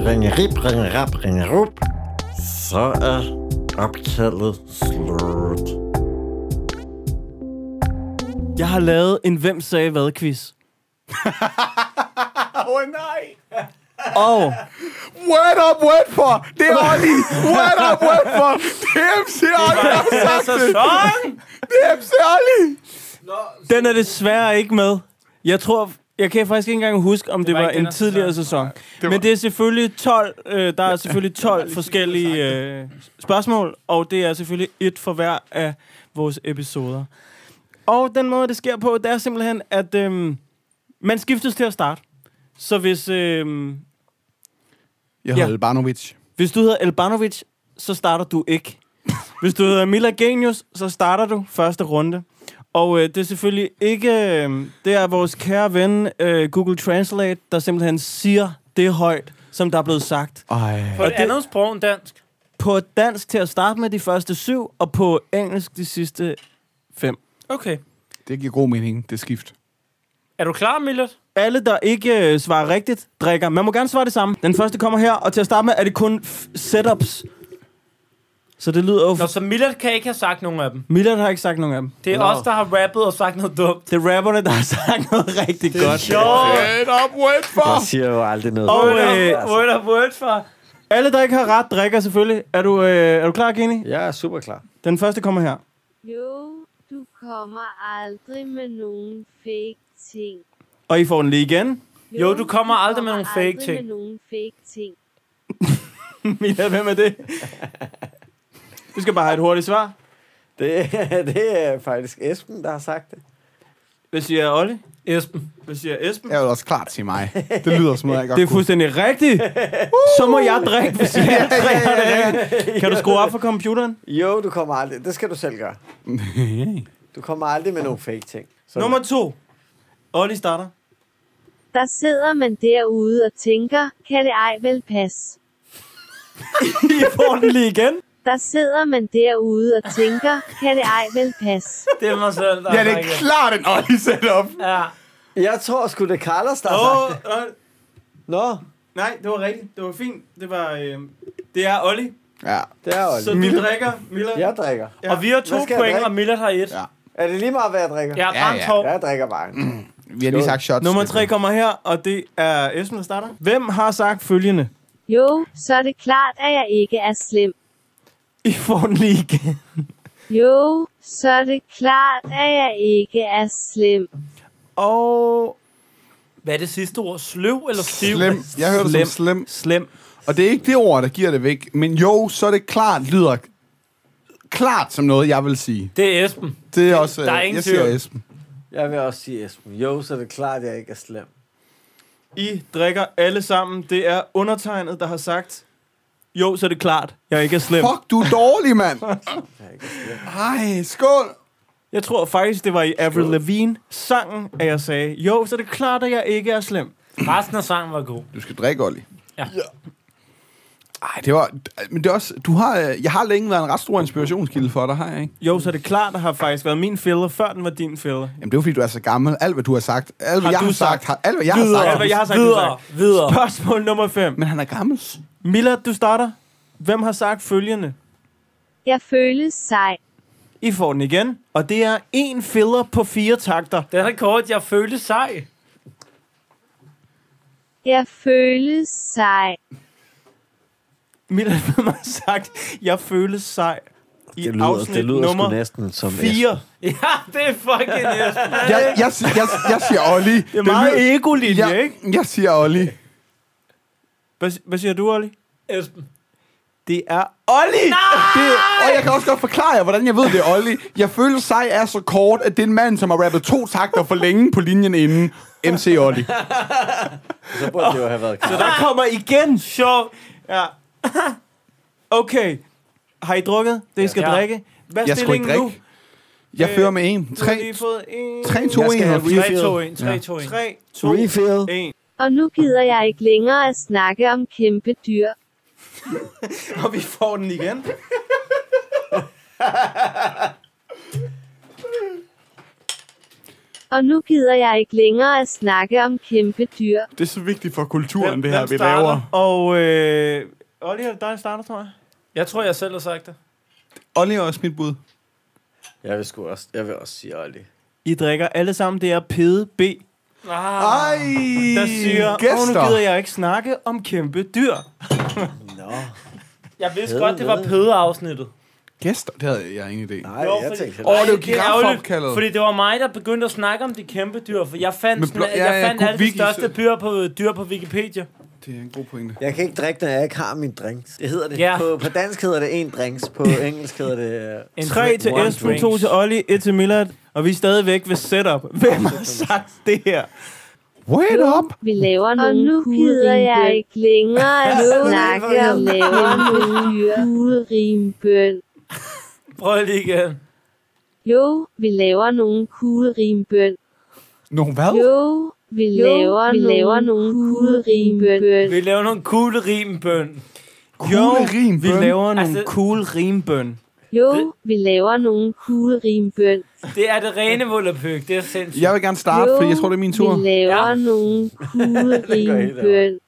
Ringe rip, ringe rap, ringe rup. Så er Opkaldet slut. Jeg har lavet en Hvem sagde hvad quiz. Åh oh, nej! Og What up, what for? Det er Olli! What up, what for? Det er MC Olli, der har sagt det! Sæson! Det er MC Olli! den er desværre ikke med. Jeg tror... Jeg kan faktisk ikke engang huske, om det, det var var, ikke en den her sæson. tidligere sæson. var- Men det er selvfølgelig 12... Øh, der er selvfølgelig 12 forskellige øh, spørgsmål, og det er selvfølgelig et for hver af vores episoder. Og den måde, det sker på, det er simpelthen, at øh, man skiftes til at starte. Så hvis... Øh, Jeg Ja. hedder Albanovic. Hvis du hedder Elbanovic, så starter du ikke. Hvis du hedder Mila Genius, så starter du første runde. Og øh, det er selvfølgelig ikke... Øh, det er vores kære ven øh, Google Translate, der simpelthen siger det højt, som der er blevet sagt. Ej. På et det- andet sprog end dansk. På dansk til at starte med de første syv, og på engelsk de sidste fem. Okay. Det giver god mening, det skift. Er du klar, Millet? Alle, der ikke øh, svarer rigtigt, drikker. Man må gerne svare det samme. Den første kommer her, og til at starte med er det kun f- setups. Så det lyder jo... Nå, så Millet kan ikke have sagt nogen af dem. Mila har ikke sagt nogen af dem. Det er Nå. os, der har rappet og sagt noget dumt. Det er rapperne, der har sagt noget rigtig det godt. Jo, What up, what for? Jeg siger jo aldrig noget. Og øh, word up, word for. alle, der ikke har ret, drikker selvfølgelig. Er du, øh, er du klar, Kenny? Jeg er super klar. Den første kommer her. Jo, du kommer aldrig med nogen fake ting. Og I får den lige igen. Jo, du kommer aldrig med nogen fake aldrig ting. Med nogen fake ting. Mila, hvem er det? Du skal bare have et hurtigt svar. Det, det er faktisk Esben, der har sagt det. Hvad siger Olle? Esben. Hvad siger Esben? Jeg vil også klart sige mig. Det lyder som noget, jeg godt Det er kunne. fuldstændig rigtigt. Så må jeg drikke, hvis jeg drikker det rigtigt. Kan du skrue op for computeren? Jo, du kommer aldrig. Det skal du selv gøre. Du kommer aldrig med nogen fake ting. Så Nummer to. Olli starter. Der sidder man derude og tænker, kan det ej vel passe? I får den lige igen. Der sidder man derude og tænker, kan det ej vel passe? Det er mig selv, der Ja, har det er sagt klart en Olli setup. Ja. Jeg tror sgu, det er Carlos, der har Åh, sagt det. oh, Nå, nej, det var rigtigt. Det var fint. Det var... Øh, det er Olli. Ja. det er Så Olli. du drikker, Mila. Jeg drikker. Og vi har to Hvad skal jeg point, drikke? og Millet har et. Ja. Er det lige meget, hvad jeg drikker? Jeg har Ja, ramt ja. hår. Jeg drikker bare. Vi har lige sagt shots. Nummer 3 kommer her, og det er Esben, der starter. Hvem har sagt følgende? Jo, så er det klart, at jeg ikke er slem. I får den lige igen. Jo, så er det klart, at jeg ikke er slem. Og Hvad er det sidste ord? Sløv eller stiv? Slem. Jeg hørte det som slem. slem. Og det er ikke det ord, der giver det væk. Men jo, så er det klart lyder klart som noget, jeg vil sige. Det er Esben. Det er også... Der er øh, ingen jeg siger tvivl. Esben. Jeg vil også sige Esben. Jo, så er det klart, at jeg ikke er slem. I drikker alle sammen. Det er undertegnet, der har sagt, jo, så er det klart, jeg ikke er slem. Fuck, du er dårlig, mand. Ej, skål. Jeg tror faktisk, det var i Avril Lavigne sangen, at jeg sagde, jo, så er det klart, at jeg ikke er slem. Resten af sangen var god. Du skal drikke, Olli. Ja. Ej, det var... Men det er også... Du har... øh, Jeg har længe været en ret stor inspirationskilde for dig, har jeg ikke? Jo, så er det klart, at har faktisk været min fælder, før den var din fælder. Jamen, det er jo, fordi, du er så gammel. Alt, hvad du har sagt... Alt, hvad Har jeg du har sagt... sagt? har, alt, hvad jeg Videre. har Alt, hvad sagt... jeg har sagt, du har videre, videre. Spørgsmål nummer 5. Men han er gammel. Milla, du starter. Hvem har sagt følgende? Jeg føles sej. I får den igen. Og det er en filler på fire takter. Den rekord, jeg følte sej. Jeg føles sej. Milan Hvem har sagt, jeg føles sej. I Det lyder, afsnit det lyder nummer sgu næsten som Esben. 4. Ja, det er fucking Esben. Jeg, jeg, jeg, jeg, jeg siger Olli. Det er meget egolinje, jeg, ikke? Jeg siger Olli. Hvad, hvad siger du, Olli? Esben. Det er Olli! Det, og jeg kan også godt forklare jer, hvordan jeg ved det, Olli. Jeg føler sig er så kort, at det er en mand, som har rappet to takter for længe på linjen inden. MC Olli. Så burde det jo have været klart. Der kommer igen! Sjov! Ja. Okay. Har I drukket det, I skal Ja. drikke? Hvad er Jeg skulle stillingen ikke nu? drikke. Jeg fører med en. Du har lige Tre, fået en, tre to, Jeg skal en. have og fire. 3, 2, 1, 3, 2, 1. 3, 2, Refill. 1. Og nu gider jeg ikke længere at snakke om kæmpe dyr. Og vi får den igen. Og nu gider jeg ikke længere at snakke om kæmpe dyr. Det er så vigtigt for kulturen, det hvem starter? Og øh, Olli, er det dig, der starter, tror jeg? Jeg tror, jeg selv har sagt det. Olli er også mit bud. Jeg vil, sgu også, jeg vil også sige Olli. I drikker alle sammen det her pede B, Ah. Ej, der siger, Åh, nu gider jeg ikke snakke om kæmpe dyr. Nå, Jeg vidste Ved godt, det var det. pøde-afsnittet. Gæster, det havde jeg ingen idé. nej, Jo, jeg fordi- tænkte Åh, det var Ej, er giraffopkaldet. ærgerligt, Fordi det var mig, der begyndte at snakke om de kæmpe dyr, for jeg fandt, Men sådan, blå- jeg, ja, ja, fandt god alle de wiki- største dyr på, dyr på Wikipedia. Det er en god pointe. Jeg kan ikke drikke, når jeg ikke har min drinks. Det hedder det. Ja. På, på dansk hedder det en drinks, på engelsk hedder det... øh, 3 til One Esben, drinks. 2 til Olli, 1 til Millard, og vi er stadigvæk ved setup. Hvem har sagt det her? Wait up! Vi laver nogle Og nu gider jeg ikke længere at snakke og lave nogle kuglerimbøl. Prøv lige igen. Jo, vi laver nogle kuglerimbøl. Nogle hvad? Jo, vi laver, vi laver nogle kuglerimbøl. Vi laver nogle cool rimbøn. Kugle rim, vi bøn. laver nogle Altså- cool rimbøn. Jo, vi laver nogle kuglerimbøl. Det er det rene volapyk, det er sindssygt. Jeg vil gerne starte, fordi jeg tror, det er min tur. Vi laver ja. nogle kuglerimbøl.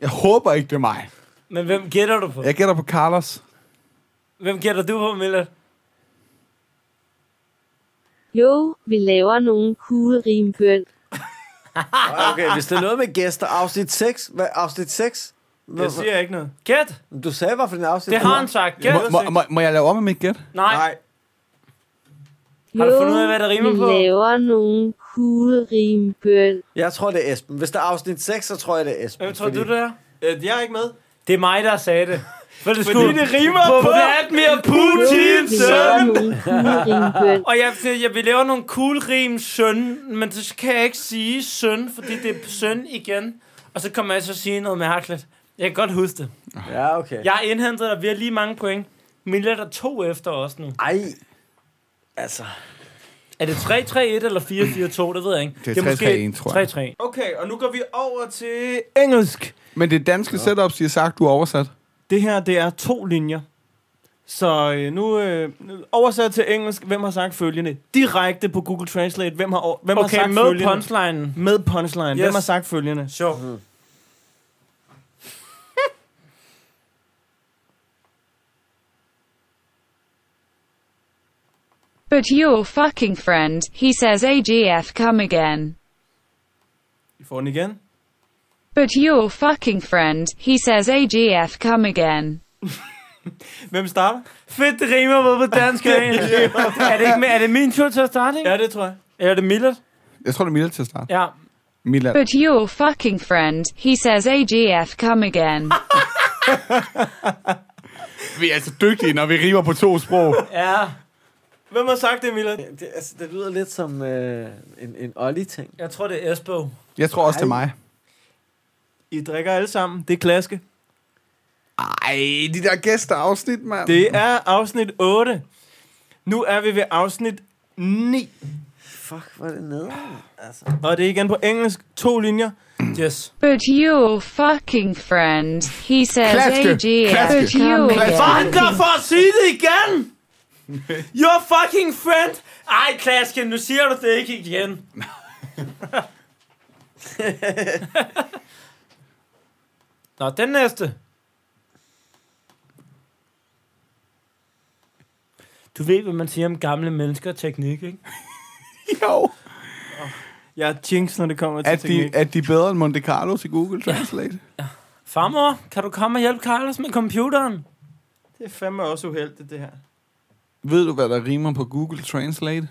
Jeg håber ikke, det er mig. Men hvem gætter du på? Jeg gætter på Carlos. Hvem gætter du på, Miller? Jo, vi laver nogle kuglerimbøl. Okay, hvis det er noget med gæster, afsnit 6, hvad, afsnit 6? Hvad, Jeg siger ikke noget. Gæt! hvad- du sagde, hvorfor den afsnit Det har han sagt. Gæt! Må, må, må, må jeg lave om med mit gæt? Nej. Har Nej, du fundet ud af, hvad det rimer på? vi laver nogle kuglerimbøl. jeg tror, det er Esben. Hvis det er afsnit 6, så tror jeg, det er Esben. Hvem tror du, det er? Øh, Jeg er ikke med. Det er mig, der sagde det. For det Fordi skulle... det rimer på... Vladimir Putin, Vi laver søn! nogle kuglerimbøl. Og jeg, jeg vil lave nogle cool rim søn, men så kan jeg ikke sige søn, fordi det er søn igen. Og så kommer jeg så at sige noget mærkeligt. Jeg kan godt huske det. Ja, okay. Jeg har indhentet dig, vi har lige mange point. Miller er to efter os nu. Ej, altså... Er det 3-3-1 eller 4-4-2, det ved jeg ikke. Det er 3-3-1, tror jeg. 3-3. Okay, og nu går vi over til engelsk. Men det danske setup siger sagt, du er oversat. Det her, det er to linjer. Så øh, nu øh, nu- oversat til engelsk, hvem har sagt følgende? Direkte på Google Translate, hvem har, o- hvem har Okay, sagt med følgende? punchline. med punchline, yes. hvem Yes. har sagt følgende? Mm. Sjov. But your fucking friend, he says AGF come again. I får den igen. But your fucking friend, he says AGF come again. Hvem starter? Fedt, det rimer både på dansk og engelsk. er, det ikke, med- er det min tur til at starte, ikke? Ja, det tror jeg. Eller er det Miller? Jeg tror, det er Mila til at starte. Ja. Mila. But your fucking friend, he says AGF come again. Vi er altså dygtige, når vi river på to sprog. Ja. Hvem har sagt det, Mila? Det, altså, det lyder lidt som øh, en, en Olli-ting. Jeg tror, det er Esbo. Jeg tror også, det er mig. I drikker alle sammen. Det er klaske. Ej, de der gæster afsnit, mand. Det er afsnit 8. Nu er vi ved afsnit 9. Fuck, hvor er det nede. Altså. Og det er igen på engelsk. To linjer. Yes. But your fucking friend, he says Klaske. AGF Klaske. come Var again. han der for at sige det igen? Your fucking friend. Ej, Klasken, nu siger du det ikke igen. Nå, den næste. Du ved, hvad man siger om gamle mennesker og teknik, ikke? Jo. Jeg er jinx, når det kommer til Er teknik. de, er de bedre end Monte Carlo til Google Translate? Farmor, kan du komme og hjælpe Carlos med computeren? Det er fandme også uheldigt, det her. Ved du, hvad der rimer på Google Translate?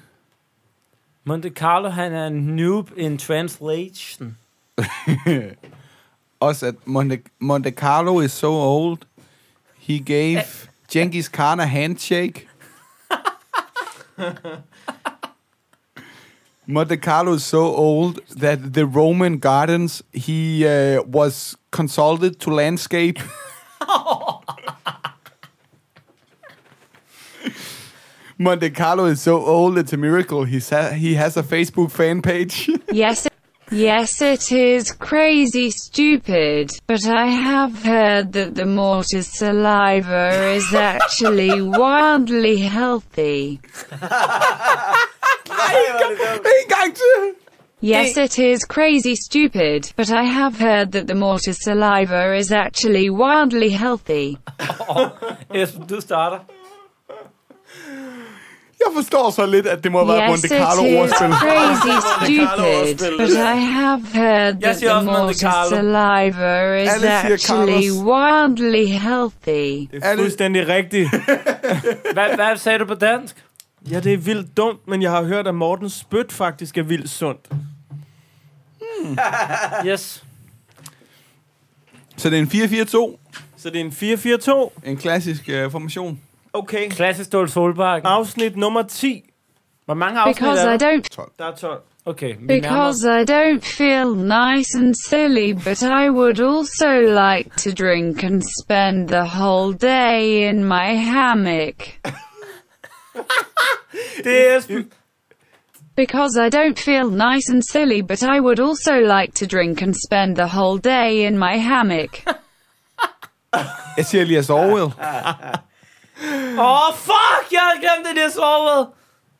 Monte Carlo, han er en noob in translation. Også at Monte, Monte Carlo is so old, he gave Genghis Khan a handshake. Monte Carlo is so old that the Roman gardens he uh, was consulted to landscape. Monte Carlo is so old it's a miracle he sa- he has a Facebook fan page. Yes. Yes, it is crazy stupid, but I have heard that the mortar's saliva is actually wildly healthy. en gang til. Yes, it is crazy stupid, but I have heard that the mortar's saliva is actually wildly healthy. Esben, du starter. Jeg forstår så lidt, at det må have været Yes, Monte it Carlo is ordspil. crazy stupid, but I have heard Yes, that yes, the Monte mortar Carlo. saliva is Alicia actually Carlos. wildly healthy. Det er fuldstændig rigtigt. hvad, hvad sagde du på dansk? Ja, det er vildt dumt, men jeg har hørt, at Mortens spyt faktisk er vildt sundt. Hmm. Yes. Så det er en 4-4-2. Så det er en 4-4-2. En klassisk uh, formation. Okay. Klassisk Stål Solbakken. Afsnit nummer 10. Hvor mange afsnit Because er I der? don't- Der er 12. Okay, vi nærmer os. Because I don't feel nice and silly, but I would also like to drink and spend the whole day in my hammock. Det er Esben. Because I don't feel nice and silly, but I would also like to drink and spend the whole day in my hammock. Jeg siger Elias Orwell. Åh, oh, fuck! Jeg havde glemt det, det er sovet.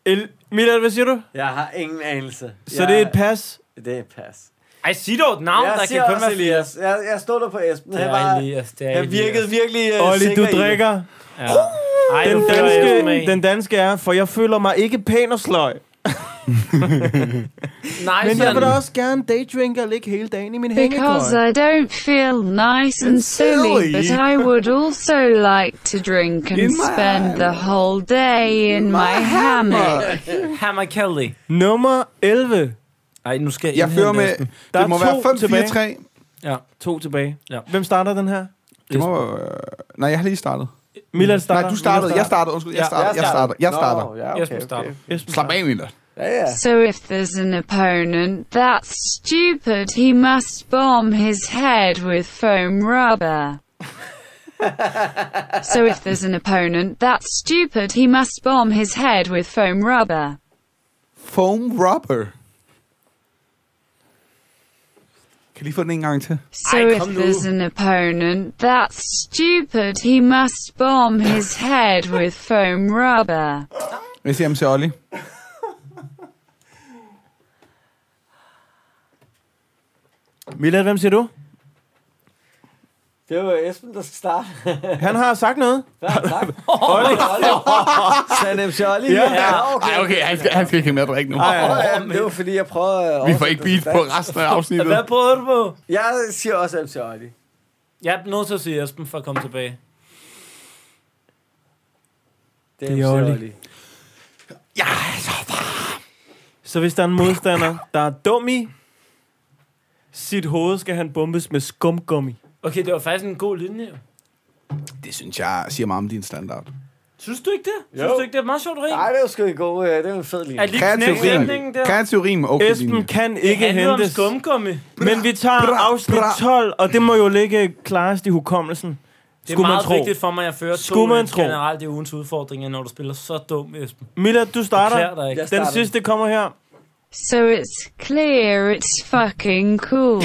El Milad, hvad siger du? Jeg har ingen anelse. Så jeg, det er et pas. Det er et pas. Ej, sig dog et navn, jeg der siger kan kun også være flere. Elias. Jeg, jeg stod der på Esben. Det Han er var- Elias, det er Han Elias. virkelig, virkelig uh, Olli, du drikker. Uh! Ja. Ej, Den nu føler jeg Esben af. danske, den danske er, for jeg føler mig ikke pæn og sløj. Nej, Men jeg sådan. vil da også gerne daydrinke og ligge hele dagen i min Because hængekøj. I don't feel nice and silly, silly. but I would also like to drink and In my spend the whole day in my hammock. Hammer Kelly. Nummer 11. Ej, nu skal Jeg fører med... Der det må er to tilbage. være 5-4-3. Ja, To tilbage. Ja. Hvem starter den her? Det må være... Nej, jeg har lige startet. Milad starter. Nej, du startede. Milad Jeg startede. Undskyld, jeg Ja, starter. jeg Jeg starter. Jeg starter. Nå, ja, Esben okay, starter. okay. Esben Slap af, Miller. Ja, ja. So if there's an opponent that's stupid, he must bomb his head with foam rubber. so if there's an opponent that's stupid, he must bomb his head with foam rubber. Foam rubber. Kan I lige få den en gang til? So I if come there's to- an opponent that's stupid, he must bomb his head with foam rubber. Jeg siger ham til Olli. Milad, hvem siger du? Det var Esben, der skal starte. Han har sagt noget. Hvad har han sagt? Olli. Sanem Scholli. Ja. ja, okay. Ej, okay, han skal, han skal ikke have mere at drikke nu. Ja, jamen, det var fordi, jeg prøvede... at Vi får oversætte ikke beat det til på dansk. resten af afsnittet. Hvad prøvede du på? Jeg siger også MC Olli. Jeg er nødt til at sige Esben for at komme tilbage. Det Det er er MC Olli. Olli. Så hvis der er en modstander, der er dum i sit hoved, skal han bombes med skumgummi. Okay, det var faktisk en god linje. jo. Det synes jeg siger meget om din standard. Synes du ikke det? Jo. Synes du ikke, det er meget sjovt rim? Nej, det var sgu en god... øh, Det var en fed linje. Er lige Kreativ knæk sætningen rim. der? Kreativ rim, okay. Esben linje. kan Det ikke handler om hentes. skumgummi. Men vi tager Bra, afsnit bra. 12, og det må jo ligge klarest i hukommelsen. Det er Skulle man meget tro. vigtigt for mig, at jeg fører Skulle man to tro. generelt i ugens udfordringer, når du spiller så dum, Esben. Milla, du Beklager starter. dig ikke. Jeg Den starter. sidste kommer her. So it's clear it's fucking cool.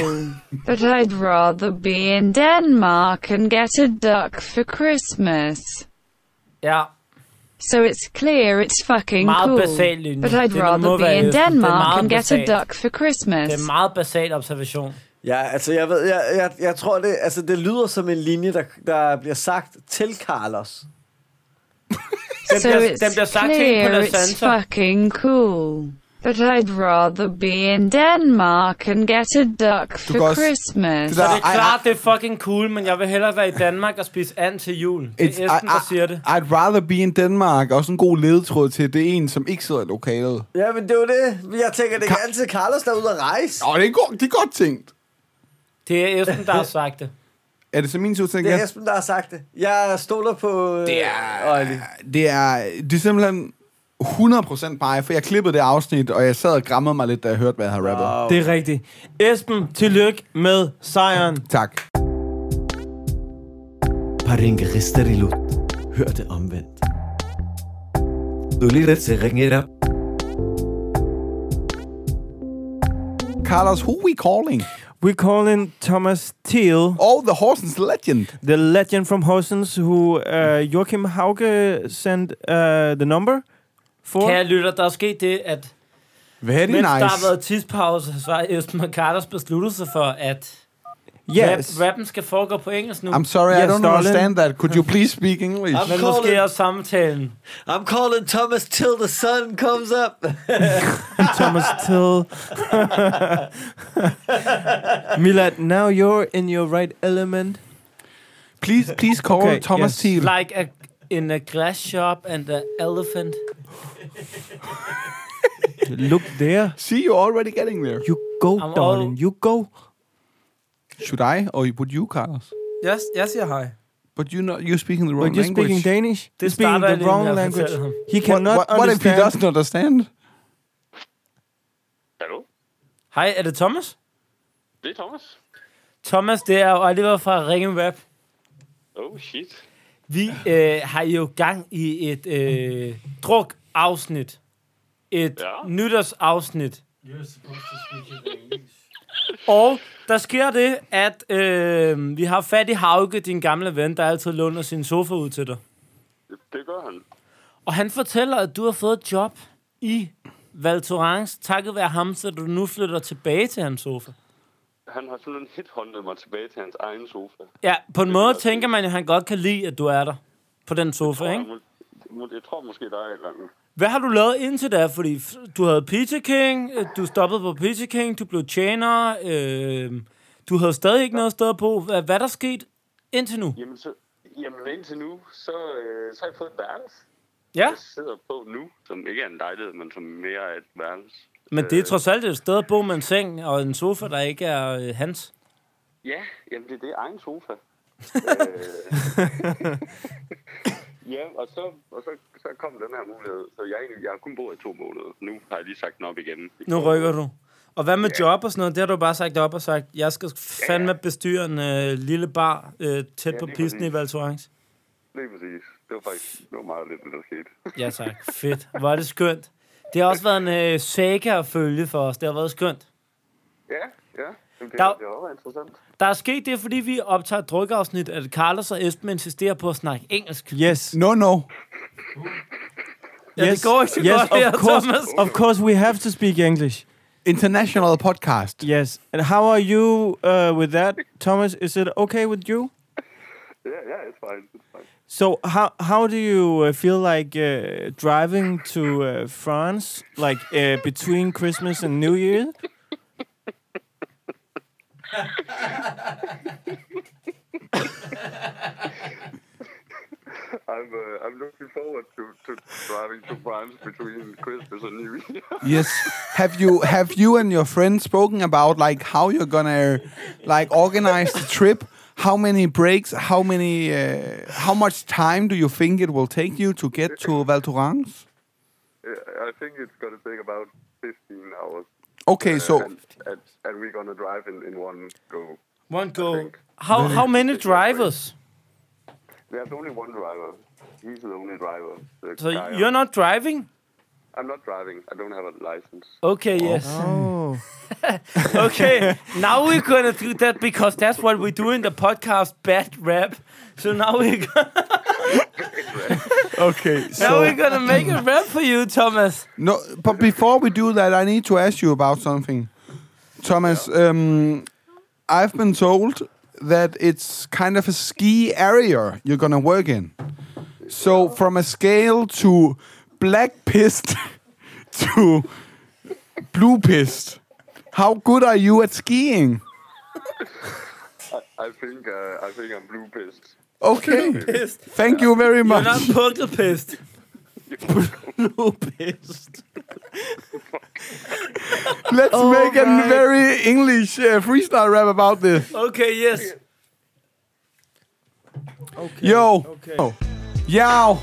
but I'd rather be in Denmark and get a duck for Christmas. Ja, So it's clear it's fucking Meget basal cool. linje. But I'd Den rather må be være in Esben. Den er Denmark meget and get a basal. duck for Christmas. det er en meget basal observation. Ja, altså jeg ved, jeg, jeg, jeg tror det, altså det lyder som en linje, der, der bliver sagt til Carlos. Den So bliver- it's den bliver sagt helt på clear deres it's sanser. fucking cool. But I'd rather be in Denmark and get a duck kan for også- Christmas. det der- Det er Ej, klart, det er fucking cool, men jeg vil hellere være i Danmark og spise and til jul. Det er It's- Esben, der I- I- siger det. I'd rather be in Denmark. Også en god ledetråd til, det er en, som ikke sidder i lokalet. Ja, men det er jo det. Men Jeg tænker, det kan altid Carlos, der er ude at rejse. Åh, oh, det, er godt, det er godt tænkt. Det er Esben, der har sagt det. Er det så min tur, tænker Det er jeg? Esben, der har sagt det. Jeg stoler på øh, Det er, Olli. det er, det er simpelthen 100% mig, for jeg klippede det afsnit, og jeg sad og grammede mig lidt, da jeg hørte, hvad jeg havde rappet. Wow. Det er rigtigt. Esben, tillykke med sejren. Tak. Paringerister i Lut. Hør det omvendt. Du lytter til Ring It Up. Carlos, who we calling? We call in Thomas Thiel, Oh, the Horsens legend. the legend from Horsens, who uh, Joachim Hauge sent uh, the number for. Kære lytter, der er sket det, at Very Mens nice. der har nice. været tidspause, så har Esben og Carlos besluttet sig for, at Yes. Rap, rappen skal foregå på engelsk nu. I'm sorry, I don't understand that. Could you please speak English? I'm Men måske også samtalen. I'm calling Thomas till the sun comes up. Thomas Till. Milad, now you're in your right element. Please, please call Thomas Thiel. Like a, in a glass shop and an elephant. Look there. See, you're already getting there. You go, I'm darling. all- You go. Should I or would you, Carlos? Jeg, jeg siger hej. But you know, you're speaking the wrong But you're language. speaking Danish. Det You're speaking starter jeg the lige med wrong at language. fortælle ham. He cannot what, what, what if he understand. doesn't understand? Hallo? Hej, er det Thomas? Det er Thomas. Thomas, det er Oliver fra Ringen Rap. Oh, shit. Vi øh, har jo gang i et øh, druk-afsnit. Et ja. Ja. nytårsafsnit. Og der sker det, at øh, vi har fat i Hauke, din gamle ven, der altid låner sin sofa ud til dig. Det gør han. Og han fortæller, at du har fået et job i Val Thorens, takket være ham, så du nu flytter tilbage til hans sofa. Han har simpelthen hithåndet mig tilbage til hans egen sofa. Ja, på en Det måde er- tænker man, at han godt kan lide, at du er der på den sofa, ikke? Jeg, må, jeg tror måske, der er et eller andet. Hvad har du lavet indtil da? Fordi f- du havde Peter King, øh, du stoppede på Peter King, du blev tjener, øh, du havde stadig ikke noget sted på. Hvad, hvad er der sket indtil nu? Jamen, så, jamen indtil nu, så, øh, så har jeg fået et værelse. Ja, Jeg sidder på nu, som ikke er en lejlighed, men som mere er et værelse. men det er trods alt et sted at bo med en seng og en sofa, der ikke er øh, hans. Ja, jamen det er det egen sofa. Øh, ja, og, så, og så, så kom den her mulighed. Så jeg, er egentlig- jeg har kun boet i to måneder. Nu har jeg lige sagt den op igen. Nu rykker du. Og hvad med job og sådan noget? Det har du bare sagt op og sagt, jeg skal fandme bestyre en øh, lille bar øh, tæt Ja, på lige pisten i præcis. Val Thorens. Lige præcis. Det var faktisk det var meget lidt, det der skete. Ja tak, fedt. Hvor er det skønt. Det har også været en øh, saga at følge for os. Det har været skønt. ja, ja. Jamen, Det, Der- der... det var meget interessant. Der er sket det, fordi vi optager et drukafsnit, at Carlos og Esben insisterer på at snakke engelsk. Yes. No, no. Ja, det går ikke så yes, godt of her, course, Thomas. Of course, we have to speak English. International podcast. Yes. And how are you uh, with that, Thomas? Is it okay with you? Ja, ja, it's fine. It's fine. So how how do you uh, feel like uh, driving to uh, France, like uh, between Christmas and New Year? I'm, uh, I'm looking forward to, to driving to France between Christmas and New Year. Yes. Have you have you and your friend spoken about like how you're gonna like organize the trip? How many breaks? How many? Uh, how much time do you think it will take you to get to Val Thorens? I think it's going to take about 15 hours. Uh, Okay, so and, and, and we're going to drive in, in one go. One go. How, how many drivers? There's only one driver. He's the only driver. The So guy- you're not driving? I'm not driving. I don't have a license. Okay, yes. Oh, Okay, now we're gonna do that because that's what we do in the podcast, Bad Rap. So now we're gonna, okay, now we're so gonna make a rap for you, Thomas. no. But before we do that, I need to ask you about something, Thomas. Um, I've been told that it's kind of a ski area you're gonna work in. So from a scale to black pissed to blue pissed, how good are you at skiing? I think uh, I think I'm blue pissed. Okay, thank you very You're not much. pukkel pissed. Let's make a very English uh, freestyle rap about this. Okay, yes. Yo. Oh. Yo.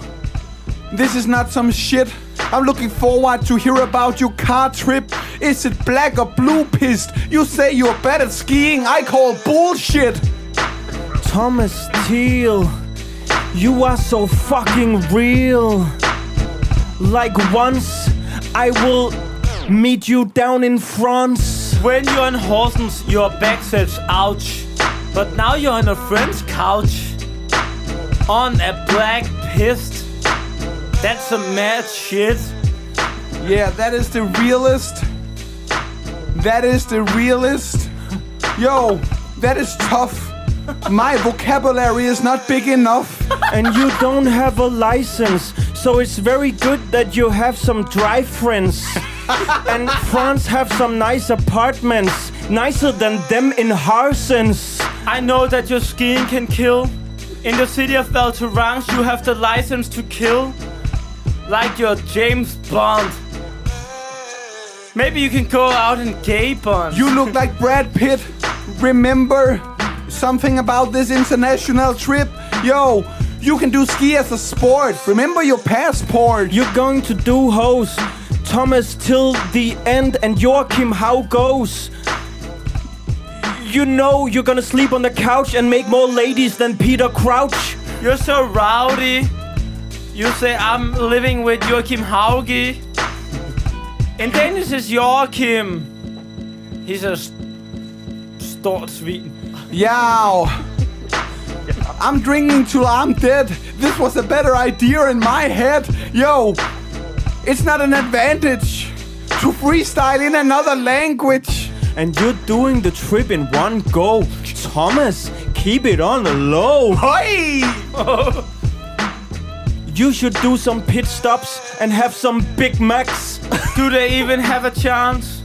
This is not some shit. I'm looking forward to hear about your car trip. Is it black or blue pissed? You say you're bad at skiing. I call bullshit. Thomas Teal, you are so fucking real. Like once, I will meet you down in France. When you're on Horsens, your back says ouch. But now you're on a friend's couch. On a black pissed. That's some mad shit. Yeah, that is the realest. That is the realest. Yo, That is tough. My vocabulary is not big enough. And you don't have a license, so it's very good that you have some dry friends. and France have some nice apartments, nicer than them in Harsens. I know that your skiing can kill. In the city of Valtorance, you have the license to kill. Like your James Bond. Maybe you can go out and gay bond. You look like Brad Pitt. Remember something about this international trip? Yo, you can do ski as a sport. Remember your passport. You're going to do host Thomas till the end and Joachim how goes. You know you're gonna sleep on the couch and make more ladies than Peter Crouch. You're so rowdy. You say I'm living with Joachim Hauge. And Dennis is Joachim. He's a s- stort svin. Yow. I'm drinking till I'm dead. This was a better idea in my head. Yo, it's not an advantage to freestyle in another language. And you're doing the trip in one go. Thomas, keep it on the low. Hey! you should do some pit stops and have some Big Macs. Do they even have a chance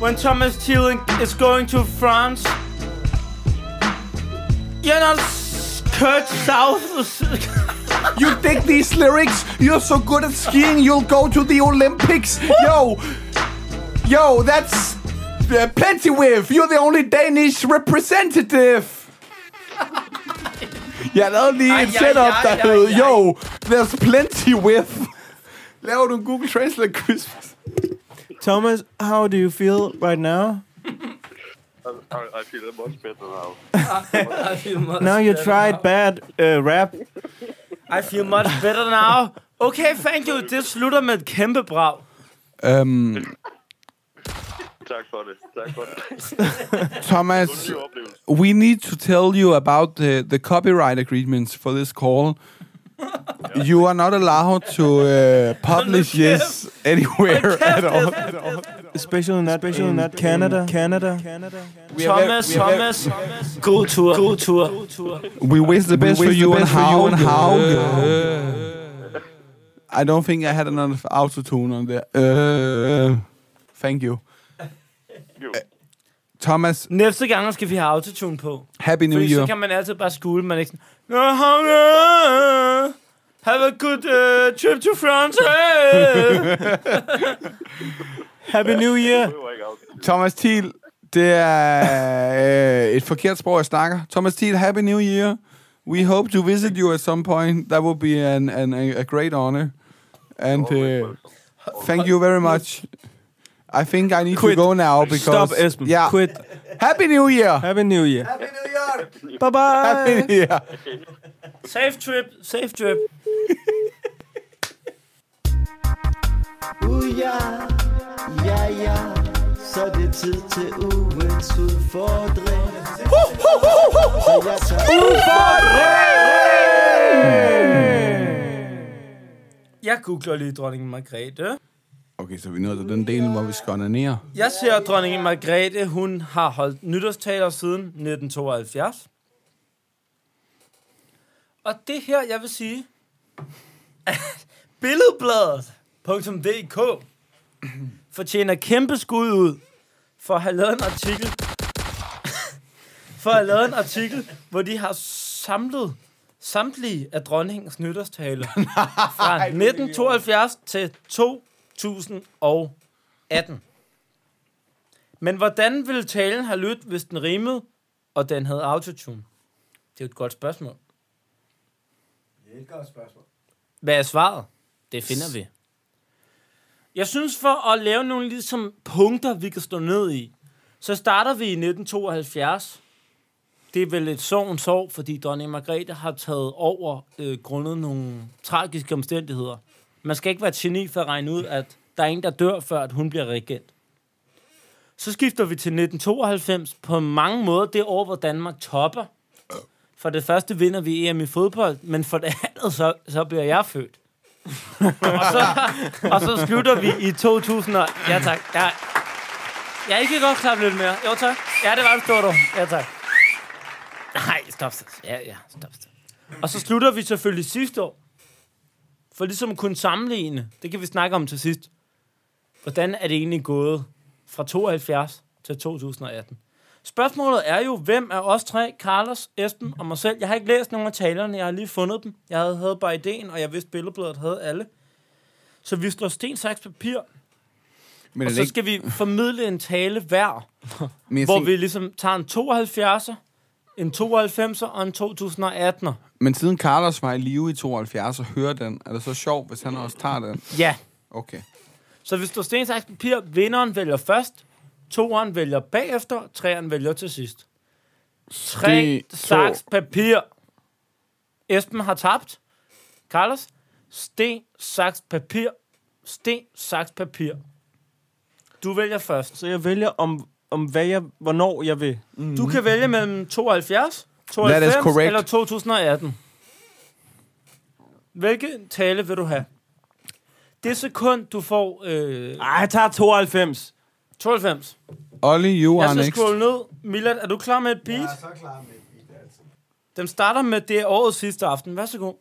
when Thomas Thielen is going to France? You're not s- Kurt South. You dig these lyrics? You're so good at skiing, you'll go to the Olympics. Yo, yo, that's uh, plenty with. You're the only Danish representative. Jeg lavede lige et Ej, ej, setup, ej, der ej, hed, ej. yo, there's plenty with. Laver du en Google Translate quiz? Thomas, how do you feel right now? I, I feel much better now. I feel much Now you better tried bad uh, rap. I feel much better now. Okay, thank you. Det slutter med et kæmpe brag. Øhm, tak for det. Tak for det. Thomas, we need to tell you about the, the copyright agreements for this call. you are not allowed to uh, publish this anywhere at all. Especially not, especially not Canada. Canada. Canada. Thomas, Thomas. God tur. God tur. We wish the best wish for the you and best for you how. and how. how. I don't think I had enough autotune on there. Uh, thank you. Uh, Thomas, Næste gang skal vi have autotune på. happy new Fordi så year. kan man altid bare skule, man er ikke sådan... "Nå, hang, øh, Have a good uh, trip to France. øh." Happy New Year. Thomas Thiel, det er øh, et forkert sprog, jeg snakker. Thomas Thiel, Happy New Year. We hope to visit you at some point. That would be an, an, a, a great honor. And uh, thank you very much. I think I need Quit. to go now because... Stop, Esben. Yeah. Quit. Happy New Year! Happy New Year. Happy New Year! Bye-bye. Happy New Year! safe trip. Safe trip. Uh, ja, ja, ja, så er det tid til ugens udfordring. Så jeg tager Jeg googler lige dronningen Margrethe. Okay, så vi nåede til den del, hvor vi skal onanere. Jeg ser, at dronningen Margrethe, hun har holdt nytårstaler siden 1972. Og det her, jeg vil sige, at billedbladet.dk fortjener kæmpe skud ud for at have lavet en artikel, for at have lavet en artikel, hvor de har samlet samtlige af dronningens nytårstaler fra 1972 til 2018. Men hvordan ville talen have lyttet, hvis den rimede, og den havde autotune? Det er jo et godt spørgsmål. et godt spørgsmål. Hvad er svaret? Det finder vi. Jeg synes, for at lave nogle ligesom punkter, vi kan stå ned i, så starter vi i 1972. Det er vel et sorgens år, fordi dronning Margrethe har taget over øh, grundet nogle tragiske omstændigheder. Man skal ikke være et geni for at regne ud, at der er ingen, der dør, før at hun bliver regent. Så skifter vi til 1992. På mange måder det år, hvor Danmark topper. For det første vinder vi EM i fodbold, men for det andet, så, så bliver jeg født. og, så, og så slutter vi i 2000 og... Ja, tak. Jeg, jeg kan godt klappe lidt mere. Jo, tak. Ja, det var det stort år. Ja, tak. stop, stop. Ja, ja, stop, stop. Og så slutter vi selvfølgelig sidste år. For ligesom at kunne sammenligne, det kan vi snakke om til sidst. Hvordan er det egentlig gået fra 72 til 2018? Spørgsmålet er jo, hvem af os tre, Carlos, Esben og mig selv, jeg har ikke læst nogen af talerne, jeg har lige fundet dem. Jeg havde, havde bare ideen, og jeg vidste, billedbladet havde alle. Så vi slår sten, saks, papir, Men Men er og det så ikke- skal vi formidle en tale hver, Men jeg hvor tænker- vi ligesom tager en 72'er, en 92'er og en 2018'er. Men siden Carlos var i live i 72 og hører den, er det så sjovt, hvis han også tager den? Ja. Okay. Så hvis du sten, saks, papir, vinderen vælger først, toeren vælger bagefter, treeren vælger til sidst. Tre, Sten, to. saks, papir. Esben har tabt. Carlos, sten, saks, papir. Sten, saks, papir. Du vælger først. Så jeg vælger om, om hvad jeg, hvornår jeg vil. Mm. Du kan vælge mellem 72, That is 92 correct. eller 2018. Hvilken tale vil du have? Det sekund, du får... Øh... Ej, jeg tager 92. 92. Olli, you jeg are skal next. scrolle ned. Milad, er du klar med et beat? Jeg er så klar med et beat, altså. Den starter med det er årets sidste aften. Værsågod.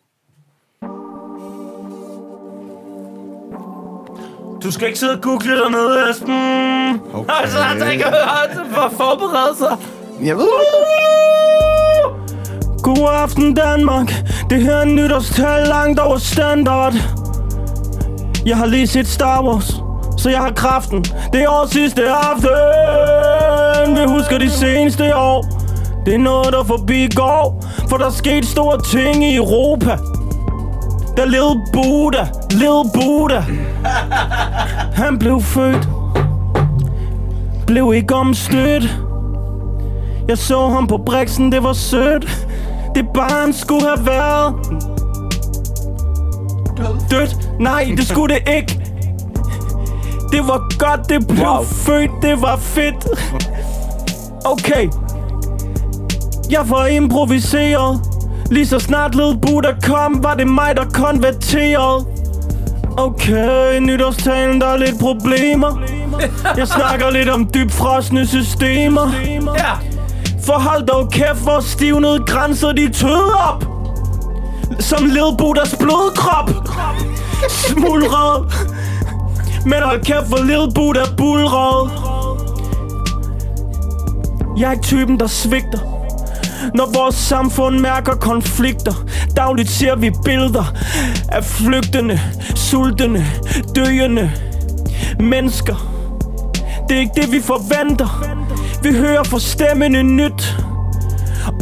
Du skal ikke sidde og google dernede, Esben. Okay. Altså, han har ikke hørt for at forberede sig. Jeg ved God aften Danmark Det her er en nytårstal langt over standard Jeg har lige set Star Wars Så jeg har kraften Det er årets sidste aften Vi husker de seneste år Det er noget der forbi går For der er sket store ting i Europa Der lille Buddha Lille Buddha Han blev født Blev ikke omstødt jeg så ham på Brixen, det var sødt Det barn skulle have været Dødt Nej, det skulle det ikke Det var godt, det blev wow. født Det var fedt Okay Jeg får improviseret Lige så snart led Buddha kom Var det mig, der konverterede Okay, nytårstalen, der er lidt problemer Jeg snakker lidt om dybfrosne systemer For hold dog kæft, hvor stivnede grænser de tød op Som led Buddhas blodkrop Smuldret Men hold kæft, hvor led Buddha bulrede Jeg er ikke typen, der svigter når vores samfund mærker konflikter Dagligt ser vi billeder Af flygtende, sultende, døende Mennesker Det er ikke det vi forventer Vi hører fra stemmende nyt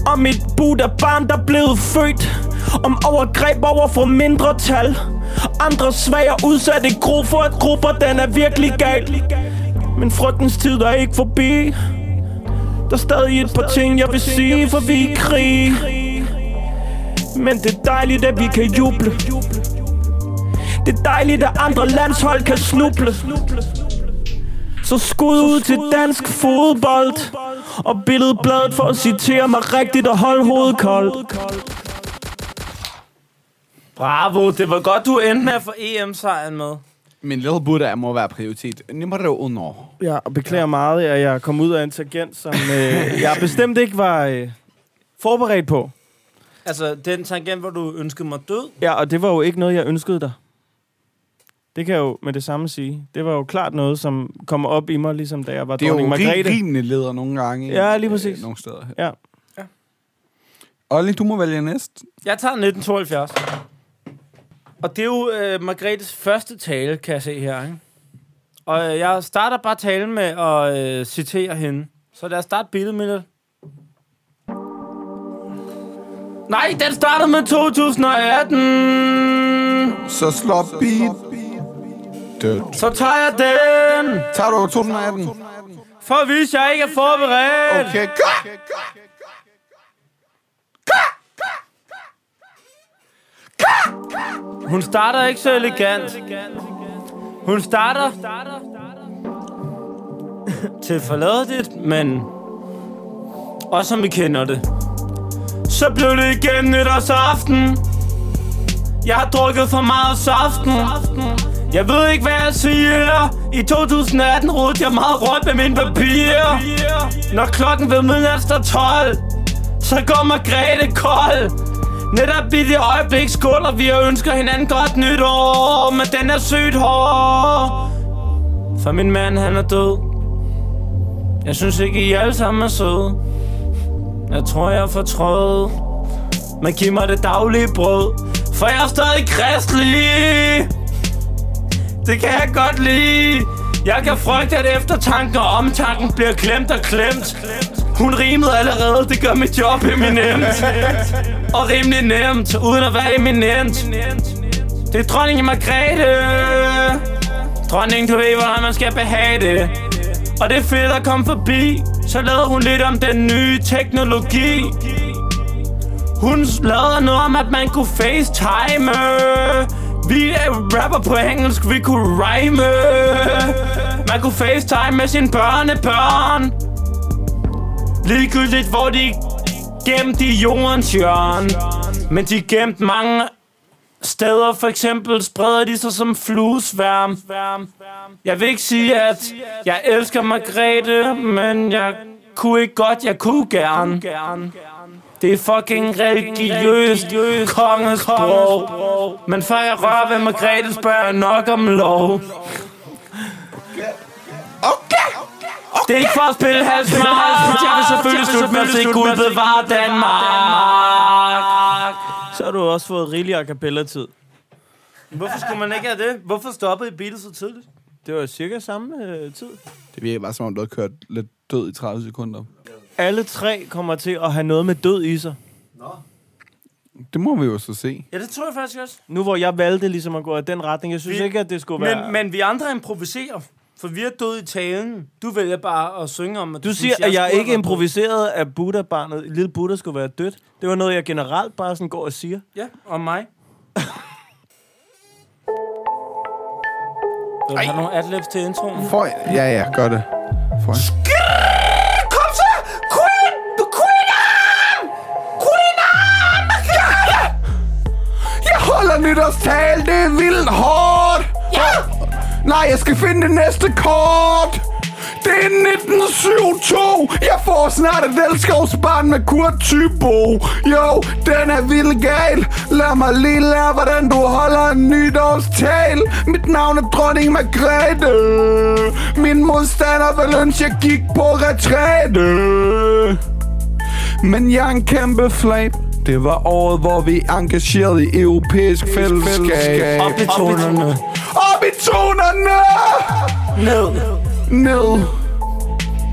Om et Buddha-barn der blev født Om overgreb over for mindretal Andre svage og udsatte grupper At grupper den er virkelig gal Men frygtens tid er ikke forbi der er stadig et par ting, jeg vil sige, for vi er i krig. Men det er dejligt, at vi kan juble. Det er dejligt, at andre landshold kan snuble. Så skud ud til dansk fodbold. Og billedbladet for at citere mig rigtigt og holde hovedet koldt. Bravo, det var godt, du endte med at få EM-sejren med. Men Little Buddha må være prioritet. Nummer under. Ja, og beklager meget, at jeg kom ud af en tangent, som øh, jeg bestemt ikke var øh, forberedt på. Altså, den tangent, hvor du ønskede mig død. Ja, og det var jo ikke noget, jeg ønskede dig. Det kan jeg jo med det samme sige. Det var jo klart noget, som kom op i mig, ligesom da jeg var Det er jo dronning Margrethe. ri- rimelig leder nogle gange. Ja, lige præcis. Øh, nogle steder. Ja. Olli, du må vælge næst. Jeg tager 1972. Og det er jo øh, Margrethes første tale, kan jeg se her, ikke? Og øh, jeg starter bare talen med at øh, citere hende. Så lad os starte billedet med det. Nej, den starter med 2018! Så slå beat. Død. Så tager jeg den! Tager du 2018? For at vise, at jeg ikke er forberedt! Okay, Hun starter ikke så elegant. Hun starter til forladeligt, men også som vi kender det. Så blev det igen nytårsaften. Jeg har drukket for meget saften. Jeg ved ikke, hvad jeg siger. I 2018 rodede jeg meget rundt med mine papirer. Når klokken ved midnat står 12, Så går Margrethe kold. Netop i det øjeblik skåler vi og ønsker hinanden godt nytår, men den er sygt hård. For min mand, han er død. Jeg synes ikke, I alle sammen er søde. Jeg tror, jeg er fortrød. Men giv mig det daglige brød, for jeg er stadig kristelig. Det kan jeg godt lide. Jeg kan frygte, at eftertanken og omtanken bliver klemt og klemt. Hun rimede allerede, det gør mit job eminent. Og rimelig nemt, uden at være eminent. Det er dronningen Margrethe. Dronning, du ved, hvordan man skal behage det. Og det er fedt at komme forbi. Så lavede hun lidt om den nye teknologi. Hun lavede noget om, at man kunne facetime. Vi er rapper på engelsk, vi kunne rhyme. Man kunne facetime med sine børnebørn. Ligegyldigt, hvor de er gemt i jordens hjørne. Men de er gemt mange steder. For eksempel spreder de sig som fluesværm. Jeg vil ikke sige, at jeg elsker Margrethe, men jeg kunne ikke godt, jeg kunne gerne. Det er fucking religiøst kongesprog. Men før jeg rører ved Margrethe, spørger jeg nok om lov. Det er ikke for at spille hals med hals, jeg vil selvfølgelig slutte med at se Gud bevare Danmark. Så har du også fået rigelig a cappella-tid. Hvorfor skulle man ikke have det? Hvorfor stoppede I Beatles så tidligt? Det var cirka samme øh, tid. Det virker bare, som om du har kørt lidt død i 30 sekunder. Alle tre kommer til at have noget med død i sig. Det må vi jo så se. Ja, det tror jeg faktisk også. Nu hvor jeg valgte ligesom at gå af den retning, jeg synes vi, ikke, at det skulle være... Men, men vi andre improviserer, for vi er døde i talen. Du vælger bare at synge om, at Du siger, at jeg ikke improviserede, at Buddha-barnet, lille Buddha skulle være dødt. Det var noget, jeg generelt bare sådan går og siger. Ja, om mig. Vil du have nogle adlibs til introen? Får jeg- Ja, ja, gør det. Får jeg. Kom så! Queen! Queenan! Queenan! Jeg holder nytårstal, det er vildt hårdt! Ja! Nej, jeg skal finde det næste kort! Det er 1972! Jeg får snart et elskovsbarn med Kurt Thybo! Jo, den er vildt gal! Lad mig lige lære, hvordan du holder en nytårstal! Mit navn er dronning Margrethe! Min modstander vil ønske, jeg gik på retræte! Men jeg er en kæmpe flab. Det var året, hvor vi engagerede i europæisk fællesskab. Op i tonerne. Op i tonerne! Ned. Ned.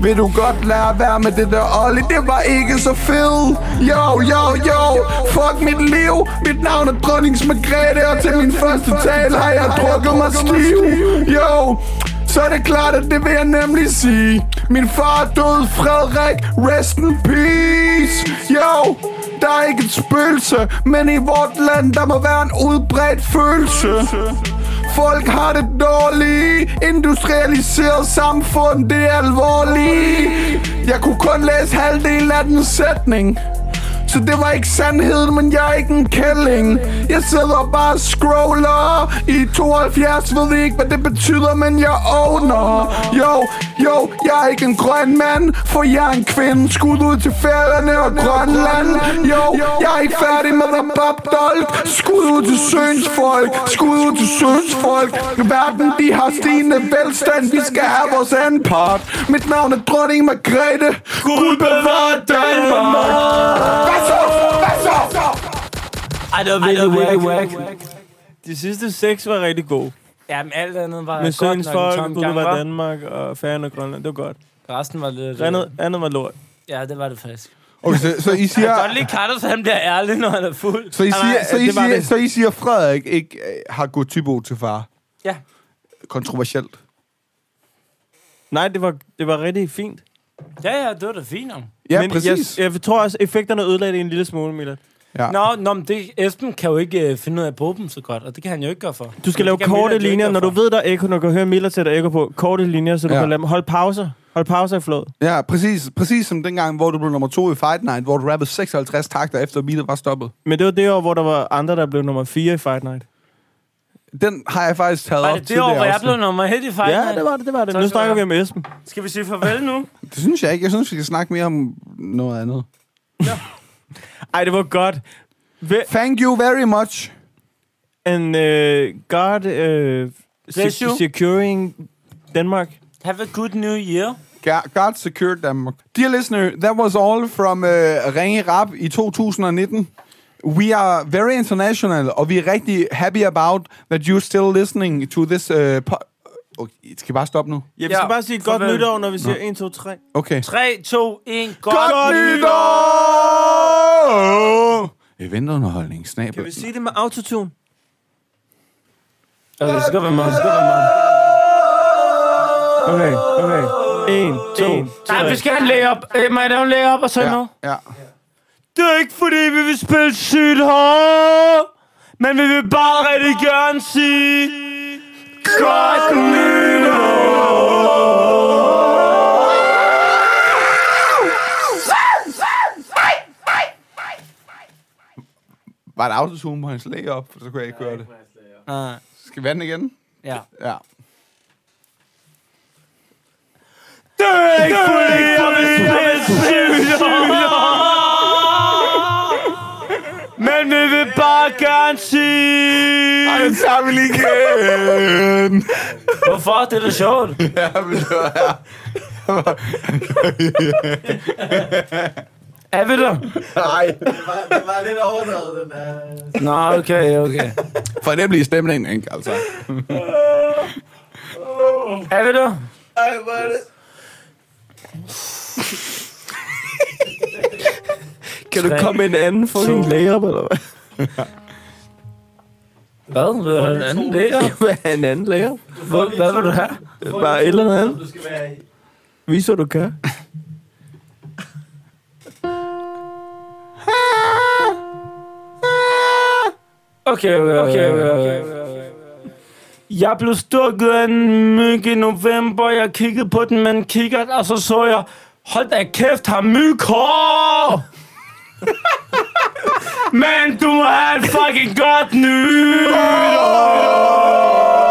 Vil du godt lade at være med det der Olli? Det var ikke så fedt. Jo, jo, jo. Fuck mit liv. Mit navn er Dronnings Margrethe, og til min første tale har jeg drukket mig stiv. Jo, så er det klart, at det vil jeg nemlig sige. Min far er død, Frederik. Rest in peace. Jo, der er ikke et spøgelse, men i vort land, der må være en udbredt følelse. Folk har det dårligt Industrialiseret samfund, det er alvorligt Jeg kunne kun læse halvdelen af den sætning så det var ikke sandheden, men jeg er ikke en kælling Jeg sidder bare og scroller I 72 ved ikke, hvad det betyder, men jeg owner Jo, jo, jeg er ikke en grøn mand For jeg er en kvinde Skud ud til færgerne og Grønland Jo, jeg er ikke færdig med rababdolk Skud ud til søns folk Skud ud til søns folk Verden, de har stigende velstand Vi skal have vores anden part Mit navn er dronning Margrethe Gud bevare Danmark Hvad så? Hvad så? Ej, det var virkelig whack, whack. De sidste seks var rigtig gode. Jamen, alt andet var Med godt Søens nok en folk, tom Gud gang, var hva'? Danmark og Færøerne og Grønland. Det var godt. Resten var lidt... øh, Andet, andet var lort. Ja, det var det faktisk. Okay, så, så I Jeg siger... kan godt lide Carlos, han bliver ærlig, når han er fuld. Så I Nej, siger, nej, så I det var siger, det. så I siger Frederik ikke øh, har gået typo til far? Ja. Kontroversielt. Nej, det var, det var rigtig fint. Ja, ja, det var da fint. om. Ja, men præcis. Jeg, jeg tror også, effekterne ødelagde det en lille smule, Milad. Ja. Nå, nå, men det, Esben kan jo ikke øh, finde ud af at bruge dem så godt, og det kan han jo ikke gøre for. Du skal lave korte linjer, når du ved, der er ekko, når du kan høre Miller sætter ekko på. Korte linjer, så du Ja. ja. kan lade dem. Hold pauser. Hold pauser i flod. Ja, præcis. Præcis som dengang, hvor du blev nummer to i Fight Night, hvor du rappede 56 takter efter beatet var stoppet. Men det var det år, hvor der var andre, der blev nummer 4 i Fight Night. Den har jeg faktisk taget Var op det det år, hvor jeg også. blev nummer et i fejl? Ja, det var det, det var det. Tak Nu skal snakker du vi have. om Esben. Skal vi sige farvel nu? Det synes jeg ikke. Jeg synes, vi skal snakke mere om noget andet. Ej, det var godt. Ve- Thank you very much. And uh, God uh, Bless se- you. securing Denmark. Have a good new year. God, God secure Denmark. Dear listener, that was all from uh, Ringe Rap i 2019. We are very international, og vi er rigtig happy about that you're still listening to this... Uh, po- okay, skal vi bare stoppe nu? Ja, vi skal bare sige godt farvel. nytår, når vi siger Nå. 1, 2, 3. Okay. 3, 2, 1, godt, Godt nytår! Eventunderholdning, snabel. Kan vi sige det med autotune? Okay, det skal være meget, det skal være Okay, meget. okay. 1, 2, Nej, vi skal have en layup. Øh, må jeg lave en layup og sådan Ja, noget? ja. Det er ikke fordi, vi vil spille sygt hårdt, men vi vil bare rigtig gerne sige... Godt Var der autotune på hans læge op, så kunne jeg ikke høre det. Nej. Skal vi have den igen? Ja. Ja. Det er ikke fordi, jeg vil spille sygt hårdt, men vi vil bare gerne sige... Ej, den tager vi lige igen. Hvorfor? Det er da sjovt. ja, men det var... Er vi der? Nej. Det var lidt overdrevet, den der. Nå, okay, okay. For det bliver stemningen, ikke? Altså. Er vi der? Ej, hvor er det... Kan du Tre, komme med en anden fucking layer, eller hvad? Hvad? Vil du have en anden læger? Hvad er en anden layer? Hvad, hvad vil du have? Bare et eller andet andet. Du skal være i. Vis, hvad du kan. Okay, okay, okay, okay, okay. Jeg blev stukket af en myg i november. Jeg kiggede på den med en kikkert, og så så jeg... Hold da kæft, har myg hår! Men du må have et fucking godt nytår!